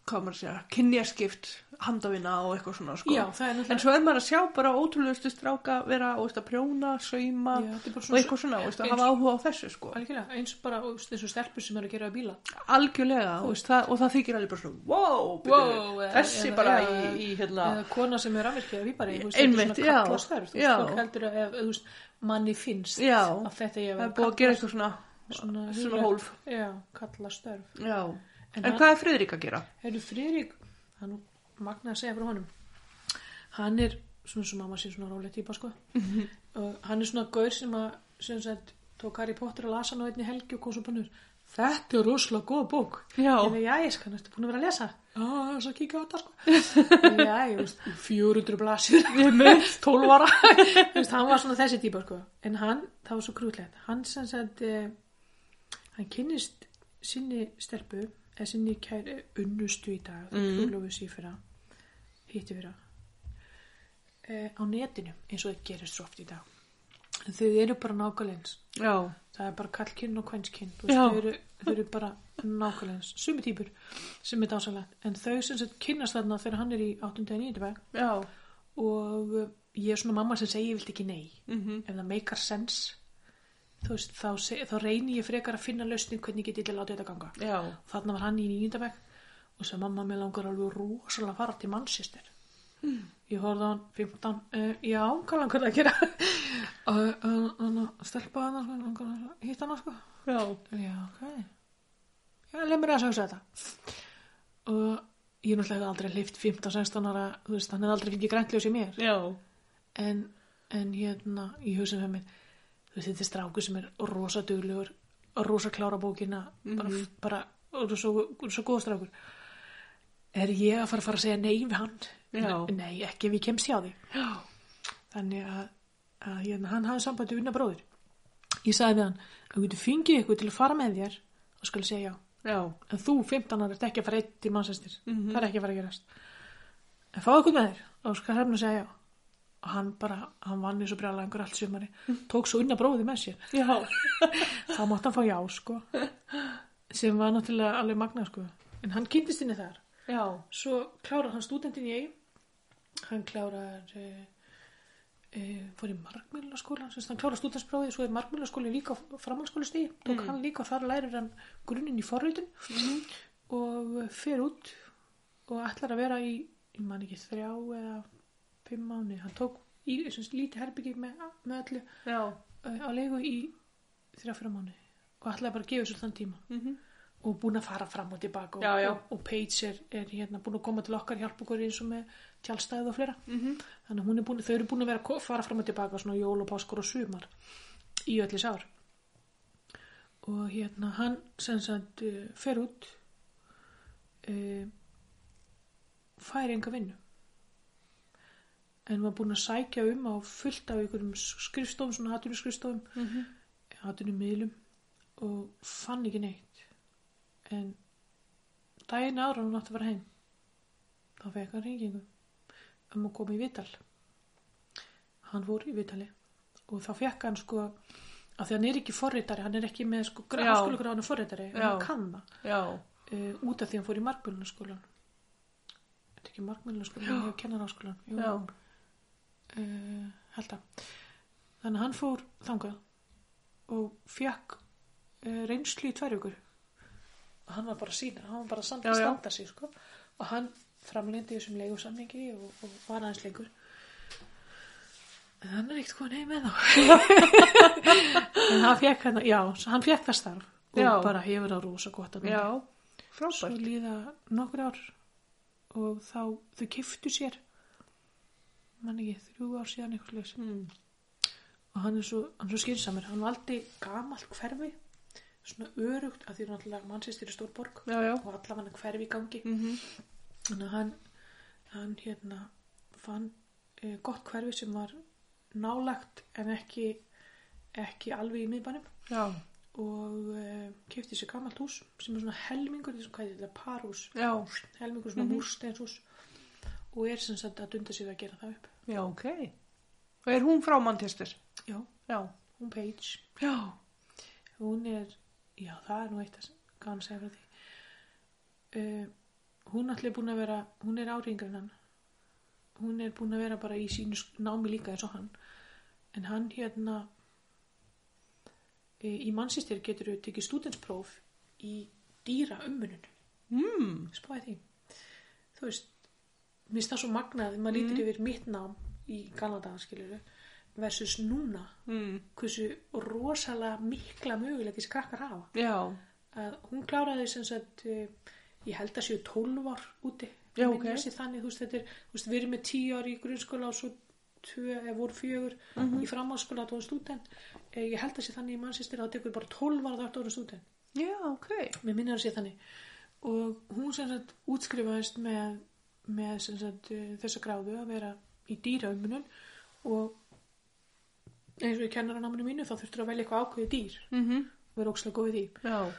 hvað maður að segja, kynjaskipt handavina og eitthvað svona sko. já, það er en náttúrulega svo er maður að sjá bara ótrúlegustu stráka vera og veist að prjóna, sauma Já, þetta er bara og eitthvað svona, og veist að eins- hafa áhuga á þessu sko. algjörlega, eins og bara þú veist, eins og stelpur sem eru að gera við bíla algjörlega og, veist, það, og það þykir alveg bara svona wow, byrju, eða- þessi eða- bara eða- í, í hérna, eða kona sem er afvirkja eða víbari Einmitt, þetta er já, svona kallastörf já. fólk heldur að ef, þú veist, manni finnst Já. að þetta ég það er búið að gera eitthvað svona svona svona, huglægt- hólf. já, kallastörf já, hérna. En en, hann- hvað er Friðrik að gera? hefur Friðrik það er nú magnað að segja frá honum hann er svona sem mamma sé svona róleg típa sko og hann er svona gaur sem að sem sagt, tók Harry Potter og las hann á einni helgi og kom svo bannur þetta er rosalega góð bók Já. ég veit, jæja, sko, næstu búin að vera að lesa já, það er svo að kíkja á þetta sko jæja, þú veist, 400 blasir 12 ára Þú veist, hann var svona þessi típa sko en hann, það var svo krútlegt hann sem sagt eh, hann kynnist sinni stelpu eða sinni kæri unnustu í dag mm. trúlófið sér fyrra hitti fyrra eh, á netinu eins og það gerist svo oft í dag en þau eru bara nákvæmleins Já, það er bara kallkinn og kvenskinn Já. þú veist, þau, eru, þau eru bara nákvæmleins sumi típur sem er dásalegt en þau sem sagt kynnast þarna þegar hann er í 89. veg já, og uh, ég er svona mamma sem segi ég vilt ekki nei Mhm. ef það meikar sens þú veist, þá, seg, þá reyni ég frekar að finna lausning hvernig ég geti til að láta þetta ganga já þarna var hann í nýjöndabæk og sem mamma mér langar alveg rosalega að fara til mannsýstir ég horfði á hann 15 uh, já, hvað langar það að gera og uh, uh, uh, stelpa hann sko, langar að hitta hann sko Já, Já, ok. Já, leið mér að sagsa þetta. Og ég náttúrulega hefði aldrei hlift 15-16 ára, þú veist, hann hefði aldrei fengið græntljós í mér. já, En, en hérna, í hausum fyrir mér, þú veist, þetta er stráku sem er rosa duglegur, rosa klára bókina, bara, bara, og svo, svo góð strákur. Er ég að fara að fara að segja nei við hann? Já. Nei, ekki ef ég kemst hjá því. já, Þannig að, að hérna, hann hafði sambandi við vinna bróðir. Ég sagði við hann, ef þú getur fengið ykkur til að fara með þér, þá skal ég segja já. já, En þú, 15 ára, ert ekki að fara eitt til mannsestir. Það er ekki að fara að gerast. En fá ykkur með þér, þá skal hefna að segja já. Og hann bara, hann vann eins og brjálega einhver allt sumari, tók svo unna bróði með sér. já, Þá mátt hann fá já, sko. Sem var náttúrulega alveg magnað, sko. En hann kynntist henni þar. já, Svo klárar hann stúdentin í eigin. Hann klárar, uh, uh, fór í margmjölaskóla, sem sagt, hann klárar stúdentinsprófið, svo er margmjölaskóli líka framhalskólistigi. Tók hann líka og þar lærir hann grunninn í forritun og fer út og ætlar að vera í, ég man ekki, þrjá eða fimm mánu. Hann tók í sem sagt, lítið herbyggi með, með öllu já, eh, á leigu í þrjá, fjóra mánu og ætlaði bara að gefa sér þann tíma. Mhm. og búin að fara fram og tilbaka og, Já, já. og, og Paige er, er hérna búin að koma til okkar hjálpa okkur eins og með tjálstæð og fleira Mhm. -hmm. þannig að hún er búin, þau eru búin að vera að ko- fara fram og tilbaka svona jól og páskur og sumar í öllis ár og hérna hann sem sagt uh, fer út uh, fær enga vinnu en var búin að sækja um á fullt af einhverjum skrifstofum, svona hatunum skrifstofum mm Mhm. -hmm. hatunum miðlum og fann ekki neitt en daginn ára hún átti að fara heim þá fekk hann reyngingu um að koma í vital hann fór í vitali og þá fekk hann sko af því hann er ekki forritari, hann er ekki með sko Já. gráðskólagráðan og forritari, en hann Já. kann það Já. uh, út af því hann fór í markmjölunarskólan Þetta er ekki markmjölunarskólan, ég kennar áskólan Jú, Já. uh, held að Þannig að hann fór þangað og fekk uh, reynslu í tvær ykkur og hann var bara sína, hann var bara að Já, standa, já. standa sig sko. og hann framlindi þessum leigusamningi og, og var aðeins lengur en hann er ekkert hvað heim með þá en hann fekk, hann, já, hann fekk það starf og Já. bara hefur það rosa gott að Já. svo Frábært. líða nokkur ár og þá þau kiftu sér mann ekki, þrjú ár síðan eitthvað leys Mm. og hann er svo, hann er svo skynsamur hann valdi gamalt hverfi svona örugt, að því er náttúrulega mannsýstir í Stórborg Já, já. og allavega hverfi í gangi Mm þannig að hann, hann hérna fann eh, gott hverfi sem var nálagt en ekki ekki alveg í miðbænum Já. og eh, kifti sér gamalt hús sem er svona helmingur, þessum hvað er þetta, parhús Já. helmingur svona mm -hmm. múrsteinshús og er sem sagt að dunda sér við að gera það upp Já, ok. Og er hún frá Manchester? já, Já. hún Paige Já. hún er, já það er nú eitt að kannan segja frá því uh, hún allir búin að vera hún er áringarinn hann hún er búin að vera bara í sínu sk- námi líka eins og hann en hann hérna eh, í mannsýstir getur við tekið stúdenspróf í dýra ummunun Mm. spáði því þú veist, mér finnst það svo magnað þegar maður Mhm. lítur yfir mitt nám í Galadagan skilur versus núna Mm. hversu rosalega mikla mögulegis krakkar hafa Já. að hún kláraði sem sagt eh, ég held að séu 12 ár úti Já, Minnir ok. mig sig þannig, þú veist, þetta er, þú veist, við erum með 10 ár í grunnskóla og svo tvö, eða voru fjögur Mhm. í framhaldsskóla að þú erum stúdent Eh, ég held að sé þannig í mannsýstir að það tekur bara 12 ár að það erum stúdent Já, ok. mér minnir að sé þannig og hún sem sagt útskrifaðist með, með sem sagt eh, þessa gráðu að vera í dýraummunum og eins og í kennaranáminu mínu þá þurftur að velja eitthvað ákveðið dýr Mm -hmm. og vera ókslega góð í því Já.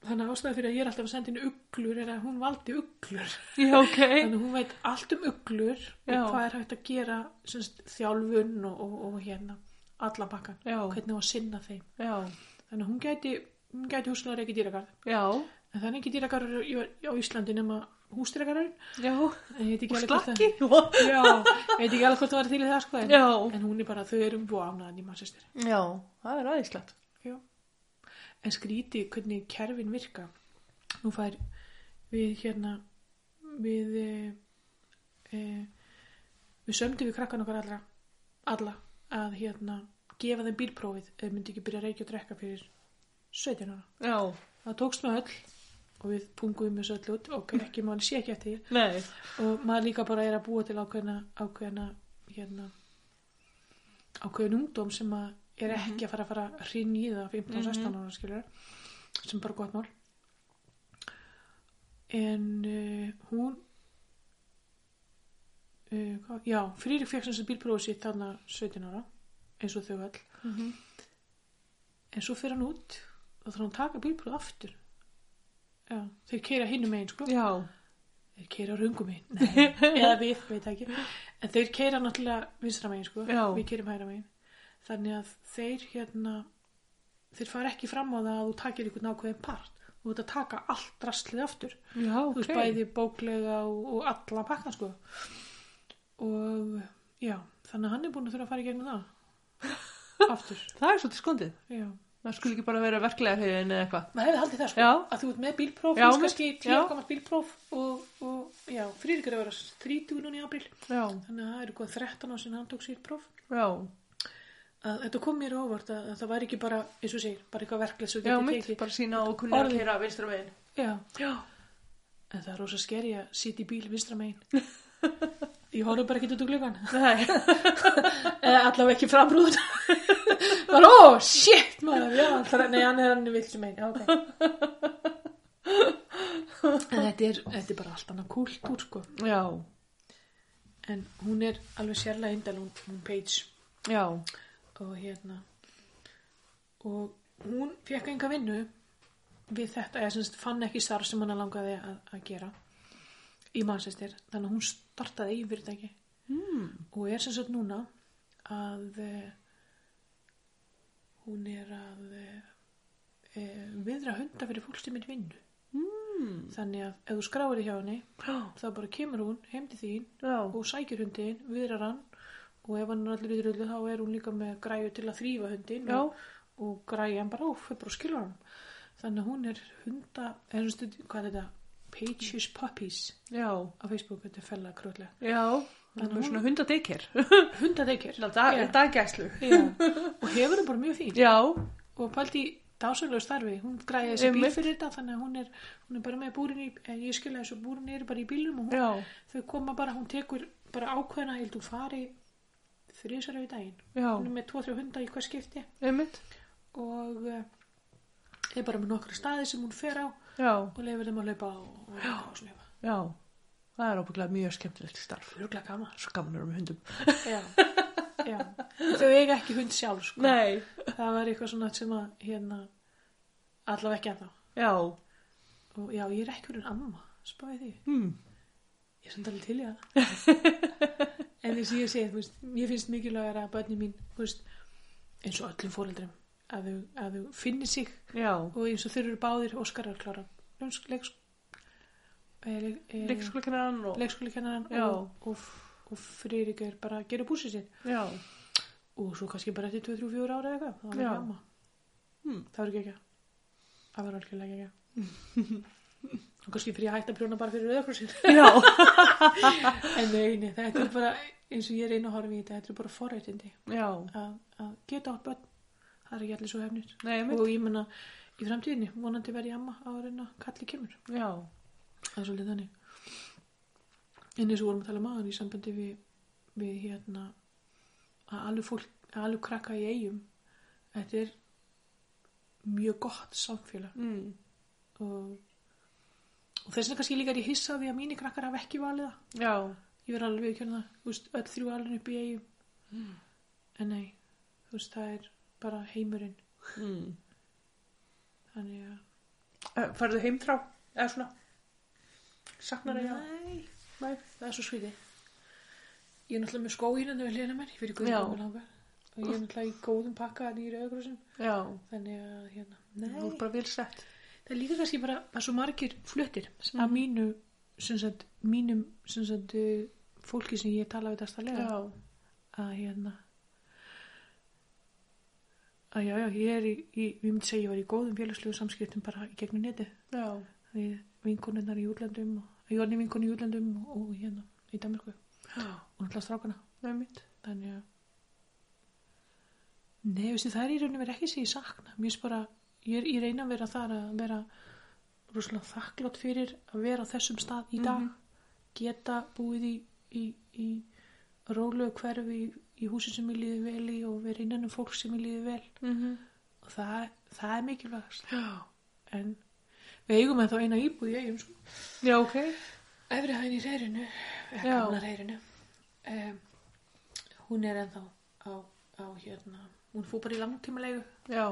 þannig að ástæða fyrir að ég er alltaf að senda henni uglur er að hún valdi uglur Já, ok. þannig að hún veit allt um uglur Já. og hvað er hægt að gera sem sagt, þjálfun og, og, og hérna allan bakkan, Já. hvernig á að sinna þeim Já. þannig að hún gæti, hún gæti húslega ekki dýragarð Já. En það er ekki dýragarður á Íslandi nema húsdýragarður. Já. En ég veit ekki Og alveg hvort það- slakki. Já, ég veit ekki alveg hvort það var til í það sko. En, Já. en hún er bara, þau eru búið ánæðan í mannsýstir. Já. Það er aðeinslegt. Já. En skríti hvernig kerfin virka. Nú fær við hérna, við, e, e, við sömdu við krakkan okkar allra, alla, að hérna, gefa þeim bílprófið ef þau myndi ekki byrja að reykja og drekka fyrir 17 ára. Já. Það tókst með öll og við punguðum þessu öll út og ekki maður sé ekki eftir því. Nei. og maður líka bara er að búa til ákveðna ákveðna hérna ákveðin ungdóm sem að er ekki að fara að fara að hrinn í það 15-16 ára skilur sem er bara gott mál en uh, hún uh, hvað, já, Friðrik fekk sem sem bílprófið sitt þarna 17 ára eins og þau öll Mhm. en svo fer hann út og þá þarf hann að taka bílprófið aftur já, þeir keira hinum einn sko Já. þeir keira rungum einn eða við, veit það ekki en þeir keira náttúrulega vinstra megin sko. Já. við keirum hægra megin þannig að þeir hérna þeir fara ekki fram á það að þú takir ykkur nákvæðin part þú ert að taka allt drastlið aftur Já, þú veist bæði bóklega og, og alla pakkan sko. og já þannig að hann er búin að þurfa að fara í gegnum það aftur Það er svolítið skondið. já. Það skulle ekki bara vera verklega höfðin eða eitthvað. maður hefði haldið það sko Já. að þú ert með bílpróf, Já, þú veist kannski mitt, já. 10 gammalt bílpróf og, og já, Friðrik er að vera 30 núna í april Já. þannig að það eru hvað 13 á sinni hann tók sér próf Já. að þetta kom mér á óvart að, að það væri ekki bara, eins og segir, bara eitthvað verklið sem Já, getur mitt, tekið. bara sína og kunna Orðið. að keyra vinstra megin. Já. Já. En það er rosa skeri að sitja í bíl vinstra megin. Ég horfði bara ekki út úr gluggan. Nei. Eða allavega ekki framrúðun. bara, ó, shit, maður, já, það er, nei, hann er hann viltu megin, já, ok. En þetta er, þetta er bara allt annað kúltúr, sko. Já, En hún er alveg sérlega indal, hún, hún Paige. já, og hérna og hún fekk enga vinnu við þetta, eða semst fann ekki starf sem hana langaði að, að gera í mannsestir, þannig að hún startaði eigin fyrirtæki mm. og er sem sagt núna að eh, hún er að e, viðra hunda fyrir fólk sem er í vinnu mm. þannig að ef þú skráir í hjá henni þá bara kemur hún heim til þín já, og sækir hundin, viðrar hann og ef hann er allir í rullu þá er hún líka með græju til að þrýfa hundin Já. og, og græja hann bara óf, bara og skilur hann þannig að hún er hunda er hún stundi, hvað er þetta? Pages Puppies já, á Facebook, þetta er fella kröðlega já. Það hún- er svona hundadekir. hundadeikir Það er daggæslu. og hefur hún bara mjög fín Já, og pældi í dásölu starfi hún græði þessi bíl Einmitt. fyrir þetta þannig að hún er, hún er bara með búrin í en ég skilja þessu búrin er bara í bílum og hún, já, þau koma bara, hún tekur bara ákveðna ég held hún fari þrísar yfir daginn já, hún er með 2-3 hunda í hvað skipti einmitt, og eh, er bara með nokkra staði sem hún fer á og já, lefur þeim að laupa og, og, og snufa já. Það er ábygglega mjög skemmtilegt starf. rugla gaman Svo gaman eru með hundum. já, já. þau eiga ekki hund sjálf sko. Nei. það var eitthvað svona sem að hérna, allavega ekki að þá Já, og já, ég er ekki verið amma spáði því, hmm. ég er samt alveg til í það en þess að ég segi þú veist, ég finnst mikilvægur að börni mín þú veist, eins og öllum fóreldrum að þau, að þau finni sig já. og eins og þeir eru báðir Óskarar klára eh, leikskóla Leikskólakennaran og... leikskólakennaran Já. og, og, og Friðrik er bara að gera búsið sitt Já, og svo kannski bara eftir 2-3-4 ára eða eitthvað það Já. var ekki amma Hmm. það var ekki ekki það var algjörlega ekki ekki og kannski fyrir að hætta að prjóna bara fyrir rauðakrossin já, en neini, þetta er bara eins og ég er einu að horfa í þetta, þetta er bara forreitindi já. að, að geta átt börn það er ekki allir svo hefnir Nei, einmitt, og ég menna í framtíðinni vonandi verði ég amma ára en að kalli kemur já, það er svolítið þannig en eins og vorum að tala maður í sambandi við, við hérna að alveg fólk, að alveg krakka í eigum þetta er mjög gott samfélag mm. og, og þess vegna kannski líka er ég hissa á því að mínir krakkar hafa ekki valið það já, ég verð alveg viðkjörna það, þú veist, öll þrjú alveg upp í eigum en nei, þú veist, það er bara heimurinn mm. þannig að Eh, Færðu heimþrá? Eða svona? Saknar ég að... nei, nei, það er svo skrítið ég er náttúrulega með hérna skóin en þau hlýðina mér, ég fyrir guðum Já. og langar og ég er náttúrulega í góðum pakka þannig í rauðgrósum Já, þannig að hérna, þú er nei bara vel sett. það er líka kannski bara að svo margir fluttir Mm. að mínu, sem sagt mínum, sem sagt uh, fólki sem ég tala við þarst að lega Já, að hérna að já, já, ég er í, í ég myndi segja ég var í góðum félagslegu samskiptum bara í gegnum netið já, við vinkonunnar í útlandum og ég var nefn vinkonu í útlandum og, og hérna í Danmarku og já, náttúrulega strákana nei mitt. þannig að nei, veistu, það er í rauninu verið ekki sem ég sakna mér finnst bara, ég, er- ég reyna að vera þar að vera rosalega þakklátt fyrir að vera á þessum stað Mhm. í dag geta búið í, í, í rólu hverfi í, í húsi sem ég líði vel í og vera innan um fólk sem ég líði vel Mm og það, það er mikilvægast Já, en við eigum en þá eina íbúð í eigum sko. já, ok. efri hæðin í reyrinu eða Já. gamla reyrinu um, hún er ennþá á, á hérna hún fór bara í langtímalegu Já,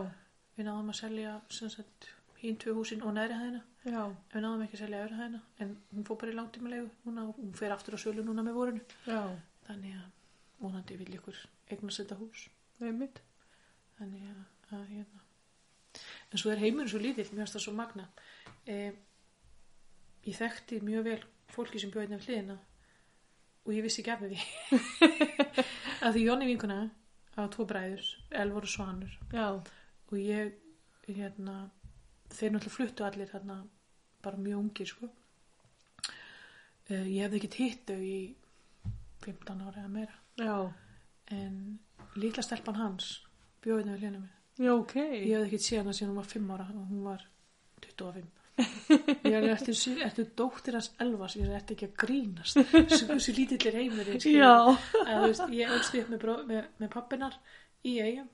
við náðum að selja sem sagt hinn tvö húsin og neðri hæðina já, en við náðum ekki að selja efri hæðina en hún fór bara í langtímalegu núna og hún fer aftur á sölu núna með vorinu já, þannig að vonandi vil ykkur eignast þetta hús nei mitt. þannig að, að hérna en svo er heimurinn svo lítill, mér finnst það svo magna e, ég þekkti mjög vel fólki sem bjóðið af hliðina og ég vissi ekki af því að því Jóni vinkuna á tvo bræður, Elvar og Svanur Já, og ég hérna, þeir náttúrulega fluttu allir hérna, bara mjög ungir sko. e, ég hefði ekki hitt þau í 15 ára eða meira já, en litla stelpan hans bjóðinu við hljónum minn Já, ok. ég hefði ekkert séð hana síðan hún var 5 ára og hún var 25 ég er eftir, eftir dóttir hans elvas ég er eftir ekki að grínast sem hversu lítillir heimur ég skil. Já. Að, þú veist, ég elst upp með, bró, með, með pappinar í eigum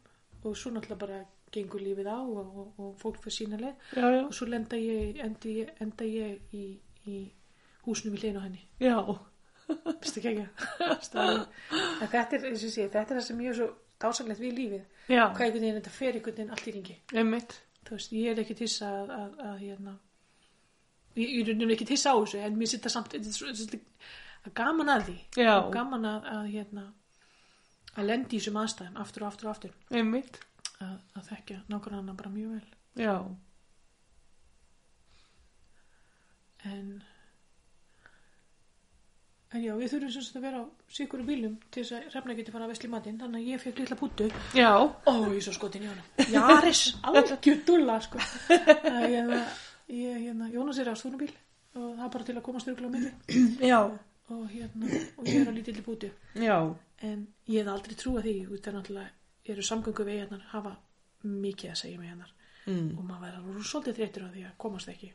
og svo náttúrulega bara gengur lífið á og, og, og fólk fyrir sína leið Já, já. og svo lenda ég, endi, ég- enda ég í, í húsinu við leina henni Já. Vistu ekki ekki? en þetta er, eins og ég sé, þetta er það sem ég er svo dásanlegt við lífið Já. hvað einhvern veginn þetta fer einhvern veginn allt í ringi Einmitt. þú veist, ég er ekki tissa að, að, að hérna ég, ég er ekki tissa á þessu en mér sitta samt þetta er svo- þetta er svolítið- gaman að því Já. Og gaman að, að hérna að lendi í þessum aðstæðum aftur og aftur og aftur Einmitt. að, að þekkja nákvæmlega bara mjög vel Já. en en já, við þurfum sem sagt að vera á sikurum bílum til þess að refna geti fara að vesli matinn þannig að ég fekk litla púttu Já. ó, ég er svo skotin í honum Jaris, algjör dulla sko. að, hérna, ég, hérna, Jónas er á stúrnubíl og það er bara til að komast örgulega á milli Já. og, hérna, og ég er á lítilli púttu Já. en ég hef aldrei trúað því út af náttúrulega eru samgöngu við hérna hafa mikið að segja hérna. með hennar Mm. og maður verður alveg svolítið þreytur á því að komast ekki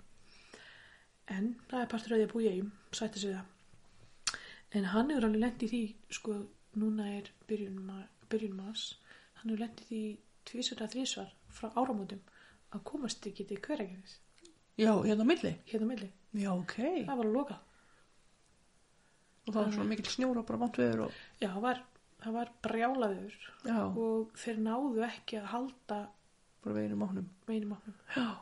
en það er partur af því að búi eigum sætti sig við það en hann hefur alveg lent í því sko núna er byrjun, ma- byrjun maðs hann hefur lent í því tvisar að þrísvar frá áramótum að komast ekki til hverjargerðis Já, hérna á milli. hérna á milli, Já, ok. það var að loka Og það var svona mikill snjór og bara vant viður og... já, það var, það var brjálaður Já. og þeir náðu ekki að halda Bara veginum á honum. meinum opnum Já.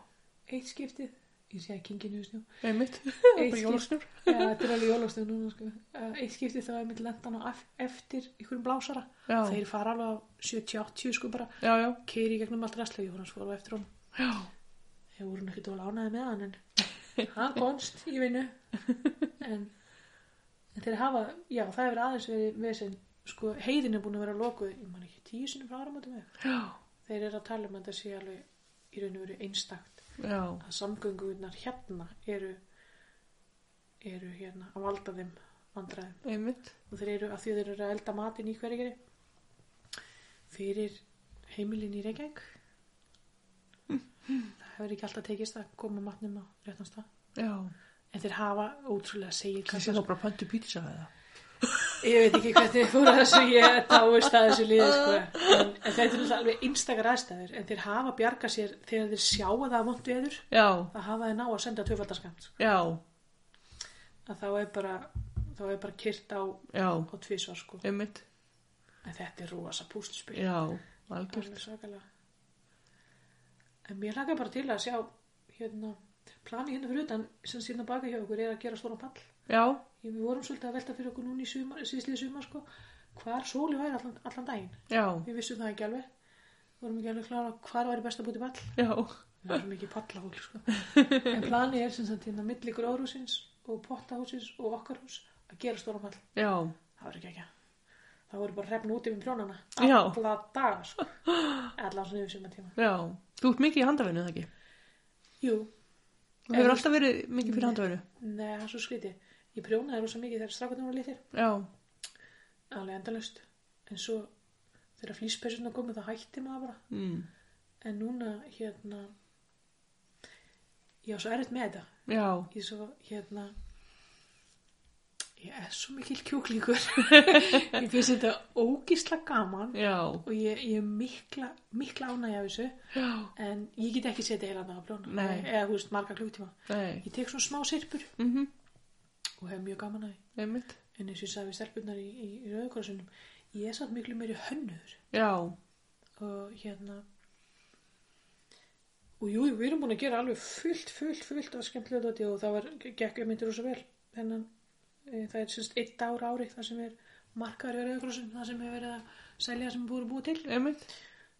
eitt skiptið, ég sé að kinginu snjó Einmitt. bara skip- jólasnjór. Já, þetta er alveg jólastöð núna sko. Eh, Eitt skipti þá er mitt lendan á ef- eftir ykkurum blásara. Já. Þeir fara alveg á 70-80 sko bara, Já, já. keiri í gegnum allt restlegi og hann fór á eftir hún. Já. Þeir voru nú ekki tóla ánaði með hann en hann komst í vinnu. En, en þeir hafa, já það hefur aðeins verið vesinn, sko heiðin er búin að vera lokuð, ég man ekki tíu sinni frá áramótum eða. Já. Þeir eru að tala um að þetta sé alveg í raun og veru einstakt Já. að samgöngunar hérna eru, eru hérna að valda þeim vandræðum Einmitt. og þeir eru að því að þeir eru að elda matinn í hverjegri fyrir heimilin í Reykjavík það hefur ekki alltaf tekist að koma matnum á réttan stað Já. en þeir hafa ótrúlega segir Það sé þá bara pöntu pizza eða. ég veit ekki hvernig þeir fóru að þessu ég dáist að þessu liði sko. en, en þetta er náttúrulega alveg einstakar aðstæður en þeir hafa bjarga sér þegar þeir sjá að það er vond veður Já. það hafa þeir ná að senda töfaldarskamt Já. að þá er bara þá er bara kyrt á, á Já. tvisvar sko. Einmitt. en þetta er rosa púslspil Já. Algjörð. alveg svakalega en mér hlaka bara til að sjá hérna, plani hérna fyrir utan sem síðan að baka hjá okkur er að gera stóran pall Já. Ég- við vorum svolítið að velta fyrir okkur núna í sumar, síðslið sumar sko, hvar sóli væri allan, allan daginn Já. við vissum það ekki alveg vorum ekki alveg klára á hvar væri best að búti pall Já. við vorum ekki pallahól sko. en plani er sem sagt hérna milli gróðrúsins og pottahúsins og okkar hús að gera stóran pall Já. það verður ekki ekki það voru bara hrefn út yfir prjónana Já. alla daga sko. allan svona yfir sumar Já. Þú ert mikið í handafinu, eða ekki? Jú, Þú hefur En- alltaf verið mikið fyrir handafinu. nei, það er svo skrítið. Ég prjónaði rosa mikið þegar strákarnir voru litir, Já. alveg endalaust. En svo þegar flýspesurna komu þá hætti maður bara. Mm. En núna, hérna, ég á svo erfitt með þetta. Já. Ég er svo, hérna, ég er svo mikil kjúklingur. ég finnst þetta ógísla gaman Já. og ég, ég er mikla, mikla ánægja af þessu. Já. En ég get ekki setið heilan að prjóna. Nei. Eða, þú veist, marga klúktíma. Nei. Ég tek svona smá sirpur Mm og hef mjög gaman að því. Einmitt. en eins og ég sagði við stelpunnar í, í, í rauðkorsunum ég er samt miklu meiri hönnur Já. og hérna og jú, við erum búin að gera alveg fullt, fullt, fullt af skemmtilega dóti og það var, gekk um myndir rosa vel þennan, e, það er semst eitt ár ári það sem er markaður í rauðkorsun það sem hefur verið að selja sem er búin að búa til Einmitt.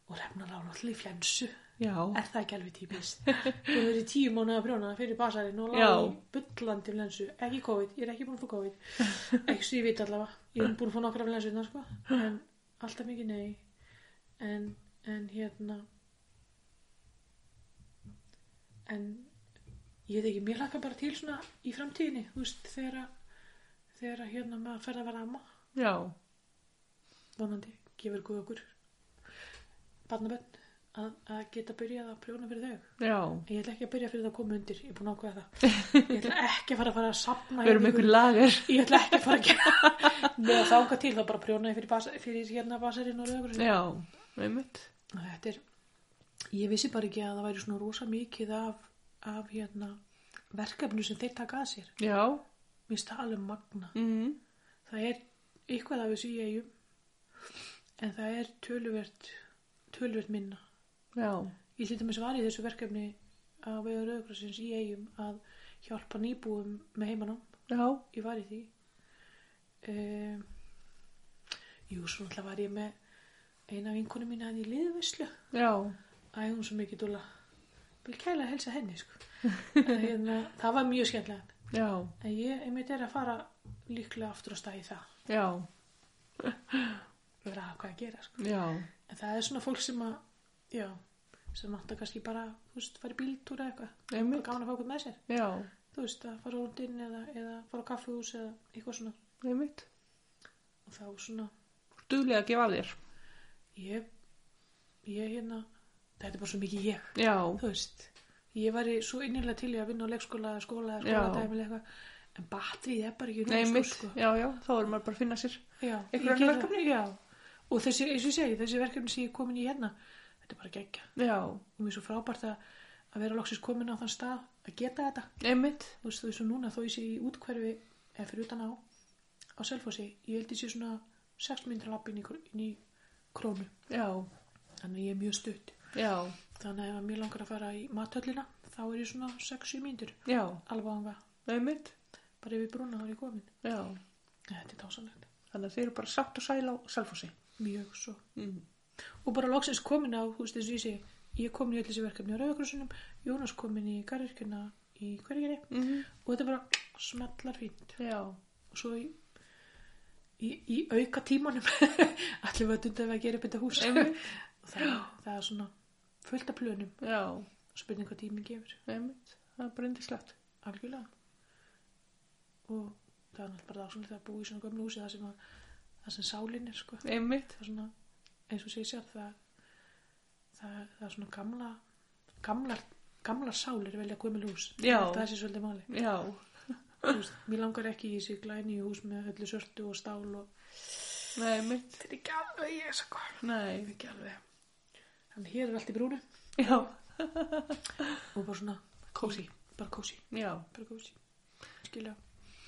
og refnar á náttúrulega í flensu Já. er það ekki alveg típist við erum verið tíu mánuða að brjóna fyrir basarinn og Já. lágum bullandi flensu ekki COVID, ég er ekki búin að fá COVID ekki svo ég veit allavega, ég er búin að fá nokkra flensunar sko, en alltaf mikið nei en, en hérna en ég veit ekki, mér laka bara til svona í framtíðinni, þú veist, þegar að þegar að hérna maður fer að vera amma Já. vonandi, gefur guð okkur barnabönn að, að geta byrjað að prjóna fyrir þau Já. ég ætla ekki að byrja fyrir það að koma undir ég er búin að ákveða það ég ætla ekki að fara að fara að sapna Við erum einhver lagar. ég ætla ekki að fara að gera með að þanga til þá bara prjóna ég fyrir, bas, fyrir hérna basarinn og raugur Já, einmitt. þetta er ég vissi bara ekki að það væri svona rosa mikið af, af hérna verkefnu sem þeir taka að sér Já. mér finnst það alveg magna Mm. mhm, það er eitthvað af þessu í eigum en það er töluvert töluvert minna Já. ég hlýttum að svara í þessu verkefni að vega rauðgrassins í eigum að hjálpa nýbúum með heimanum Já. ég var í því um, jú, svo náttúrulega var ég með eina vinkonu mín að ég liðu veislu Já. Æ, hún er svo mikið dúla vil kæla að helsa henni sko. En hérna, það var mjög skemmtilega Já. en ég einmitt er að fara líklega aftur á stað í það Já. og vera að hvað að gera sko. Já. en það er svona fólk sem að já, sem átt að kannski bara þú veist, fara í bíltúra eða eitthvað Einmitt. bara gaman að fá okkur með sér Já. þú veist, að fara út inn eða, eða fara á kaffihús eða eitthvað svona Einmitt. og þá svona, Duglega að gefa af þér. ég ég hérna, þetta er bara svo mikið ég Já. þú veist, ég væri svo innilega til í að vinna á leikskóla, eða skóla, Já. skóladæmi eða eitthvað en batrið er bara ekki Nei, nóg, mitt. sko, Já, já. Þá erum maður bara að finna sér. Já, ég Einhver önnur geri það. verkefni? Já, og þessi, eins og ég segi, þessi verkefni sem ég er komin í hérna, þetta er bara geggja Já. og mér er svo frábært að, að vera loksins komin á þann stað að geta þetta Einmitt. þú veist þú veist og núna þó ég sé í útkverfi eða fyrir utan á á Selfossi, ég held ég sé svona 6 myndra lapp inn í, kr- inn í krónu Já. þannig að ég er mjög stutt Já. þannig að ef mér langar að fara í matöllina þá er ég svona 6-7 myndur Já. alveg ánga, Einmitt. bara yfir brúna þá er ég komin Já. þetta er dásanlegt, Þannig að þeir eru bara sátt og sæl á selfósi. mjög svo Mm. og bara loksins komin á, þú veist þessu ég segi ég er komin í öll þessi verkefni á Rauðakrossunum Jónas komin í garðirkjuna í hverjari Mm. og þetta er bara smellar fínt Já. og svo í, í, í auka tímanum allir við að dunda við að gera upp þetta hús Einmitt. og það, það er svona fullt af plönum Já. og spurning hvað tíminn gefur Einmitt. Það er bara indislegt. algjörlega og það er náttúrulega bara ásvöld að búa í svona gömlu húsi það sem, að, það sem sálin er sko. Einmitt. það er svona eins og sé sjálf það, það, það er svona gamla gamlar, gamlar sálir velja gömul hús Já. það sé svolítið máli Já. Þú veist, mér langar ekki í þessi glæni hús með öllu sörtu og stál og Nei, einmitt. Þetta er ekki alveg ég sko. Nei. Ekki alveg. Þannig hér er allt í brúnu Já. og bara svona kósi. Bara kósi. Já. Bara kósi. Skilja.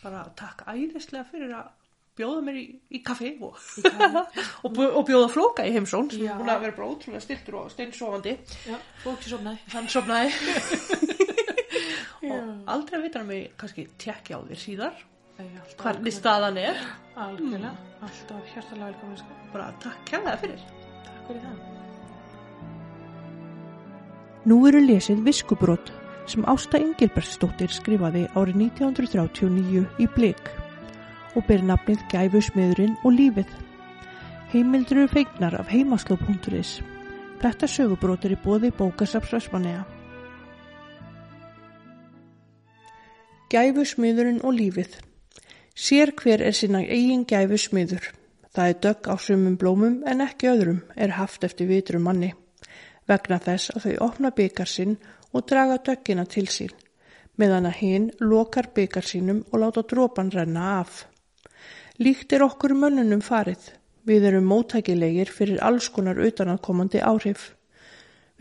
Bara takk æðislega fyrir að bjóða mér í, í kaffi og, Í kaffi. og, bjó- og bjóða flóka í heimsón sem Já. er búin að vera bara ótrúlega stiltur og steinsofandi. Já, og ekki sofnaði. Hann sofnaði Já. og aldrei vitar mig kannski tjekkja á þér síðar Nei, alltaf velkomin. hvernig staðan er. Algjörlega. Alltaf hjartalega velkomin sko. Bara takk kærlega fyrir. Takk fyrir það. Nú eru lesið viskubrot sem Ásta Engilbertsdóttir skrifaði árið 1939 í Blik og ber nafnið Gæfusmiðurinn og lífið. Heimildur eru feignar af heimasló.is. Þetta sögubrot er í bóði bókasafsvæsmanega. Gæfusmiðurinn og lífið Sér hver er sinna eigin gæfusmiður. Það er dögg á sumum blómum en ekki öðrum er haft eftir vitrum manni vegna þess að þau opna byggar sinn og draga döggina til sín, meðan að hinn lokar byggar sínum og láta dropan renna af. Líkt er okkur mönnunum farið. Við erum móttækilegir fyrir alls konar utanakomandi áhrif.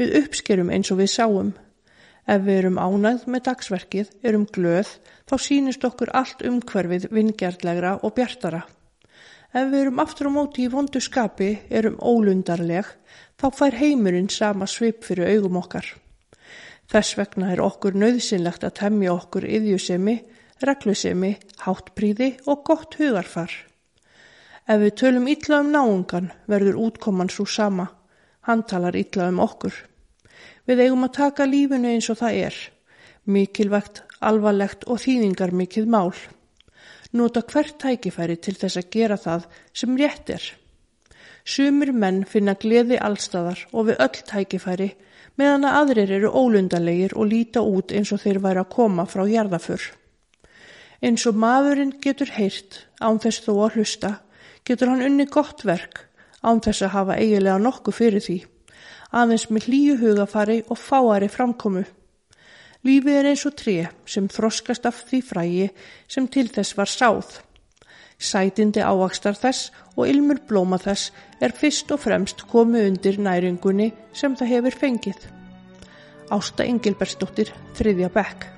Við uppskerum eins og við sáum. Ef við erum ánægð með dagsverkið, erum glöð, þá sýnist okkur allt umhverfið vingjartlegra og bjartara. Ef við erum aftur á móti í vondu skapi, erum ólundarleg, þá fær heimurinn sama svip fyrir augum okkar. Þess vegna er okkur nöðsynlegt að temja okkur yðjusemi, reglusemi, háttpríði og gott hugarfar. Ef við tölum illa um náungan verður útkoman svo sama. Hann talar illa um okkur. Við eigum að taka lífinu eins og það er. Mikilvægt, alvarlegt og þýðingar mikið mál. Nota hvert tækifæri til þess að gera það sem rétt er. Sumir menn finna gleði allstaðar og við öll tækifæri meðan að aðrir eru ólundarlegir og líta út eins og þeir væri að koma frá jarðafur. Eins og maðurinn getur heyrt án þess þó að hlusta, getur hann unni gott verk án þess að hafa eigilega nokkuð fyrir því. aðeins með hlýju hugafari og fáari framkomu. Lífið er eins og tré sem þroskast af því frægi sem til þess var sáð. Sætindi ávakstar þess og ilmur blóma þess er fyrst og fremst komið undir næringunni sem það hefur fengið. Ásta Engilbertsdóttir, þriðja bekk.